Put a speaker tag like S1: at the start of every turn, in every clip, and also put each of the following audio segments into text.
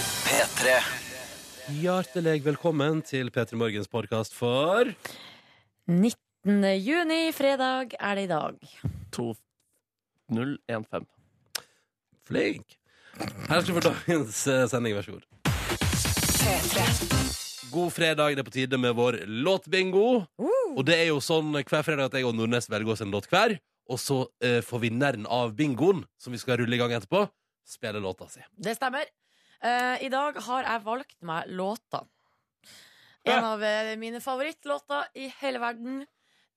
S1: P3
S2: Hjertelig velkommen til P3 Morgens podkast for
S3: 19. juni, fredag, er det i dag.
S4: 2015.
S2: Flink. Her skal du få dagens eh, sending, vær så god. God fredag, det er på tide med vår låtbingo. Og det er jo sånn hver fredag at jeg og Nordnes velger oss en låt hver. Og så eh, får vinneren av bingoen, som vi skal rulle i gang etterpå, spille låta si.
S3: Det stemmer. Eh, I dag har jeg valgt meg låta. En av eh, mine favorittlåter i hele verden.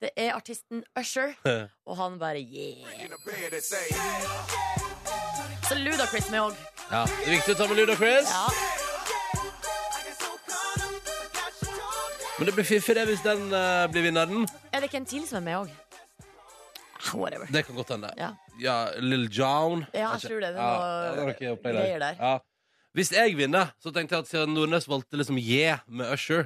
S3: Det er artisten Usher, og han bare yeah. Så Ludacris med òg.
S2: Ja, det er viktig å ta med Ludacris.
S3: Ja.
S2: Men det blir fiffig det hvis den eh, blir vinneren.
S3: Er det ikke en til som er med òg? Whatever.
S2: Det kan godt hende.
S3: Ja.
S2: Ja, Lill John.
S3: Ja, jeg
S2: Kanskje.
S3: tror det. Det er
S2: Ja,
S3: noe
S2: ja, det er noe opplegg
S3: greier der.
S2: Ja. Hvis jeg vinner, så tenkte jeg at siden Nordnes valgte liksom J med Usher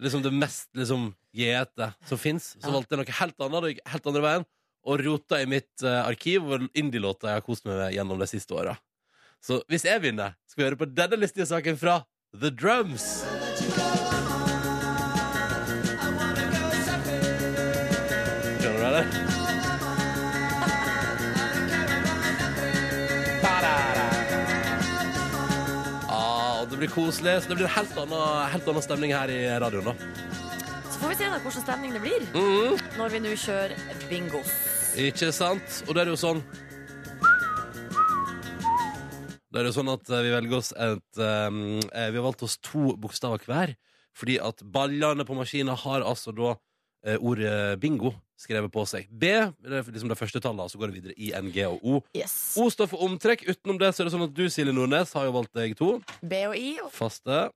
S2: Liksom det mest liksom J-ete som fins, så
S3: Ja.
S2: valgte jeg noe helt annet. det gikk Helt andre veien Og rota i mitt eh, arkiv hvor indie-låter jeg har kost meg med gjennom de siste åra. Så hvis jeg vinner, skal vi høre på denne listige saken fra The Drums. Skjønner du det? Ja, og Ah, det blir koselig. Så det blir en helt annen, helt annen stemning her i radioen. da Mhm,
S3: Så får vi se da hvordan stemning det blir
S2: Mm.
S3: når vi nå kjører bingos.
S2: Ikke sant? Og da er det jo sånn Da er det jo sånn at eh, vi velger oss et ehm, eh, Vi har valgt oss to bokstaver hver. Fordi at ballene på maskina har altså da eh, ordet bingo skrevet på seg. B det er liksom det første tallet, og så går det videre i N, G og O.
S3: Yes.
S2: O står for omtrekk. Utenom det så er det sånn at du, Silje Nordnes, har jo valgt deg to
S3: B og I, og-
S2: faste.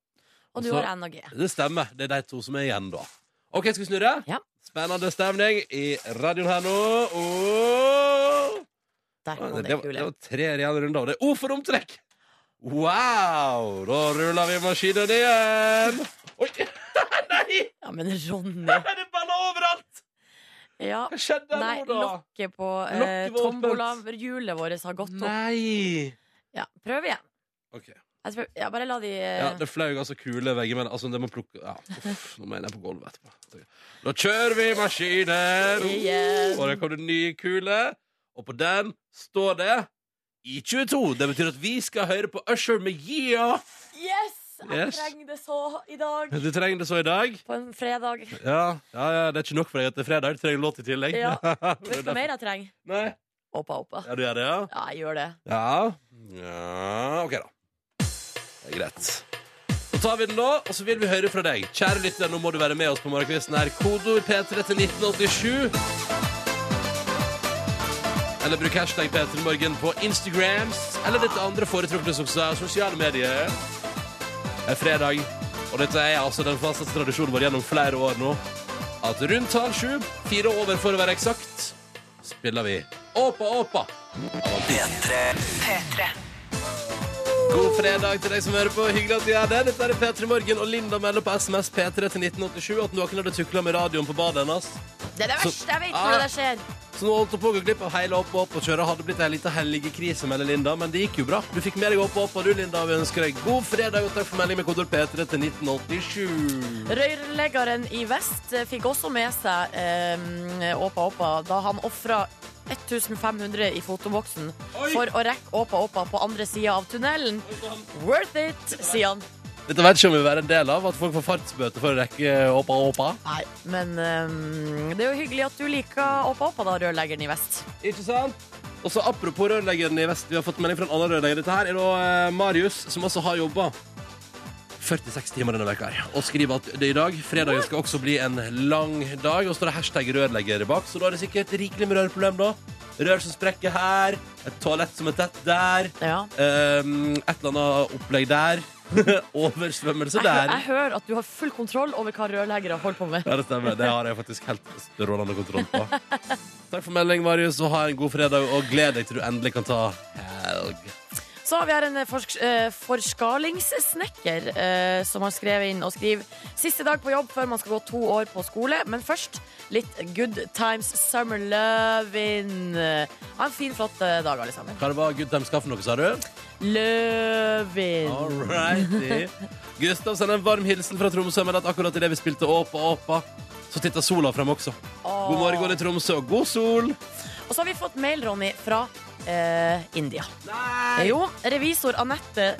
S3: og du
S2: Så-
S3: har N og G.
S2: Det stemmer. Det er de to som er igjen, da. OK, skal vi snurre?
S3: Ja.
S2: Spennende stemning i radioen her nå. Og...
S3: Der kom
S2: Det,
S3: det
S2: var, det
S3: kule.
S2: var tre reelle runder, og det er O for omtrekk! Wow! Da ruller vi maskinen igjen. Oi! Nei!
S3: Ja, men Ronny.
S2: Er det baller overalt?
S3: Ja.
S2: Hva skjedde
S3: Nei,
S2: nå, da?
S3: lokket på eh,
S2: Lokket var åpent.
S3: tombolahjulet vårt har gått opp.
S2: Nei!
S3: Ja, prøv igjen.
S2: Ok.
S3: Jeg spør, ja, bare la de eh,
S2: Ja, det fløy altså kuler veggimellom. Altså, det må plukke ja, uff, Nå mener jeg på gulvet etterpå. Da kjører vi maskinen!
S3: Igjen.
S2: Og der kom det nye kule. Og på den står det I22. Det betyr at vi skal høre på Usher med Yeah!
S3: Yes! Jeg
S2: Yes.
S3: trenger det så i dag.
S2: Du trenger det så i dag.
S3: På en fredag.
S2: Ja, ja, ja Det er ikke nok for deg at det er fredag. Du trenger låt i tillegg.
S3: Ja.
S2: Det
S3: Vet
S2: er
S3: du hva
S2: derfor-
S3: mer jeg trenger?
S2: Nei.
S3: Oppa, oppa.
S2: Ja, du gjør det, ja?
S3: Ja, jeg gjør det.
S2: Ja. ja OK, da. Det er greit. Så tar vi den nå, og så vil vi høre fra deg. Kjære lytter, nå må du være med oss på morgenkvisten her. Kodeord P3 til 1987. Eller bruk hashtag P3morgen på Instagrams eller ditt andre foretrukne sosia- sosiale medier. Det er fredag, og dette er altså den faste tradisjonen vår gjennom flere år nå. At rundt halv sju, fire over for å være eksakt, spiller vi Åpa Åpa.
S1: P3
S2: God fredag til deg som hører på. Hyggelig at du er der. Dette er P3 Morgen, og Linda melder på SMS P3 til 1987 at noen hadde tukla med radioen på badet hennes.
S3: Det er det
S2: Så-
S3: verste jeg vet
S2: Ah.
S3: når det der skjer.
S2: Så nå holdt hun på å gå glipp av hele opp og opp og kjøre. Hadde blitt ei lita helgekrise, melder Linda, men det gikk jo bra. Du fikk med deg opp og opp, og du, Linda, vi ønsker deg god fredag og takk for melding med kodord P3 til 1987.
S3: Rørleggeren i vest eh, fikk også med seg eh, Åpa, åpa da han ofra 1500 i fotoboksen
S2: Oi!
S3: for å rekke Åpa, åpa på andre sida av tunnelen. Worth it, sier han.
S2: Dette vet ikke om vi vil være en del av, at folk får fartsbøter for å rekke oppa oppa.
S3: Nei, men ehm, det er jo hyggelig at du liker Åpa Åpa, da, rørleggeren i vest.
S2: Ikke sant? Og så Apropos rørleggeren i vest, vi har fått melding fra en annen rørlegger. Dette her er da eh, Marius, som altså har jobba 46 timer denne veka her, og skriver at det i dag, fredagen, skal også bli en lang dag. Og så står det hashtag rørlegger bak, så da er det sikkert rikelig med rørproblem, da. Rør som sprekker her, et toalett som er tett der,
S3: Ja.
S2: ehm, et eller annet opplegg der. Oversvømmelse
S3: Jeg, hø-
S2: der.
S3: jeg hører at du har full kontroll over hva rørleggere holder på med.
S2: Ja, det stemmer. Det har jeg faktisk helt strålende kontroll på. Takk for melding, Marius, og ha en god fredag, og gled deg til du endelig kan ta helg.
S3: Så har vi her en eh, forsk eh, forskalingssnekker eh, som har skrevet inn og skriver siste dag på jobb før man skal gå to år på skole, men først litt Good Times Summer Lovin'. Ha en fin, flott eh, dag, alle sammen.
S2: Hva det var Good Times Kaffe noe, sa du?
S3: Løvin.
S2: All righty. Gustav sender en varm hilsen fra Tromsø, men at akkurat idet vi spilte Åpa Åpa, så titta sola frem også.
S3: Åh.
S2: God morgen i Tromsø, og god sol!
S3: Og så har vi fått mail, Ronny, fra eh, India.
S2: Nei!
S3: Jo, revisor Anette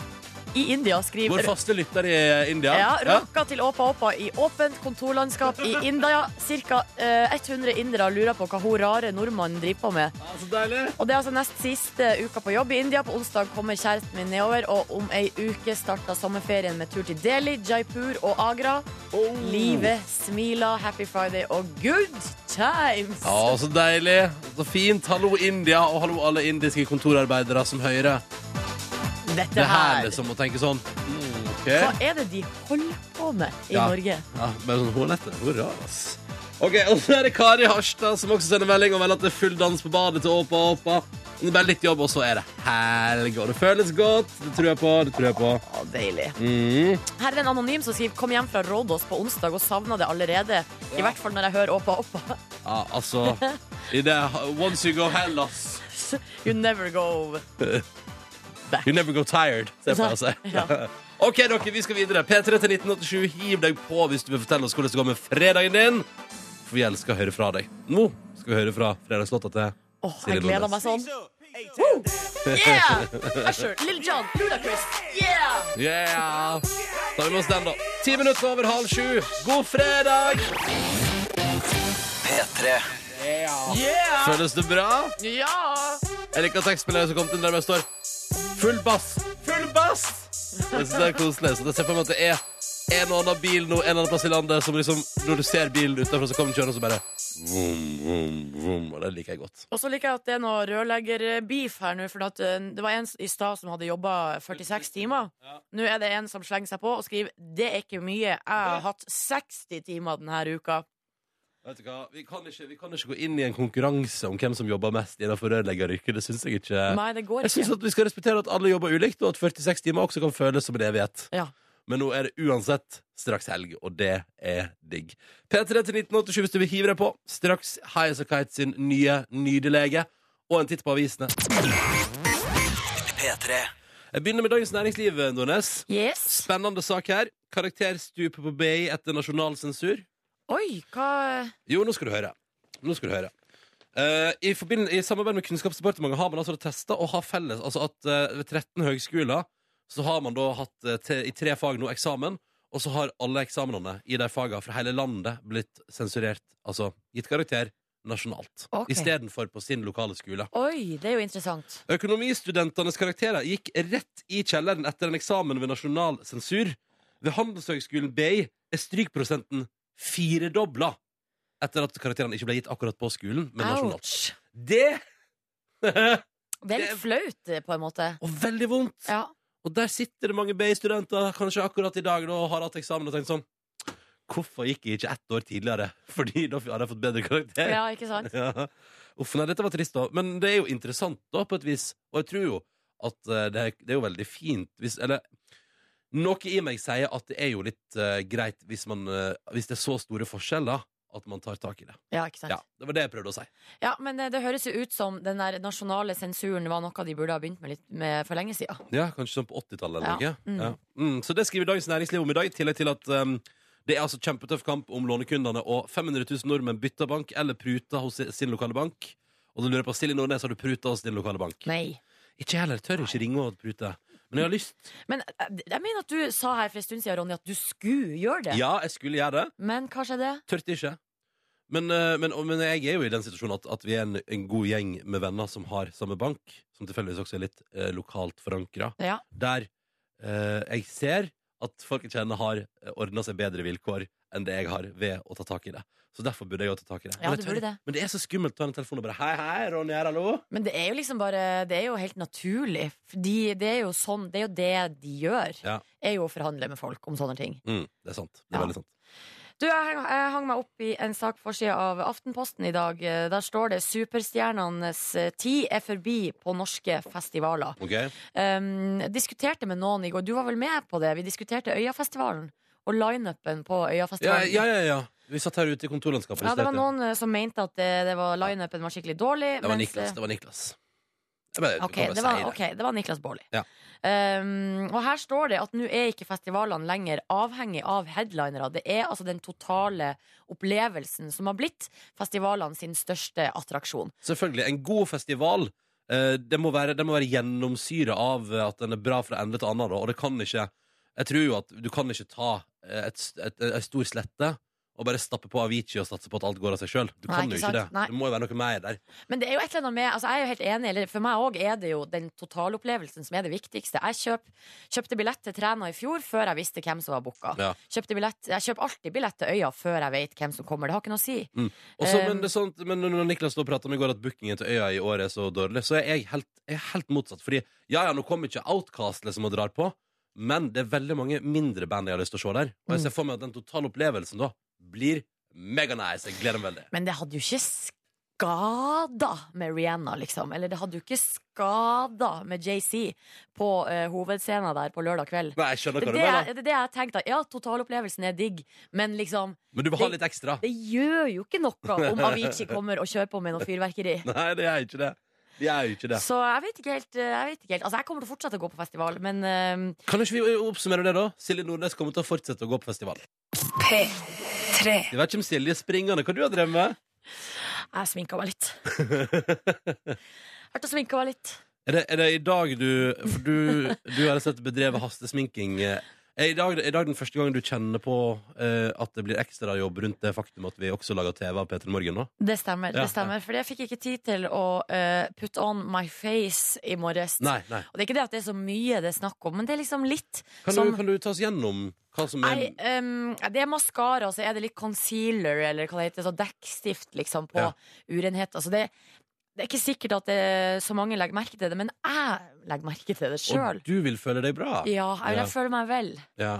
S3: i India skriver
S2: Vår faste lytter i India.
S3: Ja, Rocka til Åpa Åpa i åpent kontorlandskap i India. Cirka eh, 100 indere lurer på hva hun rare nordmannen driver på med.
S2: Ja, Så deilig.
S3: Og det er altså nest siste uka på jobb i India. På onsdag kommer kjæresten min nedover, og om ei uke starter sommerferien med tur til Delhi, Jaipur og Agra.
S2: Oh.
S3: Livet smiler, happy friday og good times!
S2: Ja, så deilig. Så fint. Hallo, India, og hallo alle indiske kontorarbeidere som hører.
S3: Dette
S2: Det er her
S3: her
S2: liksom å tenke sånn. Mm, ok.
S3: Hva er det de holder på med i
S2: Ja.
S3: Norge?
S2: Ja, bare sånn hårnette. Hun er rar, ass. Ok, og så er det Kari Harstad som også sender melding og melder at det er full dans på badet til Åpa Åpa. Det er bare litt jobb, og så er det helg, og det føles godt. Det tror jeg på. det tror jeg på.
S3: Å, deilig.
S2: Mm.
S3: Her er det en anonym som skriver Kom hjem fra Rådås på onsdag og savna det allerede. I hvert fall når jeg hører Åpa Åpa.
S2: Ja, altså i det, Once you go hell, ass.
S3: You never go
S2: You never go tired. Se på altså.
S3: Ja.
S2: OK, dere, vi skal videre. P3 til 1987. Hiv deg på hvis du vil fortelle oss hvordan det går med fredagen din. For vi elsker å høre fra deg. Nå skal vi høre fra fredagslåta til
S3: Åh,
S2: Silje
S3: jeg gleder
S2: Nordnes.
S3: meg sånn. Woo! Yeah! Usher, Lil John, Ludacris. Yeah!
S2: Yeah! Da har vi med oss den, da. Ti minutter over halv sju. God fredag!
S1: P3
S3: Yeah!
S2: Føles det bra?
S3: Ja!
S2: Jeg liker tekstmeldingen som kom til der det står 'full bass'. Full bass! Jeg synes det er koselig. Så jeg ser for meg at det er en og annen bil nå, en eller annen plass i landet, som liksom, når du ser bilen utenfor, så kommer den kjørende og så bare vroom, vroom, vroom, Og det liker jeg godt.
S3: Og så liker jeg at det er noe rørleggerbeef her nå. For at eh, det var en i stad som hadde jobba 46 timer. Nå er det en som slenger seg på og skriver Det er ikke mye. Jeg har hatt 60 timer denne uka.
S2: Vet du hva? Vi kan, ikke, vi kan ikke gå inn i en konkurranse om hvem som jobber mest innenfor rørleggeryrket. Det syns jeg ikke.
S3: Nei, det går
S2: Jeg
S3: ikke.
S2: synes at Vi skal respektere at alle jobber ulikt, og at 46 timer også kan føles som en evighet.
S3: Ja.
S2: Men nå er det uansett straks helg, og det er digg. P3 til 1987 hvis du vil hive deg på. Straks Highas og Kite sin nye nydelege, og en titt på avisene.
S1: P3
S2: Jeg begynner med Dagens Næringsliv, Nordnes.
S3: Yes.
S2: Spennende sak her. Karakterstup på BI etter nasjonal sensur.
S3: Oi, hva
S2: Jo, nå skal du høre. Nå skal du høre. Eh, i, forbind- I samarbeid med Kunnskapsdepartementet har man altså testa og har felles Altså at eh, ved 13 høgskoler så har man da hatt eh, te, i tre fag nå eksamen, og så har alle eksamenene i de fagene fra hele landet blitt sensurert. Altså gitt karakter nasjonalt.
S3: Ok.
S2: Istedenfor på sin lokale skole.
S3: Oi, det er jo interessant.
S2: Økonomistudentenes karakterer gikk rett i kjelleren etter en eksamen ved nasjonal sensur. Ved Handelshøgskolen BI er strykprosenten firedobla etter at karakterene ikke ble gitt akkurat på skolen, men nasjonalt.
S3: Ouch.
S2: Det Og
S3: Det er litt flaut, eh, på en måte.
S2: veldig vondt!
S3: Ja.
S2: Og der sitter det mange BI-studenter kanskje akkurat i dag da, og har hatt eksamen og tenkt sånn Hvorfor gikk jeg ikke ett år tidligere? Fordi da hadde jeg fått bedre karakter.
S3: ja, ikke sant?
S2: Ja. Uff, nei, dette var trist, da. Men det er jo interessant, da, på et vis. Og jeg tror jo at eh, det, er, det er jo veldig fint hvis Eller noe i meg sier at det er jo litt eh, greit hvis, man, eh, hvis det er så store forskjeller at man tar tak i det.
S3: Ja, ikke sant?
S2: Ja, Det var det jeg prøvde å si.
S3: Ja, men eh, det høres jo ut som den der nasjonale sensuren var noe de burde ha begynt med litt med for lenge siden.
S2: Ja, Kanskje sånn på 80-tallet eller
S3: Ja.
S2: noe. Ja. Mm, så det skriver Dagens Næringsliv om i dag, i tillegg til at um, det er altså kjempetøff kamp om lånekundene, og 500 000 nordmenn bytter bank eller pruter hos sin lokale bank. Og da lurer jeg på, Silje Nordnes, har du pruta hos din lokale bank?
S3: Nei.
S2: Ikke jeg heller. Tør ikke ringe og prute. Men jeg har lyst.
S3: Men eh, jeg mener at du sa her for en stund siden, Ronny, at du skulle gjøre det.
S2: Ja, jeg skulle gjøre det.
S3: Men hva skjedde?
S2: Tørte ikke. Men, eh, men, og- men jeg er jo i den situasjonen at, at vi er en, en god gjeng med venner som har samme bank, som tilfeldigvis også er litt eh, lokalt forankra,
S3: Ja.
S2: der eh, jeg ser at folk jeg kjenner, har ordna seg bedre vilkår enn det jeg har, ved å ta tak i det. Så derfor burde jeg jo ta tak i det.
S3: Ja,
S2: men, jeg
S3: du burde
S2: tør-
S3: det.
S2: men det er så skummelt å ta en telefon og bare Hei, hei, Ronny her, hallo?
S3: Men det er jo liksom bare Det er jo helt naturlig. Fordi det er jo sånn Det er jo det de gjør.
S2: Ja.
S3: Er jo å forhandle med folk om sånne ting.
S2: Mm, det er sant. Det er
S3: Ja.
S2: veldig sant.
S3: Du, jeg, hang- jeg hang meg opp i en sak på forsida av Aftenposten i dag. Eh, Der står det 'Superstjernenes eh, tid er forbi på norske festivaler'.
S2: Ok?
S3: Um, jeg diskuterte med noen i går. Du var vel med på det? Vi diskuterte Øyafestivalen og lineupen på
S2: Ja,
S3: Øyafestivalen.
S2: ja, ja. ja. Vi satt her ute i kontorlandskapet.
S3: Ja, det
S2: diskuterte.
S3: var eh, noen eh, som mente at det, det var lineupen var skikkelig dårlig.
S2: Det var
S3: mens,
S2: Niklas.
S3: eh,
S2: Det var Niklas. Jeg bare- du
S3: Ok,
S2: kan bare
S3: det
S2: si
S3: var,
S2: det.
S3: ok, det var Niklas Baarli.
S2: Ja.
S3: Um, og her står det at nå er ikke festivalene lenger avhengig av headlinere. Det er altså den totale opplevelsen som har blitt festivalene sin største attraksjon.
S2: Selvfølgelig, en god festival eh, det, må være, det må være gjennomsyret av eh, at den er bra fra ende til annen da, Og det kan ikke Jeg tror jo at du kan ikke ta eh, et, s- et, et, en stor slette Og bare stappe på Avicii og satse på at alt går av seg selv Du
S3: Nei,
S2: kan
S3: ikke
S2: jo ikke
S3: sant?
S2: det
S3: Nei.
S2: Det må jo være noe mer der
S3: Men det er jo et eller annet med altså Jeg er jo helt enig, eller for meg òg er det jo den totalopplevelsen som er det viktigste. Jeg kjøp, kjøpte billett til Træna i fjor før jeg visste hvem som var booka.
S2: Ja.
S3: Kjøpte billett, jeg kjøper alltid billett til Øya før jeg vet hvem som kommer. Det har ikke noe å si.
S2: Og så,
S3: Eh,
S2: men, det er sånt, men når når Niklas da prater om i går at bookingen til Øya i år er så dårlig, så er jeg helt, jeg er helt motsatt. Fordi ja, ja, nå kommer ikke Outcast liksom og drar på, men det er veldig mange mindre band jeg har lyst til å se der.
S3: Mm.
S2: Og jeg ser for meg at den totale opplevelsen da blir mega nice. Jeg gleder meg veldig.
S3: Men det hadde jo ikke skada med Rihanna, liksom. Eller det hadde jo ikke skada med JC på eh, hovedscenen der på lørdag kveld.
S2: Nei, jeg skjønner hva
S3: Det er
S2: du
S3: det jeg,
S2: mener.
S3: det er det jeg tenkte. Ja, totalopplevelsen er digg, men liksom
S2: Men du vil ha litt ekstra.
S3: Det gjør jo ikke noe om Avicii kommer og kjører på med noe fyrverkeri.
S2: Nei, det er ikke det. Det er jo ikke det.
S3: Så jeg vet ikke helt. eh, Jeg vet ikke helt. Altså, jeg kommer til å fortsette å gå på festival, men eh,
S2: Kan ikke vi oppsummere det, da? Silje Nordnes kommer til å fortsette å gå på festival.
S1: P3.
S2: Jeg vet ikke om Silje er springende. Hva du har drevet med?
S3: jeg sminka meg litt. Hørte å sminke meg litt.
S2: Er det, er det i dag du For du, du har sett bedrevet hastesminking. eh, Er i dag, er i dag den første gangen du kjenner på eh, at det blir ekstrajobb rundt det faktum at vi også lager TV av P3 Morgen nå?
S3: Det stemmer.
S2: Ja,
S3: det stemmer Fordi jeg fikk ikke tid til å eh, put on my face i morges.
S2: Nei, nei.
S3: Og det er ikke det at det er så mye det er snakk om, men det er liksom litt
S2: Kan,
S3: som
S2: du, kan du ta oss gjennom hva som er
S3: Nei, ehm, det er maskara, så er det litt concealer, eller hva det heter, så dekkstift, liksom, på
S2: Ja.
S3: urenhet. Altså, det, det er ikke sikkert at det, så mange legger merke til det, men jeg legger merke til det sjøl.
S2: Og du vil føle deg bra?
S3: Ja, jeg,
S2: Ja.
S3: vil- jeg føler meg vel.
S2: Ja.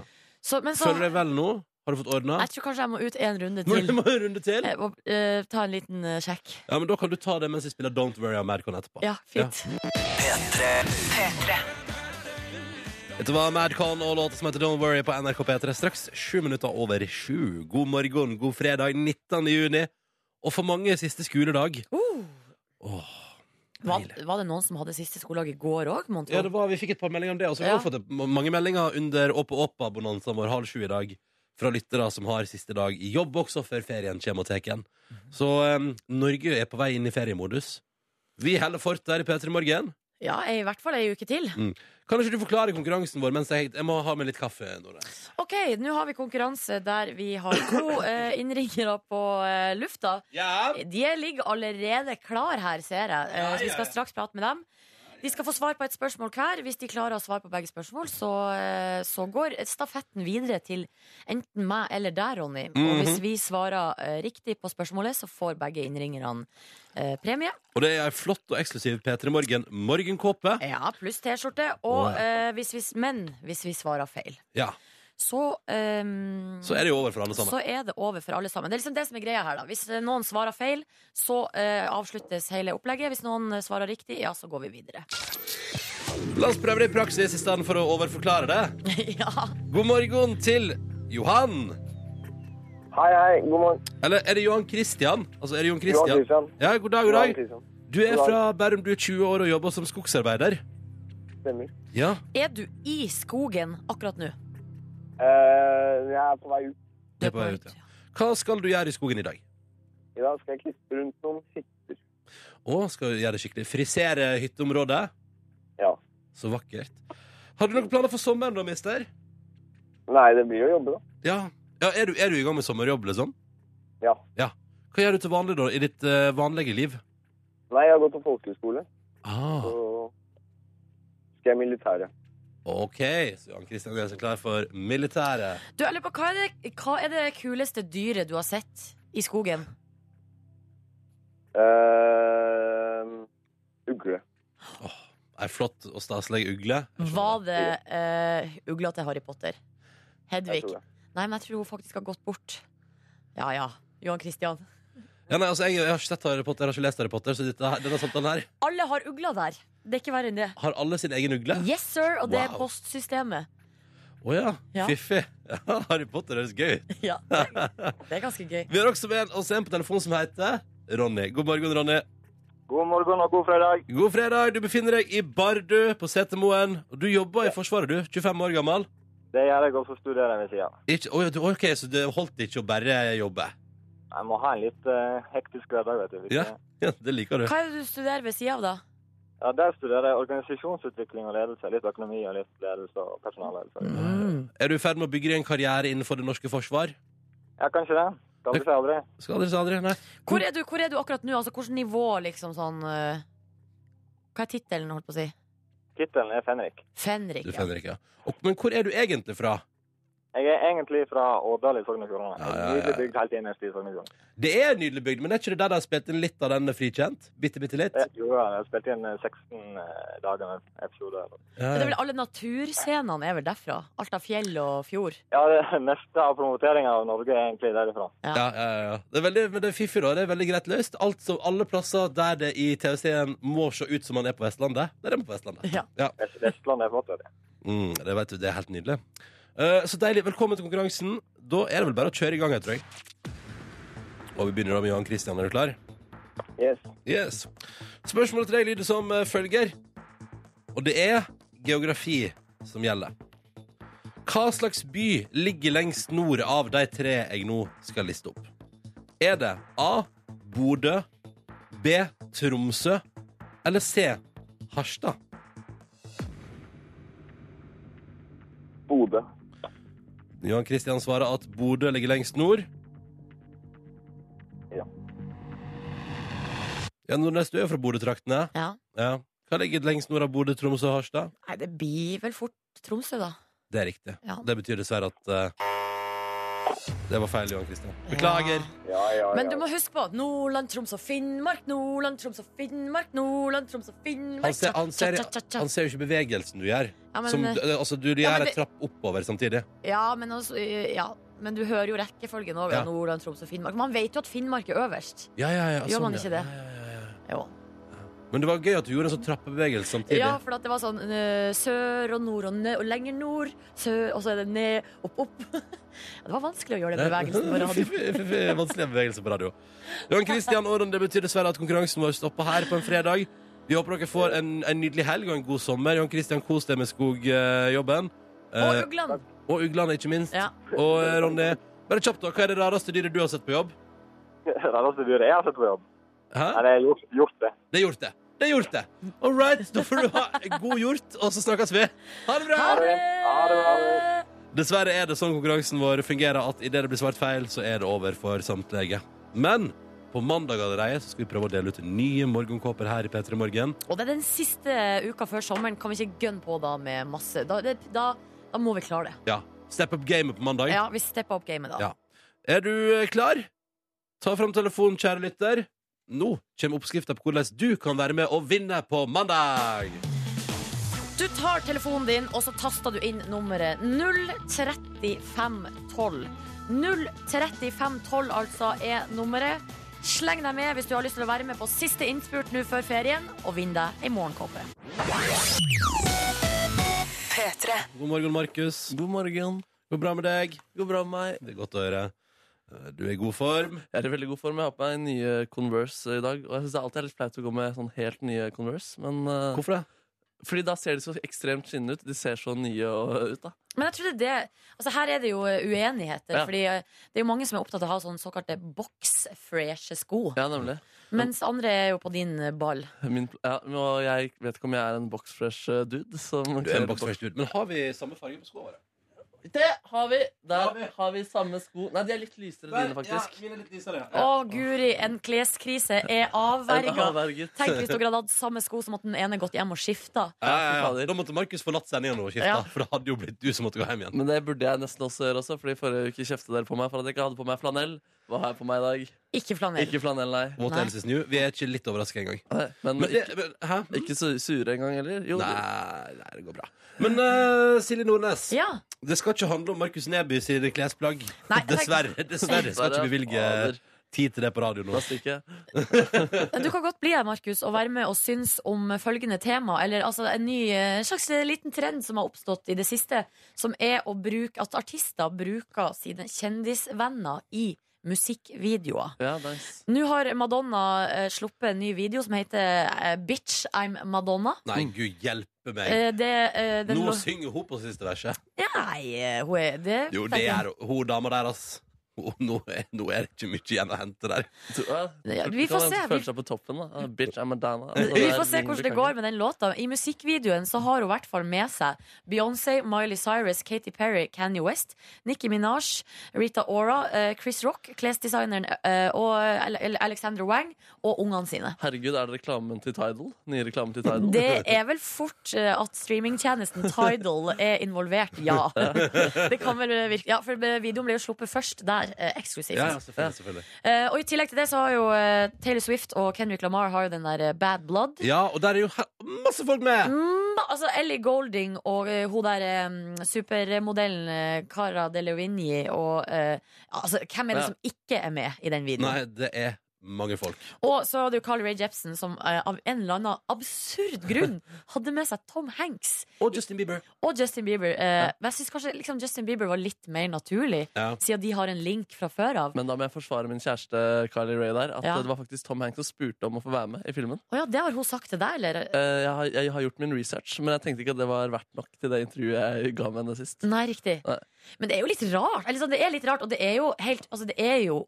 S3: Så, men så
S2: Føler du deg vel nå? Har du fått ordna?
S3: Jeg tror kanskje jeg må ut en runde
S2: Må
S3: til.
S2: må du runde til?
S3: eh, Og eh, ta en liten eh, sjekk.
S2: Ja, men Da kan du ta det mens vi spiller Don't Worry I'm Madcon etterpå.
S3: Ja, fint.
S2: Dette var Madcon og låta som heter Don't Worry på NRK P3. Straks sju minutter over sju. God morgen, god fredag 19. juni. Og for mange siste skoledag.
S3: Uh,
S2: Åh,
S3: var,
S2: deilig.
S3: var det noen som hadde siste skoledag i går òg, mon tro?
S2: Ja, det var, vi fikk et par meldinger om det. Og så har vi
S3: Ja.
S2: også fått et- mange meldinger under Åpa Åpa-bonanzaen vår halv sju i dag fra lyttere som har siste dag i jobb også før ferien kommer og tar igjen. Så em, Norge er på vei inn i feriemodus. Vi holder fort der i P3 Morgen.
S3: Ja, i hvert fall ei uke til.
S2: Kan ikke du forklare konkurransen vår mens jeg, jeg må ha med litt kaffe? Nora?
S3: Ok, nå har vi konkurranse der vi har to eh, innringere på eh, lufta.
S2: Ja.
S3: De ligger allerede klar her, ser jeg. Eh,
S2: Ja,
S3: så vi
S2: ja,
S3: skal
S2: ja.
S3: straks prate med dem. De skal få svar på et spørsmål hver. Hvis de klarer å svare på begge spørsmål, så, eh, så går stafetten videre til enten meg eller deg, Ronny. Og
S2: Mhm.
S3: hvis vi svarer eh, riktig på spørsmålet, så får begge innringerne eh, premie.
S2: Og det er ei flott og eksklusiv P3 Morgen morgenkåpe.
S3: Ja, pluss T-skjorte. Og
S2: Wow.
S3: eh, hvis vi, men hvis vi svarer feil,
S2: Ja,
S3: så eh,
S2: Så er det jo over for alle sammen.
S3: så er det over for alle sammen. Det er liksom det som er greia her, da. Hvis eh, noen svarer feil, så eh, avsluttes hele opplegget. Hvis noen eh, svarer riktig, ja, så går vi videre.
S2: La oss prøve det i praksis i stedet for å overforklare det.
S3: ja.
S2: God morgen til Johan.
S4: Hei, hei. God morgen.
S2: Eller er det Johan Christian? Altså, er det Johan Christian?
S4: Johan Kristian.
S2: Ja, god dag, god
S4: Johan
S2: dag.
S4: Kristian.
S2: Du er
S4: God dag.
S2: fra Bærum, du er 20 år og jobber som skogsarbeider.
S4: Stemmer.
S2: Ja.
S3: Er du i skogen akkurat nå?
S4: Eh, jeg er på vei ut.
S3: Du
S2: er på vei ut, Hva skal du gjøre i skogen i dag?
S4: I dag skal jeg klippe rundt noen hytter.
S2: Å, skal du gjøre det skikkelig? Frisere hytteområdet?
S4: Ja.
S2: Så vakkert. Har du noen planer for sommeren da, mister?
S4: Nei, det blir jo å jobbe, da.
S2: Ja. ja er, du, er du i gang med sommerjobb, liksom?
S4: Ja.
S2: ja. Hva gjør du til vanlig da, i ditt eh, vanlige liv?
S4: Nei, jeg har gått på folkehøyskole,
S2: Ah,
S4: så skal jeg i militæret.
S2: ok. Så Jan Kristian Jensen altså klar for militæret.
S3: Du, jeg lurer på, hva er, det, hva er det kuleste dyret du har sett i skogen?
S4: Eh, ugle.
S2: Ei flott og staselig ugle. Jeg skjønner.
S3: Var det eh, ugla til Harry Potter?
S4: Jeg
S3: Hedvig?
S4: tror det.
S3: Nei, men jeg tror hun faktisk har gått bort. Ja ja. Johan Christian.
S2: Ja, nei, altså, jeg, jeg har ikke sett Harry Potter, jeg har ikke lest Harry Potter, så dette, her- denne samtalen her
S3: Alle har ugla der. Det er ikke verre enn det.
S2: har alle sin egen ugle. Å
S3: Yes, sir! Og det er
S2: Wow.
S3: postsystemet.
S2: ja.
S3: Ja.
S2: fiffig. Ja, Harry Potter høres gøy ut.
S3: Ja, det er- det er ganske gøy.
S2: Vi har også med oss en på telefon som heter Ronny. God morgen, Ronny.
S4: God morgen og god fredag.
S2: God fredag. Du befinner deg i Bardu på Setermoen. Og du jobber i Forsvaret, du. 25 år gammel.
S4: Det gjør jeg også studerer ved sida.
S2: Ikke, å ja, du, ok, Så det holdt ikke å bare jobbe?
S4: Jeg må ha en litt eh, hektisk hverdag, vet du. hvis
S2: Ja.
S4: jeg-
S2: Ja, det liker du.
S3: Hva er det du studerer ved sida av, da?
S4: ja. Der studerer jeg organisasjonsutvikling og ledelse. Litt økonomi og litt ledelse og personalledelse.
S2: Mm. Er du i ferd med å bygge deg en karriere innenfor det norske forsvar?
S4: Ja, kanskje det. Skal vi se aldri.
S2: Skal dere si aldri? Nei.
S3: Hvor er du, hvor er du akkurat nå? Altså, Hvilket nivå, liksom sånn eh, Hva er tittelen, holdt på å si?
S4: Tittelen er Fenrik.
S3: Fenrik.
S2: Du
S3: Ja.
S2: finner ikke, ja. Og, men hvor er du egentlig fra?
S4: Jeg er egentlig fra Årdal i Sogn og Fjordane.
S2: Ja, ja, ja.
S4: Nydelig bygd helt innerst i Sogn og Fjordane.
S2: Det er en nydelig bygd, men er ikke det der de har spilt inn litt av den Frikjent? Bitte, bitte litt?
S4: Jeg- Jo, jeg har spilt inn eh, 16 dager med episode. eller-
S3: Men det er
S2: Ja.
S3: vel alle naturscenene er vel derfra? Alt av fjell og fjord.
S4: Ja, det neste av promoteringen av Norge er egentlig derifra.
S2: Ja, ja, ja. Det er veldig, men det er fiffig, da. Det er veldig greit løst. Alt som, alle plasser der det i TV-serien må se ut som man er på Vestlandet, der er man på Vestlandet.
S3: Ja.
S4: Vest- Vestlandet er flott, vet du.
S2: Mm, det vet du, det er helt nydelig. Eh, så deilig. Velkommen til konkurransen. Da er det vel bare å kjøre i gang, jeg tror jeg. Og vi begynner da med Johan Christian. Er du klar?
S4: Yes.
S2: Yes. Spørsmålet til deg lyder som eh, følger. Og det er geografi som gjelder. Hva slags by ligger lengst nord av de tre jeg nå skal liste opp? Er det A. Bodø, B. Tromsø eller C. Harstad?
S4: Bodø.
S2: Johan Kristian svarer at Bodø ligger lengst nord.
S4: Ja.
S2: Ja, Nordnes, du er jo fra Bodø-traktene.
S3: ja.
S2: Ja. Hva ligger lengst nord av Bodø, Tromsø og Harstad?
S3: Nei, det blir vel fort Tromsø, da.
S2: Det er riktig.
S3: Ja.
S2: Det betyr dessverre at eh, Det var feil, Johan Kristian. Beklager.
S3: Ja.
S4: Ja, ja, ja.
S3: Men du må huske på Nordland, Troms og Finnmark, Nordland, Troms og Finnmark, Nordland, Troms og Finnmark.
S2: Han, ser, han, ser,
S3: Tja, tja, tja, tja.
S2: han ser jo ikke bevegelsen du gjør.
S3: Ja, men, eh,
S2: Som, altså, du
S3: Ja, men
S2: gjør
S3: det-
S2: en trapp oppover samtidig.
S3: ja, men, altså, ja, men du hører jo rekkefølgen òg.
S2: Ja.
S3: Nordland, Troms og Finnmark. Man vet jo at Finnmark er øverst.
S2: Ja, ja, ja, sånn,
S3: Gjør man
S2: ja.
S3: ikke det?
S2: Ja, ja, ja, ja.
S3: Jo.
S2: Men det var gøy at du gjorde en sånn trappebevegelse samtidig.
S3: Ja, for at det var sånn eh, sør og nord og, ned, og lenger nord, sør, og så er det ned, opp, opp. Ja, det var vanskelig å gjøre den bevegelsen på radio.
S2: Vanskelig bevegelse på radio. Johan Kristian Aaron, det betyr dessverre at konkurransen vår stopper her på en fredag. Vi håper dere får en, en nydelig helg og en god sommer. Johan Kristian, kos deg med skogjobben.
S3: Og uglene!
S2: Eh, og uglene, ikke minst.
S3: Ja.
S2: Og eh, Ronny, bare kjapt da, hva er det rareste dyret du har sett på jobb?
S4: Rareste dyret jeg har sett på jobb. Nei,
S2: Hæ?
S4: det er hjort. hjort det.
S2: Det er gjort det. Det er gjort det. All right, da får du ha god gjort, og så snakkes vi. Ha det bra!
S3: Ha det!
S4: Ha det, ha det.
S2: Dessverre er det sånn konkurransen vår fungerer at idet det blir svart feil, så er det over for samtlige. Men på mandag allerede så skal vi prøve å dele ut nye morgenkåper her i P3 Morgen.
S3: Og det er den siste uka før sommeren. Kan vi ikke gønne på da med masse? Da, det, da, da må vi klare det.
S2: Ja, Step up gamet på mandag.
S3: Ja, vi stepper opp gamet da.
S2: Ja. Er du eh, klar? Ta fram telefonen, kjære lytter. Nå kommer oppskrifta på hvordan du kan være med og vinne på mandag.
S3: Du tar telefonen din, og så taster du inn nummeret 03512. 03512 altså er nummeret. Sleng deg med hvis du har lyst til å være med på siste innspurt nå før ferien, og vinn deg ei morgenkåpe.
S1: P3.
S2: God morgen, Markus.
S5: God morgen.
S2: Går bra med deg?
S5: Går bra med meg.
S2: Det er godt å høre. Eh, Du er i god form.
S5: Jeg er i veldig god form. Jeg har på meg nye Converse i dag. Og jeg synes det alltid er litt flaut å gå med sånn helt nye Converse. Men, eh,
S2: Hvorfor det?
S5: fordi da ser de så ekstremt skinnende ut. De ser så nye og- ut, da.
S3: Men jeg tror det er det Altså her er det jo eh, uenigheter,
S5: Ja.
S3: fordi eh, det er jo mange som er opptatt av å ha sånne såkalte box-freshe sko,
S5: Ja, nemlig.
S3: mens andre er jo på din eh, ball.
S5: Min, pl- ja, men og jeg vet ikke om jeg er en boxfresh eh, dude. Som
S2: Du er
S5: kler
S2: en boksfresh dude. Men har vi samme farge på skoene våre?
S5: boks- Det har vi!
S2: Har
S5: Der
S2: vi.
S5: har vi samme sko. Nei, de er litt lysere, dine, faktisk.
S2: Ja, mine er litt lysere.
S3: Å, guri, en kleskrise er
S5: Den har
S3: avverga.
S5: verget.
S3: Tenk hvis dere hadde hatt samme sko som at den ene gått hjem og skifta.
S2: Ja, ja, ja.
S5: fader.
S2: Da måtte Markus forlatt sendinga nå og skifta,
S3: Ja.
S2: for det hadde jo blitt du som måtte gå hjem igjen.
S5: Men det burde jeg nesten også gjøre, også, fordi forrige uke kjeftet dere på meg for at jeg ikke hadde på meg flanell. Hva har jeg på meg i dag?
S3: Ikke flanell.
S5: Ikke flanell, nei.
S2: What
S3: Nei.
S2: else is new? Vi er ikke litt overraska engang.
S5: Nei, Men,
S2: Men, det-
S5: ikke,
S2: men Hæ?
S5: ikke så sure engang heller. Jo,
S2: Nei, nei, det går bra. Men eh, Silje Nordnes,
S3: Ja.
S2: det skal ikke handle om Markus Neby sine klesplagg.
S3: Nei, det er-
S2: Dessverre. Dessverre skal ikke bevilge
S5: Fader.
S2: tid til det på radio nå.
S5: Plass ikke.
S3: Du kan godt bli her, Markus, og være med og synes om følgende tema. Eller altså en ny eh, slags liten trend som har oppstått i det siste, som er å bruke at artister bruker sine kjendisvenner i musikkvideoer.
S5: Ja, nice.
S3: Nå har Madonna eh, sluppet en ny video som heter eh, Bitch, I'm Madonna.
S2: Nei, gud hjelpe meg.
S3: Eh, det, eh, den
S2: Nå
S3: lå-
S2: synger hun på siste verset.
S3: Ja, Nei, eh, hun er det.
S2: Jo, det er hun dama der, ass. Hun- Nå er, nå er det ikke mye igjen å hente der.
S5: Du, ja,
S3: Ja, vi får
S5: kan
S3: se.
S5: man Føle seg på toppen, da. Ah, bitch, I'm a dama. Altså,
S3: Vi
S5: det er
S3: får se hvordan det
S5: Lingby
S3: går
S5: Kongen.
S3: med den låta. I musikkvideoen så har hun i hvert fall med seg Beyoncé, Miley Cyrus, Katy Perry, Kanye West, Nicki Minaj, Rita Ora, eh, Chris Rock, klesdesigneren eh, og Al- Al- Alexander Wang og ungene sine.
S5: Herregud, er det reklamen til Tidal? Nye reklamen til Tidal?
S3: Det er vel fort eh, at streamingtjenesten Tidal er involvert, ja. Det kan vel virke Ja, for videoen ble jo sluppet først der, eh, eksklusivt.
S2: Ja, ja, selvfølgelig, selvfølgelig.
S3: Eh, og i tillegg til det så har jo eh, Taylor Swift og Kendrick Lamar har jo den der eh, Bad Blood.
S2: Ja, og der er jo he- masse folk med!
S3: Mm, altså Ellie Golding og eh, hun der eh, supermodellen eh, Cara Delevingne og eh, Altså, hvem er det
S5: Ja.
S3: som ikke er med i den videoen?
S2: Nei, det er mange folk.
S3: Og så hadde jo Carl Ray Jepsen som eh, av en eller annen absurd grunn hadde med seg Tom Hanks
S2: Og Justin Bieber.
S3: og Justin Bieber. Eh, Men jeg syns kanskje liksom, Justin Bieber var litt mer naturlig,
S2: Ja.
S3: siden de har en link fra før av.
S5: Men da må jeg forsvare min kjæreste Carly Rae der. At
S3: Ja.
S5: eh, det var faktisk Tom Hanks som spurte om å få være med i filmen.
S3: Å ja, det har hun sagt til deg, eller?
S5: Eh, Jeg har, jeg har gjort min research, men jeg tenkte ikke at det var verdt nok til det intervjuet jeg ga med henne sist.
S3: Nei, riktig.
S5: Nei.
S3: Men det er jo litt rart. Eller sånn, det er litt rart, og det er jo, helt, altså, det er jo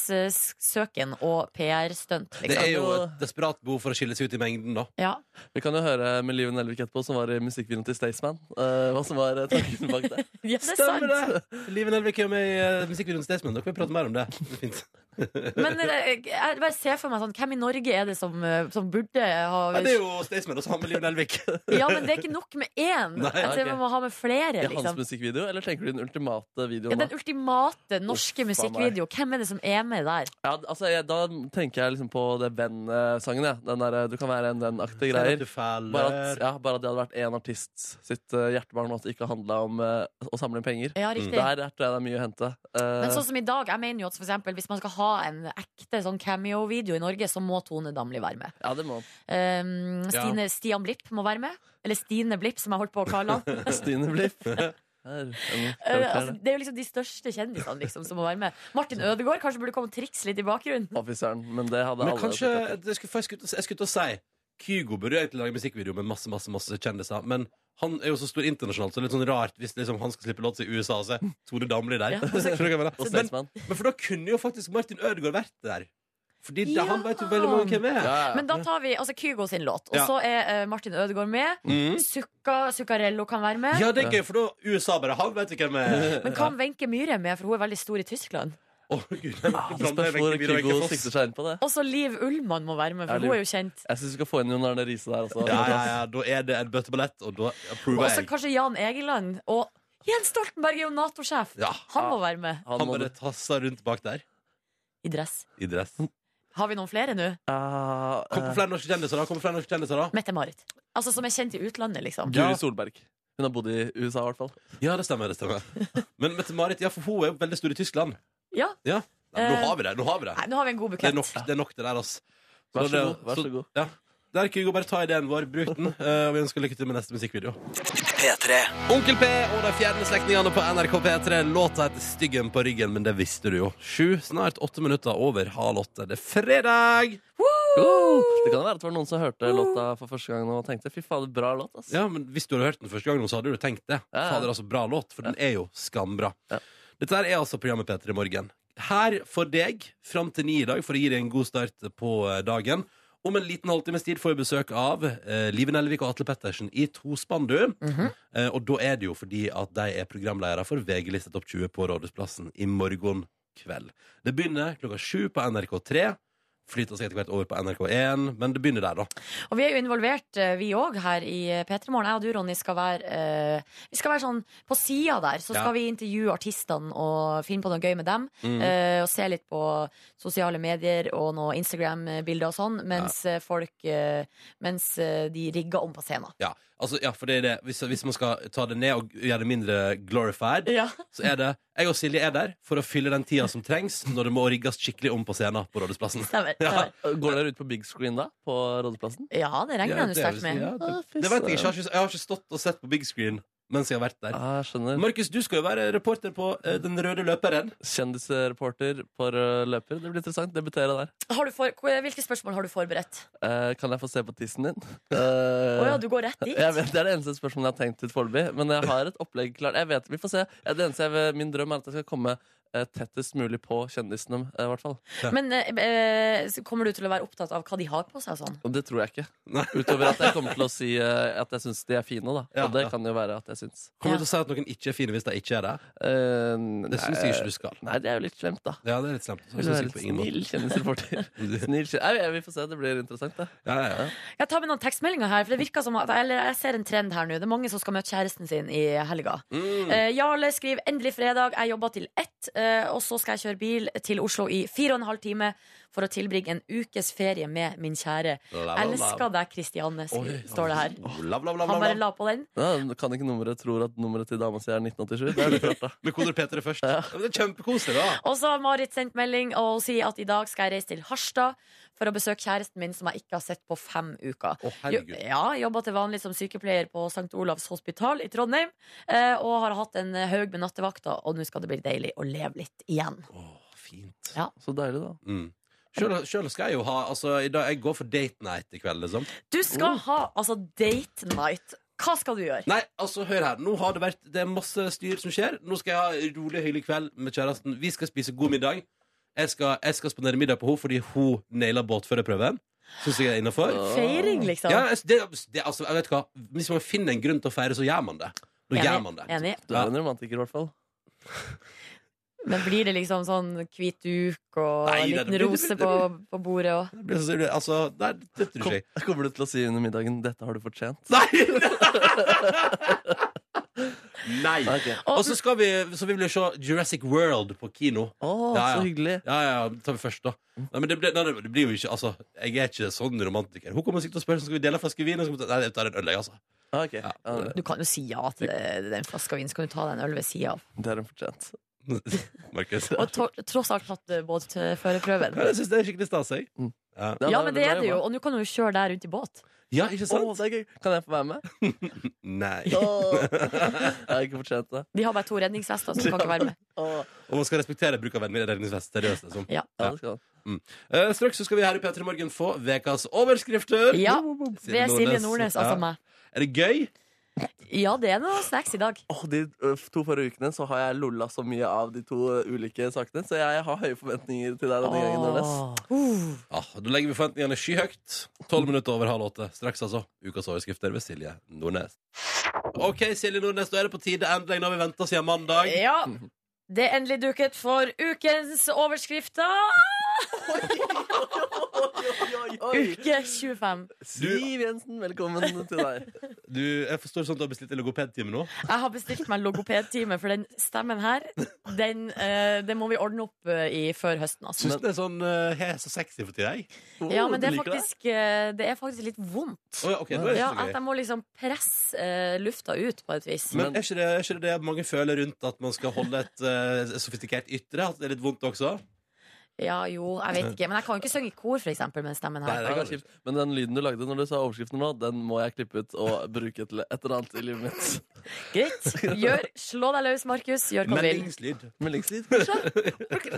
S3: oppmerksomhetssøken og PR-stunt,
S2: Det
S3: liksom.
S2: er jo et desperat behov for å skille seg ut i mengden, da.
S3: Ja.
S5: Vi kan jo høre med Liven Elvik etterpå, som var i musikkvideoen til Staysman. eh, Hva som var eh, tanken bak det.
S3: ja, det er
S2: Stemmer
S3: sant.
S2: det! Liven Elvik er jo med i eh, musikkvideoen Staysman. Dere vil prate mer om det. det er fint.
S3: Men eh, jeg bare ser for meg sånn, hvem i Norge er det som, eh, som burde ha
S2: Ja, det er jo Staysman og så han med Liven Elvik.
S3: Ja, men det er ikke nok med én.
S2: Nei,
S3: Jeg tror
S5: ok.
S3: man må ha med flere,
S5: I hans
S3: liksom.
S5: musikkvideo, eller tenker du den ultimate
S3: Ja,
S5: videoen?
S3: den
S5: da?
S3: ultimate norske
S5: Uff, faen
S3: musikkvideo. Hvem er det som er med der?
S5: Ja, altså, jeg, da tenker jeg liksom på det Venn-sangen, jeg. Den der eh, Du kan være en venn-aktige
S2: Ser at
S5: greier.
S2: du feller.
S5: Bare at, ja, bare at det hadde vært én artist sitt eh, hjertebarn, og at det ikke handla om eh, å samle inn penger.
S3: Ja, riktig.
S5: Der tror jeg det er mye å hente. Eh,
S3: Men sånn som i dag, jeg mener jo at for eksempel, hvis man skal ha en ekte sånn cameo-video i Norge, så må Tone Damli være med.
S5: ja, det må
S3: Um, Stine, Stian Blipp må være med. Eller Stine Blipp, som jeg holdt på å kalle han.
S5: Stine Blipp. Her, en
S3: Eh, altså,
S5: karakter.
S3: det er jo liksom de største kjendisene liksom, som må være med. Martin Ødegaard kanskje burde komme og trikse litt i bakgrunnen.
S5: Offiseren. Men det hadde
S2: Men
S5: alle
S2: kanskje
S5: sikkert.
S2: jeg skulle, først ut og- Jeg skulle ut og si Kygo burde jo egentlig lage musikkvideo med masse masse, masse kjendiser. Men han er jo så stor internasjonalt, så det er litt sånn rart hvis liksom, han skal slippe låt i USA. Og se Tore Damli der.
S3: Ja.
S2: Skjønner du hva jeg mener?
S5: Og
S2: men,
S5: Staysman.
S2: men for da kunne jo faktisk Martin Ødegaard vært der. Fordi da-
S3: Ja.
S2: han vet jo veldig mange hvem er.
S5: Ja, ja.
S3: Men da tar vi altså Kygo sin låt, og
S2: Ja.
S3: så er eh, Martin Ødegaard med.
S2: Mm.
S3: Zucca, Zuccarello kan være med.
S2: Ja, det er gøy, for da USA bare Han vet ikke hvem er
S3: Men kan Wenche Myhre med, for hun er veldig stor i Tyskland.
S2: Å, gud.
S5: Det spørs hvor Ah, Kygo sikter seg inn på det.
S3: Også Liv Ullmann må være med, for
S5: Ja, Liv.
S3: hun er jo kjent.
S5: Jeg syns vi skal få inn Jon Arne Riise der også.
S2: Ja, ja, ja, da er det en bøtteballett, og da
S3: Og
S2: approver
S3: også
S2: jeg.
S3: kanskje Jan Egeland. Og Jens Stoltenberg er jo Nato-sjef.
S2: Ja.
S3: Han må være med
S5: Han
S2: Han
S5: må
S2: bare tasser rundt bak der
S3: i dress.
S2: i dress.
S3: Har vi noen flere nå?
S5: Ah,
S2: Kom på
S5: eh,
S2: flere norske kjendiser, da. Kom på flere norske kjendiser da
S3: Mette-Marit. Altså Som er kjent i utlandet, liksom.
S5: Guri Solberg. Hun har bodd i USA, i hvert fall.
S2: Ja, det stemmer. det stemmer Men Mette-Marit, ja, for hun er jo veldig stor i Tyskland.
S3: Ja.
S2: Ja, Nei, men
S3: Eh,
S2: Nå har vi det. nå har vi Det
S3: Nei, nå har vi en god
S2: Det er
S3: bukett.
S2: nok det, er nok det der, altså.
S5: Vær så god. Vær så god.
S2: Ja. Der, Kygo, bare ta ideen vår, bruk den. eh, Og vi ønsker lykke til med neste musikkvideo. Onkel P og de fjerne slektningene på NRK P3. Låta heter Styggen på ryggen, men det visste du jo. Sju, snart åtte minutter over halv åtte. Det er fredag!
S5: Uh, det kan være at det var noen som hørte låta for første gang nå og tenkte fy fader, bra låt. ass.
S2: Ja, men Hvis du hadde hørt den første gangen, så hadde du tenkt det.
S5: Ja, ja.
S2: Fader, altså, bra låt, for den er jo skambra.
S5: Ja.
S2: Dette her er altså programmet P3 Morgen. Her for deg fram til ni i dag, for å gi deg en god start på eh, dagen. Om en liten halvtimes tid får vi besøk av eh, Live Nelvik og Atle Pettersen i tospann, du.
S5: Mhm.
S2: eh, og da er det jo fordi at de er programledere for VG-lista Topp 20 på Rådhusplassen i morgen kveld. Det begynner klokka sju på NRK3. Flytter seg etter hvert over på NRK1, men det begynner der, da.
S3: Og vi er jo involvert, eh, vi òg, her i eh, P3 Morgen. Jeg og du, Ronny, skal være, eh, vi skal være sånn på sida der. Så
S2: Ja. Mm.
S3: skal vi intervjue artistene og finne på noe gøy med dem. eh, og se litt på sosiale medier og noen Instagram-bilder og sånn, mens eh, folk eh, Mens eh, de rigger om på scenen.
S2: Ja, altså, ja for det er det. Hvis, hvis man skal ta det ned og gjøre det mindre glorified,
S3: Ja.
S2: så er det Jeg og Silje er der for å fylle den tida som trengs når det må rigges skikkelig om på scenen på Rådhusplassen.
S3: Stemmer. stemmer.
S5: Går dere ut på big screen da? På Rådhusplassen?
S3: Ja, det regner
S2: Ja,
S3: han jo
S2: det er
S3: sterkt
S2: vel-
S3: med.
S2: ja, Det vet jeg ikke. Jeg har ikke, jeg har ikke stått og sett på big screen mens jeg har vært der.
S5: Ah, skjønner.
S2: Markus, du skal jo være reporter på eh, Den røde løperen.
S5: Kjendisreporter på rød løper. Det blir interessant. Debutere der.
S3: Har du for, hvilke spørsmål har du forberedt?
S5: Eh, kan jeg få se på tissen din? Eh,
S3: Å ja, du går rett dit?
S5: jeg vet, det er det eneste spørsmålet jeg har tenkt ut foreløpig. Men jeg har et opplegg klart. Jeg vet, vi får se. Eh, Det eneste jeg vil, min drøm er at jeg skal komme eh, tettest mulig på kjendisene. eh, i hvert fall.
S3: Men eh, eh, så kommer du til å være opptatt av hva de har på seg og sånn?
S5: Og det tror jeg ikke.
S2: Nei.
S5: Utover at jeg kommer til å si eh, at jeg syns de er fine. da
S2: Ja,
S5: Og det
S2: ja.
S5: kan jo være at jeg syns.
S2: Kommer du til å si at noen ikke er fine hvis de ikke er det?
S5: Eh,
S2: Det syns jeg ikke du skal.
S5: Nei, det er jo litt slemt, da.
S2: Ja, det er litt slemt. Så
S5: Vil
S2: jeg
S5: du
S2: synes
S5: være
S2: jeg
S5: litt
S2: på ingen måte-
S5: snill kjendisreporter? Snill kjen- Nei, vi- vi får se. Det blir interessant, det.
S2: Ja, ja, ja.
S3: Jeg tar med noen tekstmeldinger her, for det virker som at Eller jeg ser en trend her nå. Det er mange som skal møte kjæresten sin i helga.
S2: Mm.
S3: Eh, Jarle skriver 'endelig fredag'. Jeg jobber til ett, eh, og så skal jeg kjøre bil til Oslo i fire og en halv time for å tilbringe en ukes ferie med min kjære.
S2: La, la, la.
S3: Elsker deg, Kristianne, skri-
S2: Oi.
S3: står det her.
S2: Oh, la, la, la,
S3: Han
S2: la,
S3: bare
S2: la.
S3: la på den.
S5: Ja, kan ikke nummeret tro at nummeret til dama si er 1987? Det er litt rart, da.
S2: Med koder P3 først. Ja. men Det er kjempekoselig, da.
S3: Og så har Marit sendt melding og hun sier at i dag skal jeg reise til Harstad for å besøke kjæresten min som jeg ikke har sett på fem uker.
S2: Å, herregud.
S3: Jo- Ja, jobba til vanlig som sykepleier på St. Olavs hospital i Trondheim. eh, Og har hatt en haug med nattevakter, og nå skal det bli deilig å leve litt igjen.
S2: Å, fint.
S3: Ja.
S5: Så deilig, da.
S2: Mm. Sjøl, sjøl skal jeg jo ha altså, i dag, Jeg går for date night i kveld, liksom.
S3: Du skal ha altså date night. Hva skal du gjøre?
S2: Nei, altså, hør her. Nå har det vært Det er masse styr som skjer. Nå skal jeg ha en rolig, hyggelig kveld med kjæresten. Vi skal spise god middag. Jeg skal, jeg skal spandere middag på henne fordi hun naila båtførerprøven. Syns jeg er innafor.
S3: Feiring, liksom.
S2: Ja, altså, det, det, altså, jeg vet hva Hvis man finner en grunn til å feire, så gjør man det. Da gjør man det.
S3: Enig.
S5: Du
S2: Ja.
S5: er en romantiker, i hvert fall.
S3: Men blir det liksom sånn hvit duk og
S2: Nei,
S3: en
S2: det-
S3: liten
S2: det blir-
S3: rose
S2: det
S3: på,
S2: blir-
S3: på bordet og
S2: Det blir så- det- Altså, nei, det tror
S5: Kom,
S2: ikke jeg.
S5: kommer du til å si under middagen 'dette har du fortjent'?
S2: Nei! nei.
S5: Ok.
S2: Og så skal vi Så vi vil jo se Jurassic World på kino.
S5: Å,
S2: Ja, ja.
S5: så hyggelig.
S2: Ja, ja, ja, det tar vi først, da.
S3: Mm.
S2: Nei, men det, blir- nei, det, det blir jo ikke Altså, jeg er ikke sånn romantiker. Hun kommer sikkert til å spørre Skal vi dele en flaske vin. Og så kommer hun til å- Nei, jeg tar en øl, jeg, altså.
S5: Ja, ok.
S2: Ja.
S5: Ja,
S3: Du kan jo si ja til det- den flaska vin, så kan du ta deg en øl ved sida av.
S5: det har hun fortjent.
S2: altså. Markus.
S3: Og to- tross alt tatt eh, båtførerprøven.
S2: Ja, jeg syns det er skikkelig stas, jeg.
S5: Mm.
S2: Ja.
S3: Ja, men det er det jo, og nå kan du jo kjøre der rundt i båt.
S2: ja, ikke
S5: Å,
S2: sant?
S5: det er gøy. Kan jeg få være med?
S2: Nei.
S5: Åh. Jeg har ikke fortjent det.
S3: De har bare to redningsvester, så du kan ikke være med.
S5: Åh.
S2: Og man skal respektere bruk av vennlig redningsvest. Seriøst, liksom.
S3: Ja.
S5: Ja, det skal han.
S2: Eh, straks så skal vi her i P3 Morgen få ukas overskrifter.
S3: Ja, ved Silje Nordnes, altså
S2: Ja.
S3: meg.
S2: Er det gøy?
S3: Ja, det er noe snacks i dag.
S5: Åh, de ø, to forrige ukene så har jeg lolla så mye av de to ø, ulike sakene, så jeg har høye forventninger til deg denne gangen. Nordnes.
S3: Uh,
S2: Ja, Ah, Da legger vi forventningene skyhøyt. Tolv minutter over halv åtte. Straks, altså. Ukas overskrifter ved Silje Nordnes. OK, Silje Nordnes, da er det på tide endelig. Nå har vi venta siden mandag.
S3: ja. Det er endelig duket for ukens overskrifter. Uke 25.
S5: Siv Jensen, velkommen til deg.
S2: Du, jeg forstår sånn at du har bestilt en logopedtime nå?
S3: Jeg har bestilt meg logopedtime, for den stemmen her, den, eh, det må vi ordne opp eh, i før høsten. Altså.
S2: Syns du det er sånn eh, hes og sexy for tida, jeg?
S5: Åh,
S3: Ja, men
S5: Oh, du
S3: det er,
S5: liker
S3: faktisk, eh, det er faktisk litt vondt.
S2: Å ja, ok, da er det
S3: Ja,
S2: ikke
S3: At
S2: så gøy.
S3: jeg må liksom presse eh, lufta ut på et vis.
S2: Men er ikke, det, er ikke det det mange føler rundt at man skal holde et eh, sofistikert ytre? At det er litt vondt også?
S3: Ja, jo, jeg vet ikke. Men jeg kan jo ikke synge i kor, for eksempel, med den stemmen
S2: Nei,
S3: her.
S2: det
S5: Ja,
S2: kan
S5: det er kjipt. Men den lyden du lagde når du sa overskriften nå, den må jeg klippe ut og bruke til et eller annet i livet mitt.
S3: Greit. Gjør, slå deg løs, Markus. Gjør hva du vil.
S2: Meldingslyd.
S5: Meldingslyd.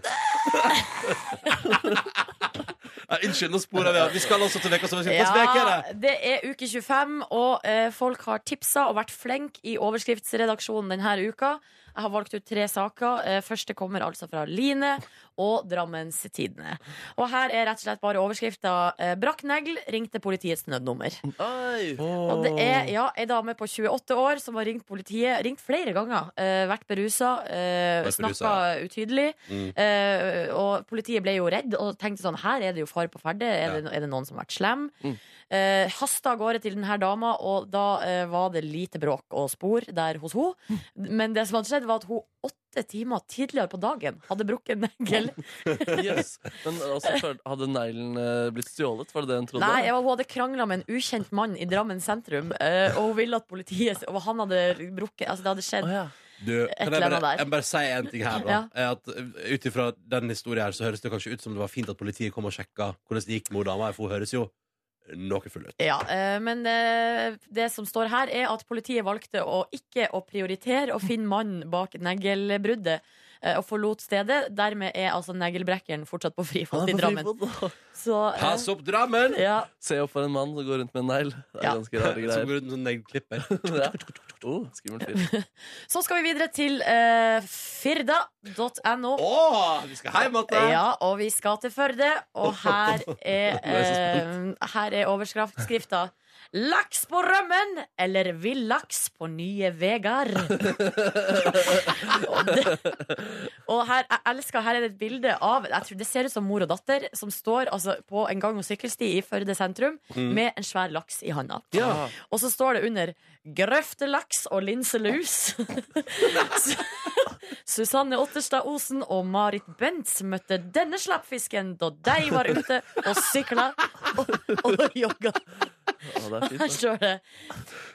S2: Ja, unnskyld, nå sporer vi av. Vi skal altså til ukas overskrift. Hvilken uke er
S3: Ja,
S2: det?
S3: det er uke 25, og eh, folk har tipsa og vært flenk i overskriftsredaksjonen denne uka. Jeg har valgt ut tre saker. Eh, første kommer altså fra Line og Drammens Tidende. Og her er rett og slett bare overskrifta eh, 'Brakk negl. Ringte politiets nødnummer'.
S5: Oi.
S3: Og det er ja, ei dame på 28 år som har ringt politiet Ringt flere ganger. eh, vært berusa, uh,
S2: Vært berusa,
S3: snakka utydelig.
S2: Mm.
S3: eh, og politiet ble jo redd og tenkte sånn Her er det jo fare på ferde. Er, det, er det noen som har vært slem?
S5: Mm.
S3: Eh, Hasta av gårde til denne dama, og da eh, var det lite bråk og spor der hos henne.
S2: Mm.
S3: Men det som hadde skjedd, var at hun åtte timer tidligere på dagen hadde brukket negl.
S5: Yes. Men også, føl- hadde neglen eh, blitt stjålet? Var det det hun trodde?
S3: Nei, ja, hun hadde krangla med en ukjent mann i Drammen sentrum, eh, og hun ville at politiet Og han hadde brukket Altså, det hadde skjedd.
S5: Å, ja.
S2: Du, kan jeg
S3: eller
S2: bare,
S3: annet der.
S2: jeg må bare si en ting her, da. Er At eh, Ut ifra den historien her så høres det kanskje ut som det var fint at politiet kom og sjekka hvordan det gikk med hun dama. For hun høres jo noe full ut.
S3: Ja, eh, men eh, det som står her er at politiet valgte å ikke å prioritere å finne mannen bak neglebruddet eh, og forlot stedet. Dermed er altså neglebrekkeren fortsatt på frifot i Drammen. Så, eh,
S2: Pass opp Drammen!
S3: ja,
S5: Se opp for en mann som går rundt med en negl. Det er
S3: Ja.
S5: ganske rare
S2: Som
S5: greier.
S2: går ut med sånn negleklipper.
S5: Ja. Oh, skummelt fyr.
S3: så skal vi videre til eh, firda.no.
S2: Å, vi skal hjem igjen!
S3: Ja, og vi skal til Førde, og her er, eh, her er overskriftskrifta. Laks på rømmen eller villaks på nye vegar. og det, og her, jeg elsker, her er det et bilde av jeg tror Det ser ut som mor og datter som står altså, på en gang- og sykkelsti i Førde sentrum med en svær laks i handa.
S2: Ja.
S3: Og så står det under 'Grøftelaks og linselus'. Susanne Otterstad Osen og Marit Bentz møtte denne slappfisken da de var ute og sykla og, og jogga.
S5: Å, det er
S3: Her
S5: fint, da.
S3: står det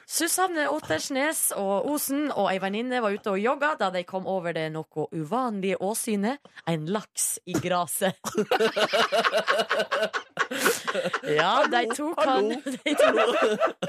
S3: Susanne Ottersnes og Osen og ei venninne var ute og jogga da de kom over det noe uvanlige åsynet en laks i graset. Ja, de tok han de tok,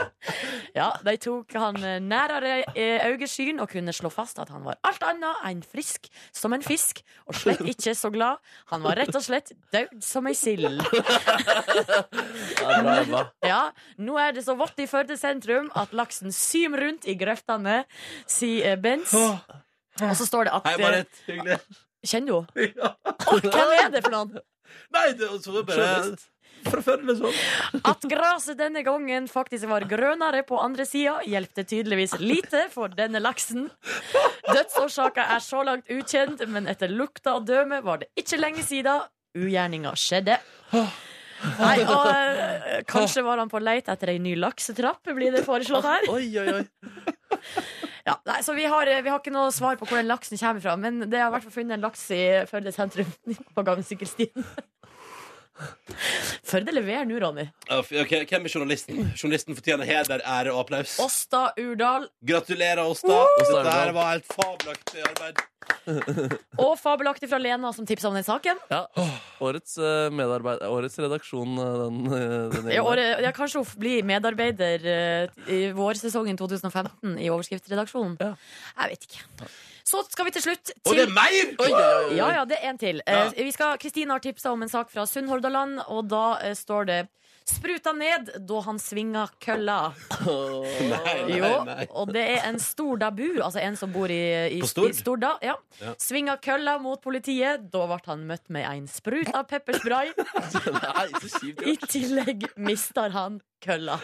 S3: Ja, de tok han eh, nærere eh, øyesyn og kunne slå fast at han var alt annet enn frisk som en fisk, og slett ikke så glad. Han var rett og slett død som ei sild.
S5: Ja, bra jobba.
S3: Ja, nå er det så vått i Førde sentrum at laksen symer rundt i grøftene, sier eh, Bens. Og så står det at
S2: Hei,
S3: eh,
S2: Marit. Hyggelig.
S3: Kjenner du henne?
S2: Ja.
S3: Å, Hvem er det for noen?
S2: Nei, det og så er det
S5: Journalist.
S2: bare Fra før, liksom.
S3: At gresset denne gangen faktisk var grønnere på andre sida, hjalp det tydeligvis lite for denne laksen. Dødsårsaka er så langt ukjent, men etter lukta og døme var det ikke lenge sida ugjerninga skjedde. Nei, og eh, kanskje var han på leit etter ei ny laksetrapp, blir det foreslått her.
S5: Oi, oi, oi.
S3: Ja, nei, så vi har, eh, vi har ikke noe svar på hvor den laksen kommer fra, men det har i hvert fall funnet en laks i Førde sentrum på gangsykkelstien. Førde leverer nå, Ronny.
S2: Ja, f- ok, Hvem er journalisten? Journalisten fortjener heder, ære og applaus.
S3: Åsta Urdal
S2: Gratulerer, Åsta. Det der var helt fabelaktig arbeid.
S3: og fabelaktig fra Lena som tipsa om den saken.
S5: Ja. Årets eh, medarbeid... Årets redaksjon, eh, den, eh, den
S3: Ja,
S5: gjengen der.
S3: året- ja, kanskje hun blir medarbeider eh, i vårsesongen 2015 i overskriftsredaksjonen.
S5: Ja.
S3: Jeg vet ikke. Så skal vi til slutt
S2: Og det
S3: til
S2: er mer!
S5: Oi, oi, oi, oi.
S3: Ja, ja, det er en til.
S2: Ja.
S3: Eh, vi skal- Kristine har tipsa om en sak fra Sunnhordaland, og da eh, står det Spruta ned da han svinga kølla.
S2: Nei, nei,
S3: Jo,
S2: nei.
S3: og det er en stordabu, altså en som bor i, i,
S2: På Stord?
S3: i Storda. Ja.
S2: Ja.
S3: Svinga kølla mot politiet. Da ble han møtt med en sprut av pepperspray.
S5: Nei, så kjipt
S3: I
S5: gjort.
S3: tillegg mister han kølla.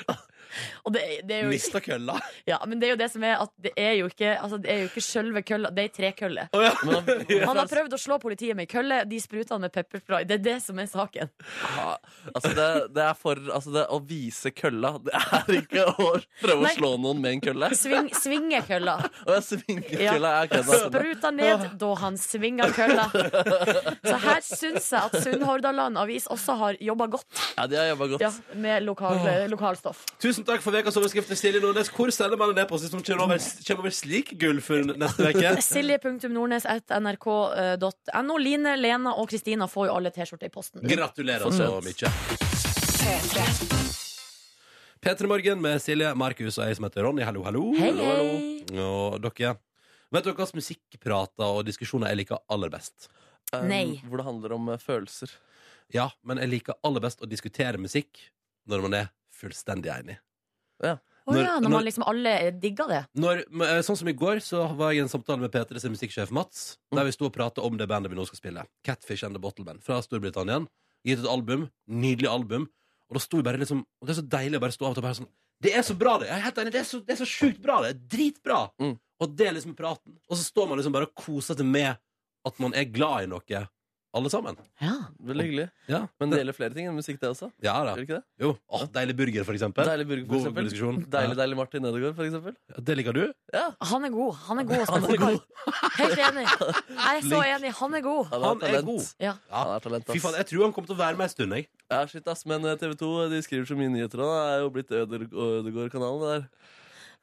S3: Og det, det er jo,
S2: Mista kølla.
S3: ja, men det er jo det som er at det er jo ikke, altså, det er jo ikke sjølve kølla, det er ei trekølle.
S2: Å, ja.
S5: Men han,
S3: Han har prøvd å slå politiet med ei kølle, de spruter han med pepperspray. Det er det som er saken.
S5: Ja, altså det, det er for altså det, Å vise kølla Det er ikke å prøve
S3: Nei.
S5: å slå noen med en kølle.
S3: Sving, svingekølla.
S5: Og jeg svinger
S3: Ja.
S5: kølla. Ja, ok, da skjønner jeg. altså.
S3: Spruta ned da han svinga kølla. Så her syns jeg at Sunnhordaland Avis også har jobba godt
S5: ja, de har jobba godt.
S3: ja, med lokal, lokalstoff.
S2: Tusen takk for ukas overskrift. Silje Nordnes. Hvor selger man en e-post hvis man kommer over, kommer over slik gull for neste uke?
S3: Silje.nordnes.nrk.no. Line, Lena og Kristina får jo alle T-skjorter i posten.
S2: Gratulerer så
S5: Fortsatt.
S2: mye. P3 Morgen med Silje, Markus og jeg som heter Ronny. Hallo, hallo.
S3: Hei,
S2: Hallo, hallo.
S3: hei.
S2: Og dere, vet dere hva slags musikkprater og diskusjoner jeg liker aller best?
S5: Um,
S3: Nei.
S5: Hvor det handler om eh, følelser.
S2: Ja, men jeg liker aller best å diskutere musikk når man er fullstendig enig.
S3: Å ja,
S2: Når-
S3: når
S2: når-
S3: man liksom alle digger det.
S2: Når, men, eh, sånn som i går så var jeg i en samtale med P3s musikksjef Mats,
S5: Mm.
S2: der vi sto og pratet om det bandet vi nå skal spille. Catfish and the Bottlemen fra Storbritannia. Gitt ut album. Nydelig album. Og da sto vi bare liksom Og det er så deilig å bare stå av og til og bare sånn Det er så bra, det! Jeg er helt enig. Det er så, det er så sjukt bra, det! Dritbra!
S5: Mm.
S2: Og det er liksom praten. Og så står man liksom bare og koser seg med at man er glad i noe, alle sammen.
S3: Ja.
S5: Veldig hyggelig.
S2: Ja,
S5: Men det gjelder flere ting enn musikk, det også.
S2: ja da.
S5: Gjør det ikke det?
S2: Jo. Åh, deilig burger, for eksempel.
S5: Deilig burger, for
S2: God
S5: eksempel.
S2: diskusjon.
S5: Deilig, deilig Martin Ødegaard, for eksempel.
S2: Ja, Det liker du?
S5: Ja,
S3: Han er god. Han er god å spille
S5: Han er
S3: fotball. Helt enig. Jeg er så
S2: Flink.
S3: enig. Han er god.
S5: han er,
S2: Han er
S5: talent.
S2: god.
S3: Ja.
S5: Han er talent,
S2: Fy faen,
S5: ass.
S2: jeg tror han kommer til å være med ei stund, jeg.
S5: Ja, shit, ass. Men eh, TV 2 de skriver så mye nyheter nå. Det er jo blitt Øder- Ødegaard-kanalen, det der.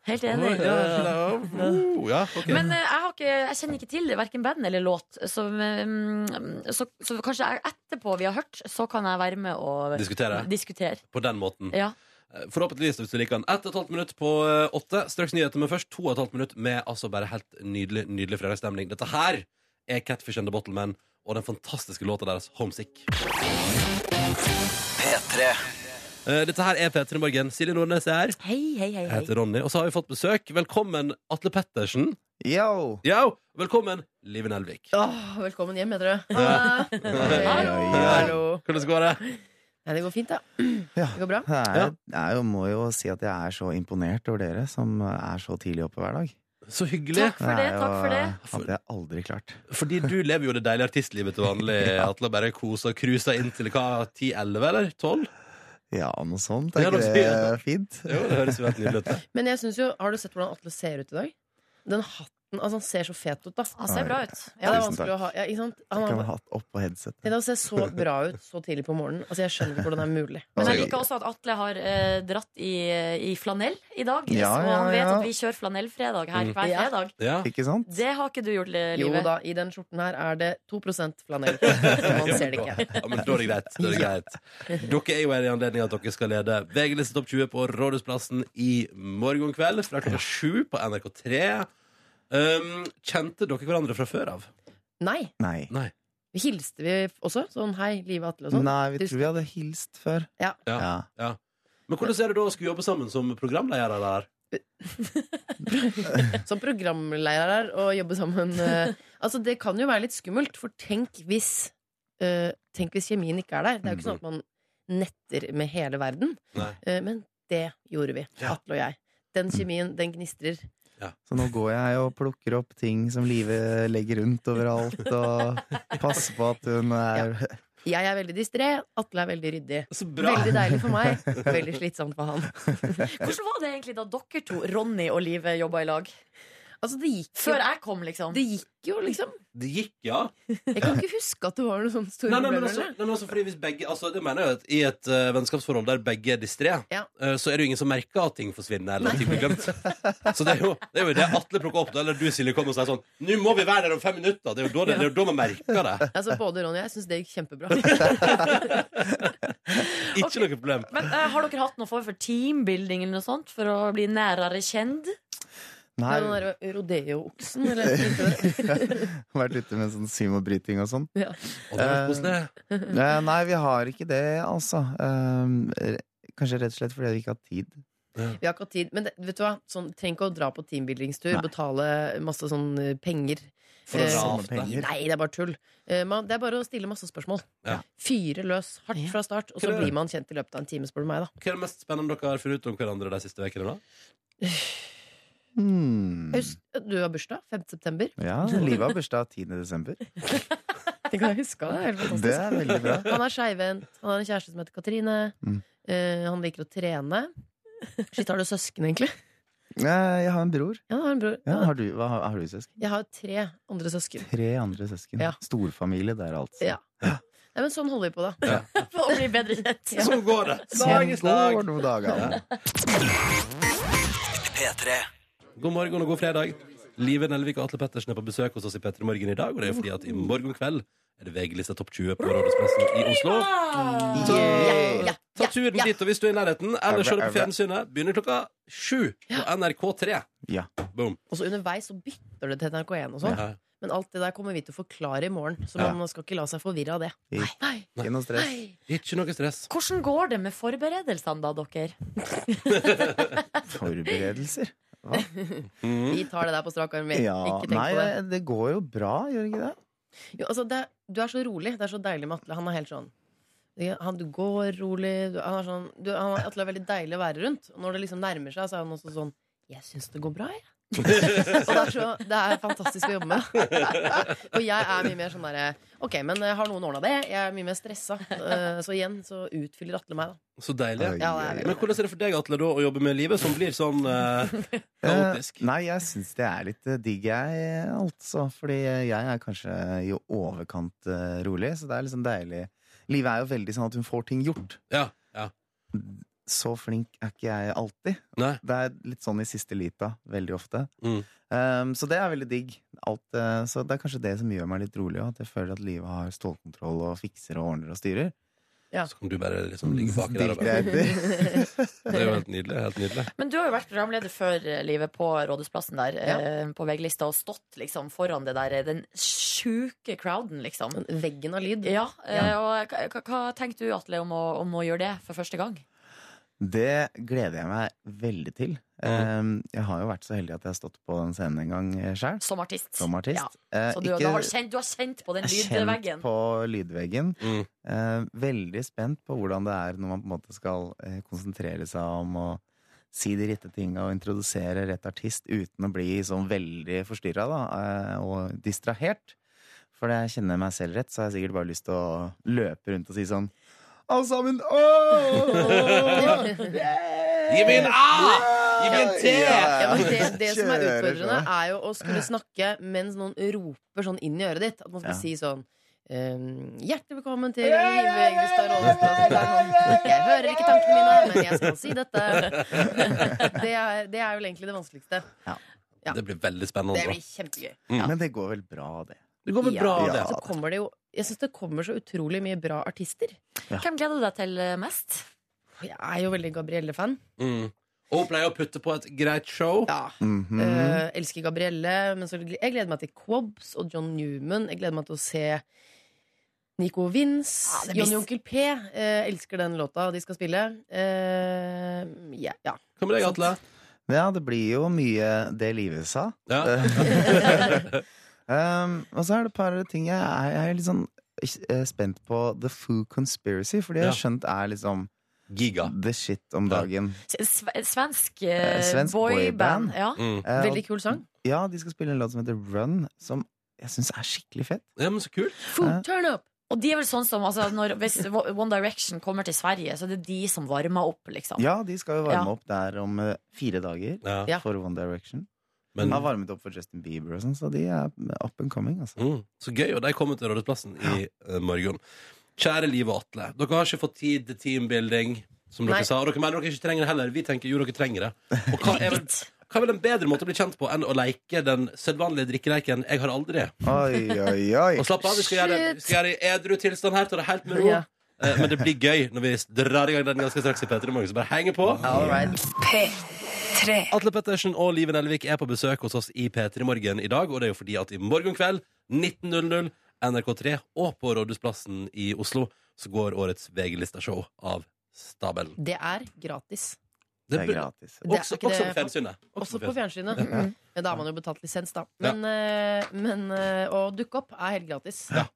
S3: Helt enig.
S5: Ja,
S2: Ja, ja, ja. ja, ok.
S3: Men eh, jeg, har ikke, jeg kjenner ikke til verken band eller låt, så, mm, så, så kanskje jeg etterpå vi har hørt, så kan jeg være med og
S2: Diskutere.
S3: diskutere.
S2: På den måten.
S3: Ja.
S2: Eh, Forhåpentligvis, hvis du liker den. Ett og et halvt minutt på eh, åtte. Straks nyheter, men først to og et halvt minutt med altså bare helt nydelig, nydelig fredagsstemning. Dette her er Catfish and the Bottlemen og den fantastiske låta deres Homesick. Eh, Dette her er P3 Morgen. Silje Nordnes er her.
S3: Hei, hei, hei.
S2: Jeg
S3: hei.
S2: heter Ronny. Og så har vi fått besøk. Velkommen, Atle Pettersen.
S6: Yo!
S2: Ja, velkommen, Live Nelvik.
S7: Åh, velkommen hjem, heter det.
S2: Ja.
S7: Hallo. Hallo.
S2: Hvordan går det?
S7: Nei, det går fint, da.
S6: Ja.
S7: Det går bra.
S6: Jeg, er, jeg er jo- må jo si at jeg er så imponert over dere som er så tidlig oppe hver dag.
S2: Så hyggelig.
S3: Takk for det.
S6: er jo-
S3: takk for det
S6: Hadde jeg aldri klart.
S2: Fordi du lever jo det deilige artistlivet til vanlig. Atle bare koser og cruiser inn til hva, 10-11 eller 12?
S6: Ja, noe sånt.
S2: Ja,
S6: Er
S2: noe
S6: ikke det fint?
S2: Jo, det høres jo helt nydelig ut. det.
S7: Men jeg synes jo, har du sett hvordan Atle ser ut i dag? Den hatten, altså Han ser så fet ut, da.
S3: Han ser bra ut.
S7: Ja, det er
S6: Tusen
S7: vanskelig
S6: takk.
S7: å ha ja, ikke sant? Han
S6: Jeg kan ha
S7: har,
S6: hatt oppå headsetet.
S7: det å se så bra ut så tidlig på morgenen. Altså, Jeg skjønner ikke hvordan det er mulig.
S3: Men jeg
S6: Altså,
S3: liker også at Atle har eh, dratt i, i flanell i dag.
S6: Ja,
S3: og han
S6: ja,
S3: vet
S6: ja.
S3: at vi kjører flanellfredag her
S2: Mm.
S3: hver
S7: Ja.
S3: fredag.
S2: Ja.
S6: Ikke sant?
S3: Det har ikke du gjort, Li-
S7: Jo
S3: Live.
S7: da, i den skjorten her er det 2 flanell. Så man ser det ikke.
S2: Ja, men da er det greit. Da er det greit. Dere er jo her i anledning at dere skal lede VG-liste Topp 20 på Rådhusplassen i morgen kveld fra klokka sju på NRK3. Um, kjente dere hverandre fra før av?
S7: Nei.
S6: Nei.
S2: Nei.
S7: Hilste vi også? Sånn hei, Live Atle og sånn?
S6: Nei, vi
S7: Du-
S6: tror vi hadde hilst før.
S7: Ja.
S2: Ja.
S6: Ja.
S2: Men hvordan er det da å skulle jobbe sammen som programledere der?
S7: som programlærer og jobbe sammen. eh, altså Det kan jo være litt skummelt, for tenk hvis, eh, tenk hvis kjemien ikke er der. Det er jo ikke sånn at man netter med hele verden.
S2: Mm. Nei.
S7: Eh, men det gjorde vi,
S2: Ja.
S7: Atle og jeg. Den kjemien, den gnistrer.
S6: Så nå går jeg og plukker opp ting som Live legger rundt overalt, og passer på at hun er
S7: Jeg er veldig distré, Atle er veldig ryddig.
S2: Så bra!
S7: Veldig deilig for meg, veldig slitsomt for han.
S3: Hvordan var det egentlig da dere to, Ronny og Live, jobba i lag?
S7: Altså det gikk jo,
S3: Før jeg kom, liksom.
S7: det gikk jo liksom.
S2: Det gikk, ja.
S7: Jeg kan ikke huske at det var noen sånne store
S2: Nei, nei, men
S7: problemer.
S2: altså,
S7: eller?
S2: nei, men altså fordi hvis begge altså, Det mener jeg at I et eh, vennskapsforhold der begge er distré,
S7: Ja.
S2: eh, så er det jo ingen som merker at ting forsvinner. Eller at ting blir glemt Så det er jo det, er jo det Atle plukker opp, eller du Silje kommer og sier sånn 'Nå må vi være der om fem minutter.' Det er jo da, det, det er jo da man merker det.
S7: Altså, både Ronny og jeg syns det gikk kjempebra.
S2: Ikke
S3: Ok.
S2: noe problem.
S3: Men eh, har dere hatt noen form for teambuilding eller noe sånt for å bli nærere kjent?
S6: Nei,
S7: Den der rodeo-oksen, eller hva heter det?
S6: vært ute med sånn symobryting og sånn.
S2: Og det var koselig.
S6: Eh, Nei, vi har ikke det, altså. Eh, Kanskje rett og slett fordi vi ikke har tid.
S7: Vi har ikke hatt tid. Men det, vet du hva? Sånn, trenger ikke å dra på teambuildingstur,
S6: Nei.
S7: betale masse sånn eh, penger.
S2: For å
S7: Eh,
S2: dra
S6: Samme
S2: av det.
S6: penger.
S7: Nei, det er bare tull. Eh, man, det er bare å stille masse spørsmål.
S2: Ja.
S7: Fyre løs hardt
S3: Ja.
S7: fra start, og
S2: Hva
S7: så
S2: er det?
S7: blir man kjent i løpet av en time, spør du meg, da.
S2: Hva er det mest spennende dere har funnet ut om hverandre de siste ukene? da?
S6: Hmm.
S7: Husk, du har bursdag 5. september.
S6: Ja, Live har bursdag 10. desember.
S7: Tenk at jeg huska det. Helt fantastisk.
S6: Det er veldig bra.
S7: Han er skeivhendt. Han har en kjæreste som heter Katrine.
S6: Mm.
S7: Eh, han liker å trene. Shit, har du søsken, egentlig?
S6: Eh, Jeg har en bror.
S7: Ja, han har en bror.
S6: Ja,
S7: Ja.
S6: har, du, hva, har- har du søsken?
S7: Jeg har tre andre søsken.
S6: Tre andre søsken.
S7: Ja.
S6: Storfamilie der, altså.
S7: Ja. Nei, men sånn holder vi på, da.
S3: For å bli bedre kjent?
S2: Så går det! Dag i
S6: Sånn
S2: dag.
S6: går det dagene.
S2: God morgen og god fredag. Live Nelvik og Atle Pettersen er på besøk hos oss i P3 Morgen i dag. Og det er jo fordi at i morgen kveld er det VG-lista Topp 20 på Rådhusplassen i Oslo.
S3: Ah!
S6: Yeah.
S3: Ja,
S2: Ta turen dit og hvis du er i nærheten, eller se det på fjernsynet. Begynner klokka sju på NRK3.
S6: Ja.
S2: Boom.
S7: Og så underveis så bytter det til NRK1 og sånn.
S2: Ja.
S7: Men alt det der kommer vi til å forklare i morgen, så
S6: Ja.
S7: man skal ikke la seg forvirre av det.
S6: Nei.
S7: Nei.
S6: Ikke noe stress.
S2: Ikke noe stress.
S3: Hvordan går det med forberedelsene, da, dere?
S6: Forberedelser. Mhm.
S7: Vi tar det der på strak arm. Vi.
S6: Ja.
S7: Ikke tenk
S6: Nei,
S7: på det.
S6: det- det går jo bra, gjør det ikke det?
S7: Jo, altså, det. Du er så rolig. Det er så deilig med Atle. Han er helt sånn han, Du går rolig. Du, han er sånn, du, han, Atle er veldig deilig å være rundt. Og når det liksom nærmer seg, så er han også sånn Jeg syns det går bra, jeg. og det er, så, det er fantastisk å jobbe med. og jeg er mye mer sånn derre Ok, men eh, har noen ordna det? Jeg er mye mer stressa. Eh, Så igjen så utfyller Atle meg, da.
S2: Så deilig.
S6: Oi,
S7: Ja, det er
S6: oi, oi.
S2: Men hvordan er det for deg, Atle, da, å jobbe med livet som blir sånn eh, kaotisk?
S6: Eh, Nei, jeg syns det er litt eh, digg, jeg, eh, altså. Fordi eh, jeg er kanskje i overkant eh, rolig, så det er liksom deilig. Livet er jo veldig sånn at hun får ting gjort.
S2: Ja, ja.
S6: så flink er ikke jeg alltid.
S2: Nei.
S6: Det er litt sånn i siste lita, veldig ofte.
S2: Mm.
S6: Um, så det er veldig digg. Alt, eh, så det er kanskje det som gjør meg litt rolig, også, at jeg føler at livet har stålkontroll og fikser og ordner og styrer.
S2: Så kan du bare liksom ligge baki der. Og
S6: Dirker
S2: bare.
S6: jeg etter.
S2: Det er jo helt nydelig. Helt nydelig.
S3: Men du har jo vært programleder før eh, livet på Rådhusplassen der, eh, på VG-lista, og stått liksom foran det der, eh, den sjuke crowden, liksom.
S7: Den Veggen av lyd.
S3: Ja, eh, og hva- hva, hva tenkte du, Atle, om å, om å gjøre det for første gang?
S6: Det gleder jeg meg veldig til. Um, jeg har jo vært så heldig at jeg har stått på den scenen en gang sjøl,
S3: Som artist.
S6: som artist.
S3: Ja,
S6: Eh,
S3: Så du,
S6: ikke-
S3: du, har kjent, du har kjent på den
S6: Jeg er
S3: lydveggen?
S6: Kjent på lydveggen.
S2: Mm.
S6: Eh, veldig spent på hvordan det er når man på en måte skal eh, konsentrere seg om å si de rette tinga og introdusere rett artist uten å bli sånn veldig forstyrra eh, og distrahert. For det jeg kjenner meg selv rett, så har jeg sikkert bare lyst til å løpe rundt og si sånn Alle sammen! Åh!
S2: Gi meg en A! Gi meg en T!
S7: Ja, men det, det som er
S6: Kjører
S7: utfordrende,
S6: på.
S7: er jo å skulle snakke mens noen roper sånn inn i øret ditt. At man skal
S6: Ja.
S7: si sånn ehm, Hjertelig velkommen til Liveglestad Rådhusplass. Jeg hører ikke tankene mine, men jeg skal si dette. Det er, det er vel egentlig det vanskeligste. Ja.
S2: Det blir veldig spennende.
S7: Det
S2: da.
S7: blir kjempegøy.
S6: Men det går vel bra, det.
S2: Det går vel bra,
S6: Ja.
S2: det.
S7: Så kommer det jo Jeg syns det kommer så utrolig mye bra artister.
S3: Hvem gleder du deg til eh, mest?
S7: Jeg er jo veldig Gabrielle-fan.
S2: Mm. Og hun pleier å putte på et greit show.
S7: Ja.
S6: Mhm.
S7: Eh, elsker Gabrielle. Men så, jeg gleder meg til Quobs og John Newman. Jeg gleder meg til å se Nico
S3: Ja,
S7: Vince.
S3: Ah, det blir-
S7: Johnny Onkel P. eh, elsker den låta de skal spille. Eh, ja, ja.
S2: Hva med deg, Atle?
S6: Ja, det blir jo mye det livet sa.
S2: Ja.
S6: Eh. Um, og så er det et par ting jeg er, jeg er litt sånn eh, spent på The Foo Conspiracy, for det jeg har skjønt er liksom
S2: Giga.
S6: the shit om dagen.
S3: S- sve- Svensk,
S6: Eh,
S3: eh,
S6: svensk
S3: boyband.
S6: boyband.
S3: Ja.
S2: Mm.
S6: Eh,
S7: Veldig kul sang.
S6: og, ja, de skal spille en låt som heter Run, som jeg syns er skikkelig fett.
S2: Ja, men så kult.
S6: Ja.
S7: Food, turn up!
S3: Og de er vel sånn som altså, når, Hvis One Direction kommer til Sverige, så er det de som varmer opp, liksom.
S6: Ja, de skal jo varme
S3: Ja.
S6: opp der om eh, fire dager
S2: Ja.
S7: Ja.
S6: for One Direction.
S2: Men,
S6: Har varmet opp for Justin Bieber og sånn, så de er up and coming, altså.
S2: mm, så gøy, og de kommer til Rådhusplassen i eh, morgen. Kjære Liv og Atle, dere har ikke fått tid til teambuilding, som dere
S7: Nei.
S2: sa. Og dere mener dere ikke trenger det heller. Vi tenker jo dere trenger det. Og hva er vel, hva er vel en bedre måte å bli kjent på enn å leke den sedvanlige drikkeleiken 'jeg har aldri'?
S6: Oi, oi, oi.
S2: Og slapp av, vi skal gjøre det vi skal gjøre det i edru tilstand her. Ta det helt med ro.
S7: Ja.
S2: Eh, Men det blir gøy når vi drar i gang den ganske straks i P3 Morgen. Så bare henger på.
S7: All right.
S1: P3
S2: Atle Pettersen og Liven Elvik er på besøk hos oss i P3 Morgen i dag. Og det er jo fordi at i morgen kveld 19.00 NRK3 og på Rådhusplassen i Oslo så går årets VG-listashow av stabelen.
S7: Det er gratis.
S6: Det er gratis.
S7: Det er
S2: Også,
S7: ikke
S2: også på
S7: det-
S2: fjernsynet.
S7: Også
S2: på
S7: på fjernsynet.
S6: Mhm.
S7: Ja, Da har man jo betalt lisens, da.
S2: Ja.
S7: Men, eh, men eh, å dukke opp er helt gratis.
S2: Ja. fjern-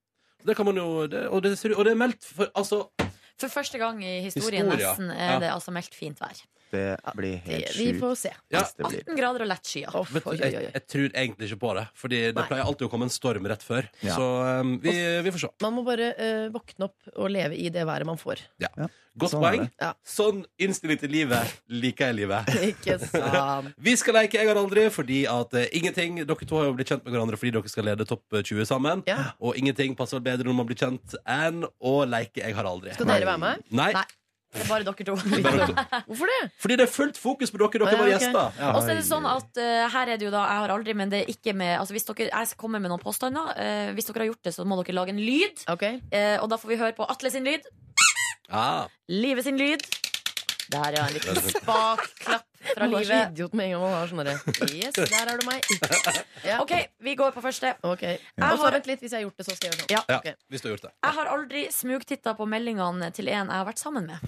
S2: Det kan man jo, det, og, det, ser ut- og det er meldt for altså,
S3: For første gang i historien
S2: Historia.
S3: nesten er
S2: Ja.
S3: det altså meldt fint vær.
S6: Det blir helt
S7: Vi
S6: sjukt
S7: får se.
S2: Ja.
S6: hvis det blir.
S3: 18 grader og lett skyer.
S7: Off,
S2: vet, du,
S7: oi, oi,
S2: jeg,
S7: oi.
S2: jeg tror egentlig ikke på det, Fordi det
S3: Nei.
S2: pleier alltid å komme en storm rett før.
S6: Ja.
S2: Så um, vi, vi får se.
S7: Man må bare eh, våkne opp og leve i det været man får.
S2: Godt
S6: Sånn er
S2: poeng.
S6: det.
S7: Ja.
S2: Sånn innstilling til livet liker jeg livet.
S7: Ikke sant?
S2: Vi skal leke Jeg har aldri, fordi at eh, ingenting Dere to har jo blitt kjent med hverandre fordi dere skal lede Topp 20 sammen.
S7: Ja.
S2: Og ingenting passer vel bedre når man blir kjent enn å leke Jeg har aldri.
S7: Skal dere være med?
S2: Nei,
S3: Nei. Det er bare dere to.
S7: Hvorfor det?
S2: fordi det er fullt fokus på dere. Dere
S7: Ja,
S2: er våre
S7: ok.
S2: gjester. Ja.
S3: Og så er det sånn at eh, her er det jo da Jeg har aldri, men det er ikke med altså hvis dere, Jeg kommer med noen påstander. eh, hvis dere har gjort det, så må dere lage en lyd.
S7: Ok,
S3: eh, og da får vi høre på Atle sin lyd.
S2: Ja.
S3: Live sin lyd. Der, ja. En liten spak klapp fra
S7: Man er så
S3: livet.
S7: idiot med en gang man har sånn derre Yes, der er du meg. Ja.
S3: OK, vi går på første.
S7: Ok.
S3: Jeg
S7: Og så
S3: har-
S7: vent litt, hvis jeg har gjort det, så skal jeg gjøre sånn.
S3: Ja.
S2: Ja,
S7: Ok.
S2: hvis du har gjort det.
S3: Jeg har aldri smugtitta på meldingene til en jeg har vært sammen med.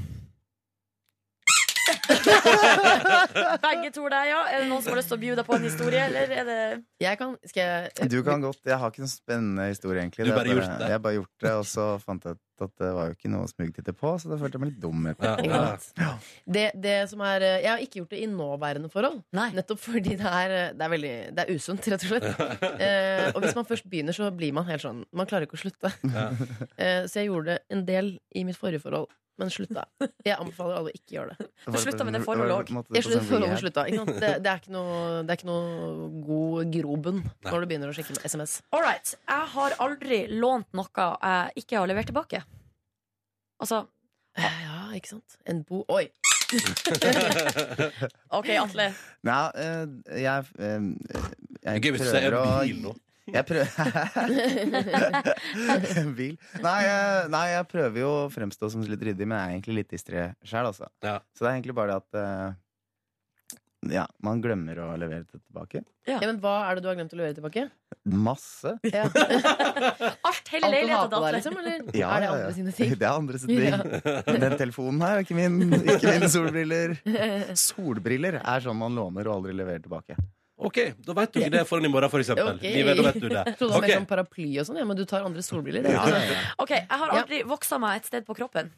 S3: Begge tror det, ja. Er det noen som har lyst til å by deg på en historie, eller er det
S7: Jeg kan, skal jeg eh,
S6: Du kan godt, Jeg har ikke noen spennende historie,
S2: Du
S6: egentlig. Det er
S2: bare gjort det.
S6: Jeg bare gjort det, Og så fant jeg ut at det var jo ikke noe smugtitter på, så da følte jeg meg litt dum. etterpå.
S2: Ja,
S7: ikke
S2: ja.
S7: sant? Det, det som er eh, Jeg har ikke gjort det i nåværende forhold.
S3: Nei.
S7: Nettopp fordi det er, eh, det er, veldig, det er usunt, rett og slett. Eh, og hvis man først begynner, så blir man helt sånn. Man klarer ikke å slutte.
S2: Ja.
S7: Eh, så jeg gjorde det en del i mitt forrige forhold, men slutta. Jeg anbefaler alle å ikke gjøre det.
S6: Det var-
S3: slutta med det
S6: var- var-
S3: forholdet
S6: måtte
S7: Jeg
S6: på sånn
S7: slutter forholdet
S6: rehab.
S7: og slutta. Ikke sant? Det, det, er ikke noe, det er ikke noe god grobunn
S2: Nei.
S7: når du begynner å sjekke med SMS.
S3: All right. Jeg har aldri lånt noe jeg ikke har levert tilbake. Altså
S7: Ja, ikke sant? En bo... Oi!
S3: OK, Atle.
S6: Nei, eh, jeg, eh, jeg
S2: Gøy hvis du sier bil nå.
S6: Jeg prøver En bil? Nei jeg, nei, jeg prøver jo å fremstå som litt ryddig, men jeg er egentlig litt distré sjøl, altså.
S2: Ja.
S6: Så det er egentlig bare det at eh, Ja, man glemmer å levere det tilbake.
S7: Ja, men Hva er det du har glemt å levere tilbake?
S6: Masse.
S7: Ja.
S3: Alt, hele
S7: Alt du har
S3: leiligheten
S7: på
S3: til
S7: deg,
S3: Atle.
S7: liksom? Eller
S6: Ja,
S7: er det
S6: ja, ja.
S7: andre sine ting?
S6: Det er andre sine ting. Den telefonen her er ikke min. Ikke mine solbriller. Solbriller er sånn man låner og aldri leverer tilbake.
S2: OK, da vet du ikke det foran i morgen, for eksempel.
S7: Ok.
S2: Livet, da vet du det.
S7: Jeg trodde det var
S2: Ok.
S7: mer sånn paraply og sånn, ja, men du tar andre solbriller.
S6: Ja, ja, ja.
S3: OK, jeg har aldri voksa meg et sted på kroppen.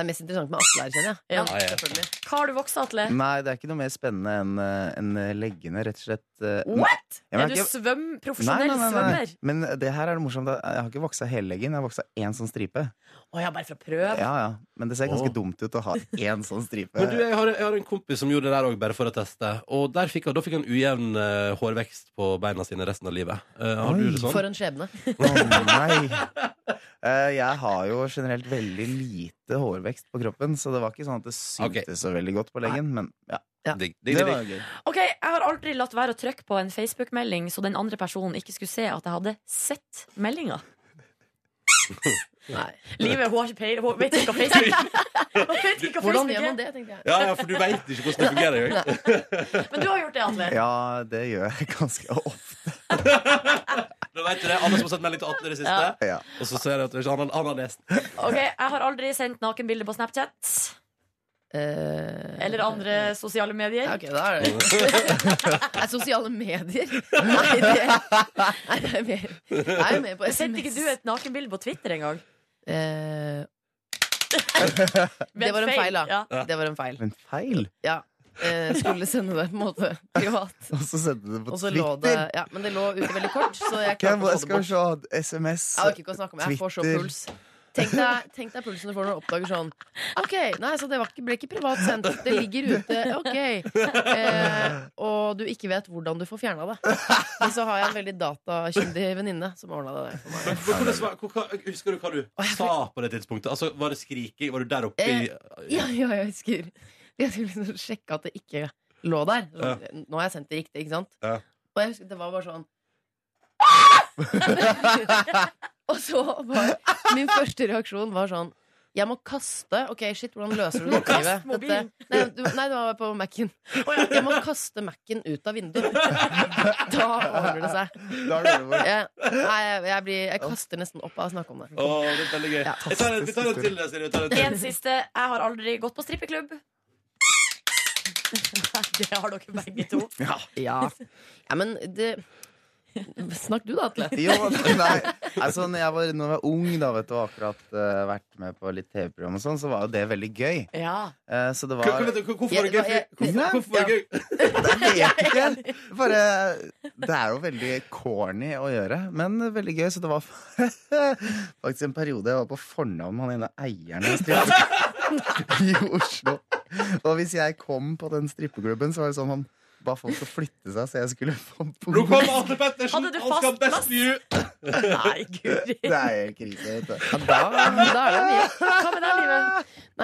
S7: Det er mest interessant med Atle her, kjenner jeg.
S3: Ja.
S2: ja.
S7: selvfølgelig.
S3: Hva har du voksa, Atle?
S6: Nei, det er ikke noe mer spennende enn eh, enn leggene, rett og slett. eh,
S3: What?!
S6: Ja, men
S3: Er du
S6: jeg har ikke-
S3: svøm, Mm, profesjonell svømmer?
S6: Men det her er det morsomt. Jeg har ikke voksa hele leggen, jeg har voksa én sånn stripe.
S3: Å ja, bare for å prøve?
S6: Ja, ja. Men det ser ganske
S2: Åh.
S6: dumt ut å ha én sånn stripe.
S2: Men du, jeg har, jeg har en kompis som gjorde det der òg, bare for å teste. Og der fikk han, da fikk han ujevn eh, hårvekst på beina sine resten av livet. Eh, har du
S6: Oi.
S2: det sånn?
S7: For en skjebne.
S6: Å, nei. Eh, Jeg har jo generelt veldig lite hårvekst på kroppen, så det var ikke sånn at det syntes
S2: Ok.
S6: så veldig godt på leggen. Men ja,
S2: Digg, digg,
S6: det
S2: digg,
S6: var
S2: digg.
S6: jo gøy.
S3: Ok, Jeg har aldri latt være å trykke på en Facebook-melding så den andre personen ikke skulle se at jeg hadde sett meldinga.
S7: Nei.
S3: Livet, hun har ikke peiling. Hun vet ikke hva Facebook Hun vet ikke hva Facebook
S7: Hvordan gjør man
S3: er.
S7: det, tenkte jeg.
S2: Ja, ja, for du veit ikke hvordan det fungerer. jo.
S3: Men du har gjort det, Atle.
S6: Ja, det gjør jeg ganske ofte.
S2: Da vet du det, Alle som har sett melding til Atle i det siste.
S3: Ja.
S6: Ja.
S2: Og så ser jeg at det ikke- han, har- han har lest.
S3: Ok, Jeg har aldri sendt nakenbilder på Snapchat
S7: Eh,
S3: eller andre sosiale
S7: ja,
S3: medier.
S7: ok, da er det Er sosiale medier? Nei, det Nei, jeg er mer, jeg er mer på SMS.
S3: Sendte ikke du et nakenbilde på Twitter engang?
S7: Eh, Det var en feil, da.
S3: Ja.
S7: det var en feil.
S6: Men feil!
S7: Ja. Eh, skulle sende det på en måte privat.
S6: Og så sendte du det på
S7: Og så lå det
S6: Twitter.
S7: Ja, men det lå ute veldig kort, så jeg
S6: Hvem-
S7: klarte å få det
S6: skal vi
S7: bort.
S6: se SMS
S7: Jeg orker ikke å snakke om det. Jeg får så
S6: Twitter.
S7: puls. Tenk deg, tenk deg pulsen du får når du oppdager sånn OK, nei, så det var ikke, ble ikke privat sendt. Det ligger ute. OK. Eh, og du ikke vet hvordan du får fjerna det. Men så har jeg en veldig datakyndig venninne som ordna det der for meg.
S2: Men hvordan var- hvor- hva- Husker du hva du sa på det tidspunktet? Altså, Var det skriking? Var du der oppe i
S7: Ja, ja, jeg husker. Jeg skulle liksom sjekke at det ikke lå der. Sånn, Nå har jeg sendt det riktig, ikke sant?
S2: Ja.
S7: Og jeg husker det var bare sånn Og så var min første reaksjon var sånn jeg må kaste Ok, shit, hvordan løser du dette?
S3: kaste
S7: livet? Dette- Nei, du, nei, det var på Mac-en. Jeg må kaste Mac-en ut av vinduet. Da ordner det seg.
S6: Da er det over.
S7: Jeg, nei, jeg, jeg, blir, jeg kaster nesten opp av å snakke om det.
S2: Å, det er veldig gøy.
S7: Ja.
S2: Jeg tar en, vi tar en til, Silje. vi tar en
S3: En
S2: til.
S3: siste. Jeg har aldri gått på strippeklubb. Det har dere begge to.
S7: Ja, ja men det Snakk du, da, Atle.
S6: Jo, nei. Altså, når jeg var, når jeg var ung da, vet du, og akkurat eh, vært med på litt TV-program, og sånn, så var jo det veldig gøy.
S3: Ja.
S6: Eh, så det var
S2: Hva- hva- vet du, Hvorfor var det gøy? Hvorfor,
S7: Ja,
S6: ja.
S2: hvorfor var det gøy?
S6: Jeg vet ikke. Bare, det er jo veldig corny å gjøre, men veldig gøy. Så det var faktisk en periode jeg var på fornavn med han ene eieren av strippeklubb i Oslo. Og hvis jeg kom på den strippeklubben, så var det sånn han ba folk til å flytte seg, så jeg skulle få
S2: Nå
S6: bord.
S2: kommer Atle Pettersen!
S3: Hadde du
S2: Han skal
S3: fast
S2: ha best
S3: plass?
S2: view!
S3: Nei, guri.
S6: Det er helt krise, vet du.
S7: Ja, da, da er det mye.
S3: Hva med deg, Live?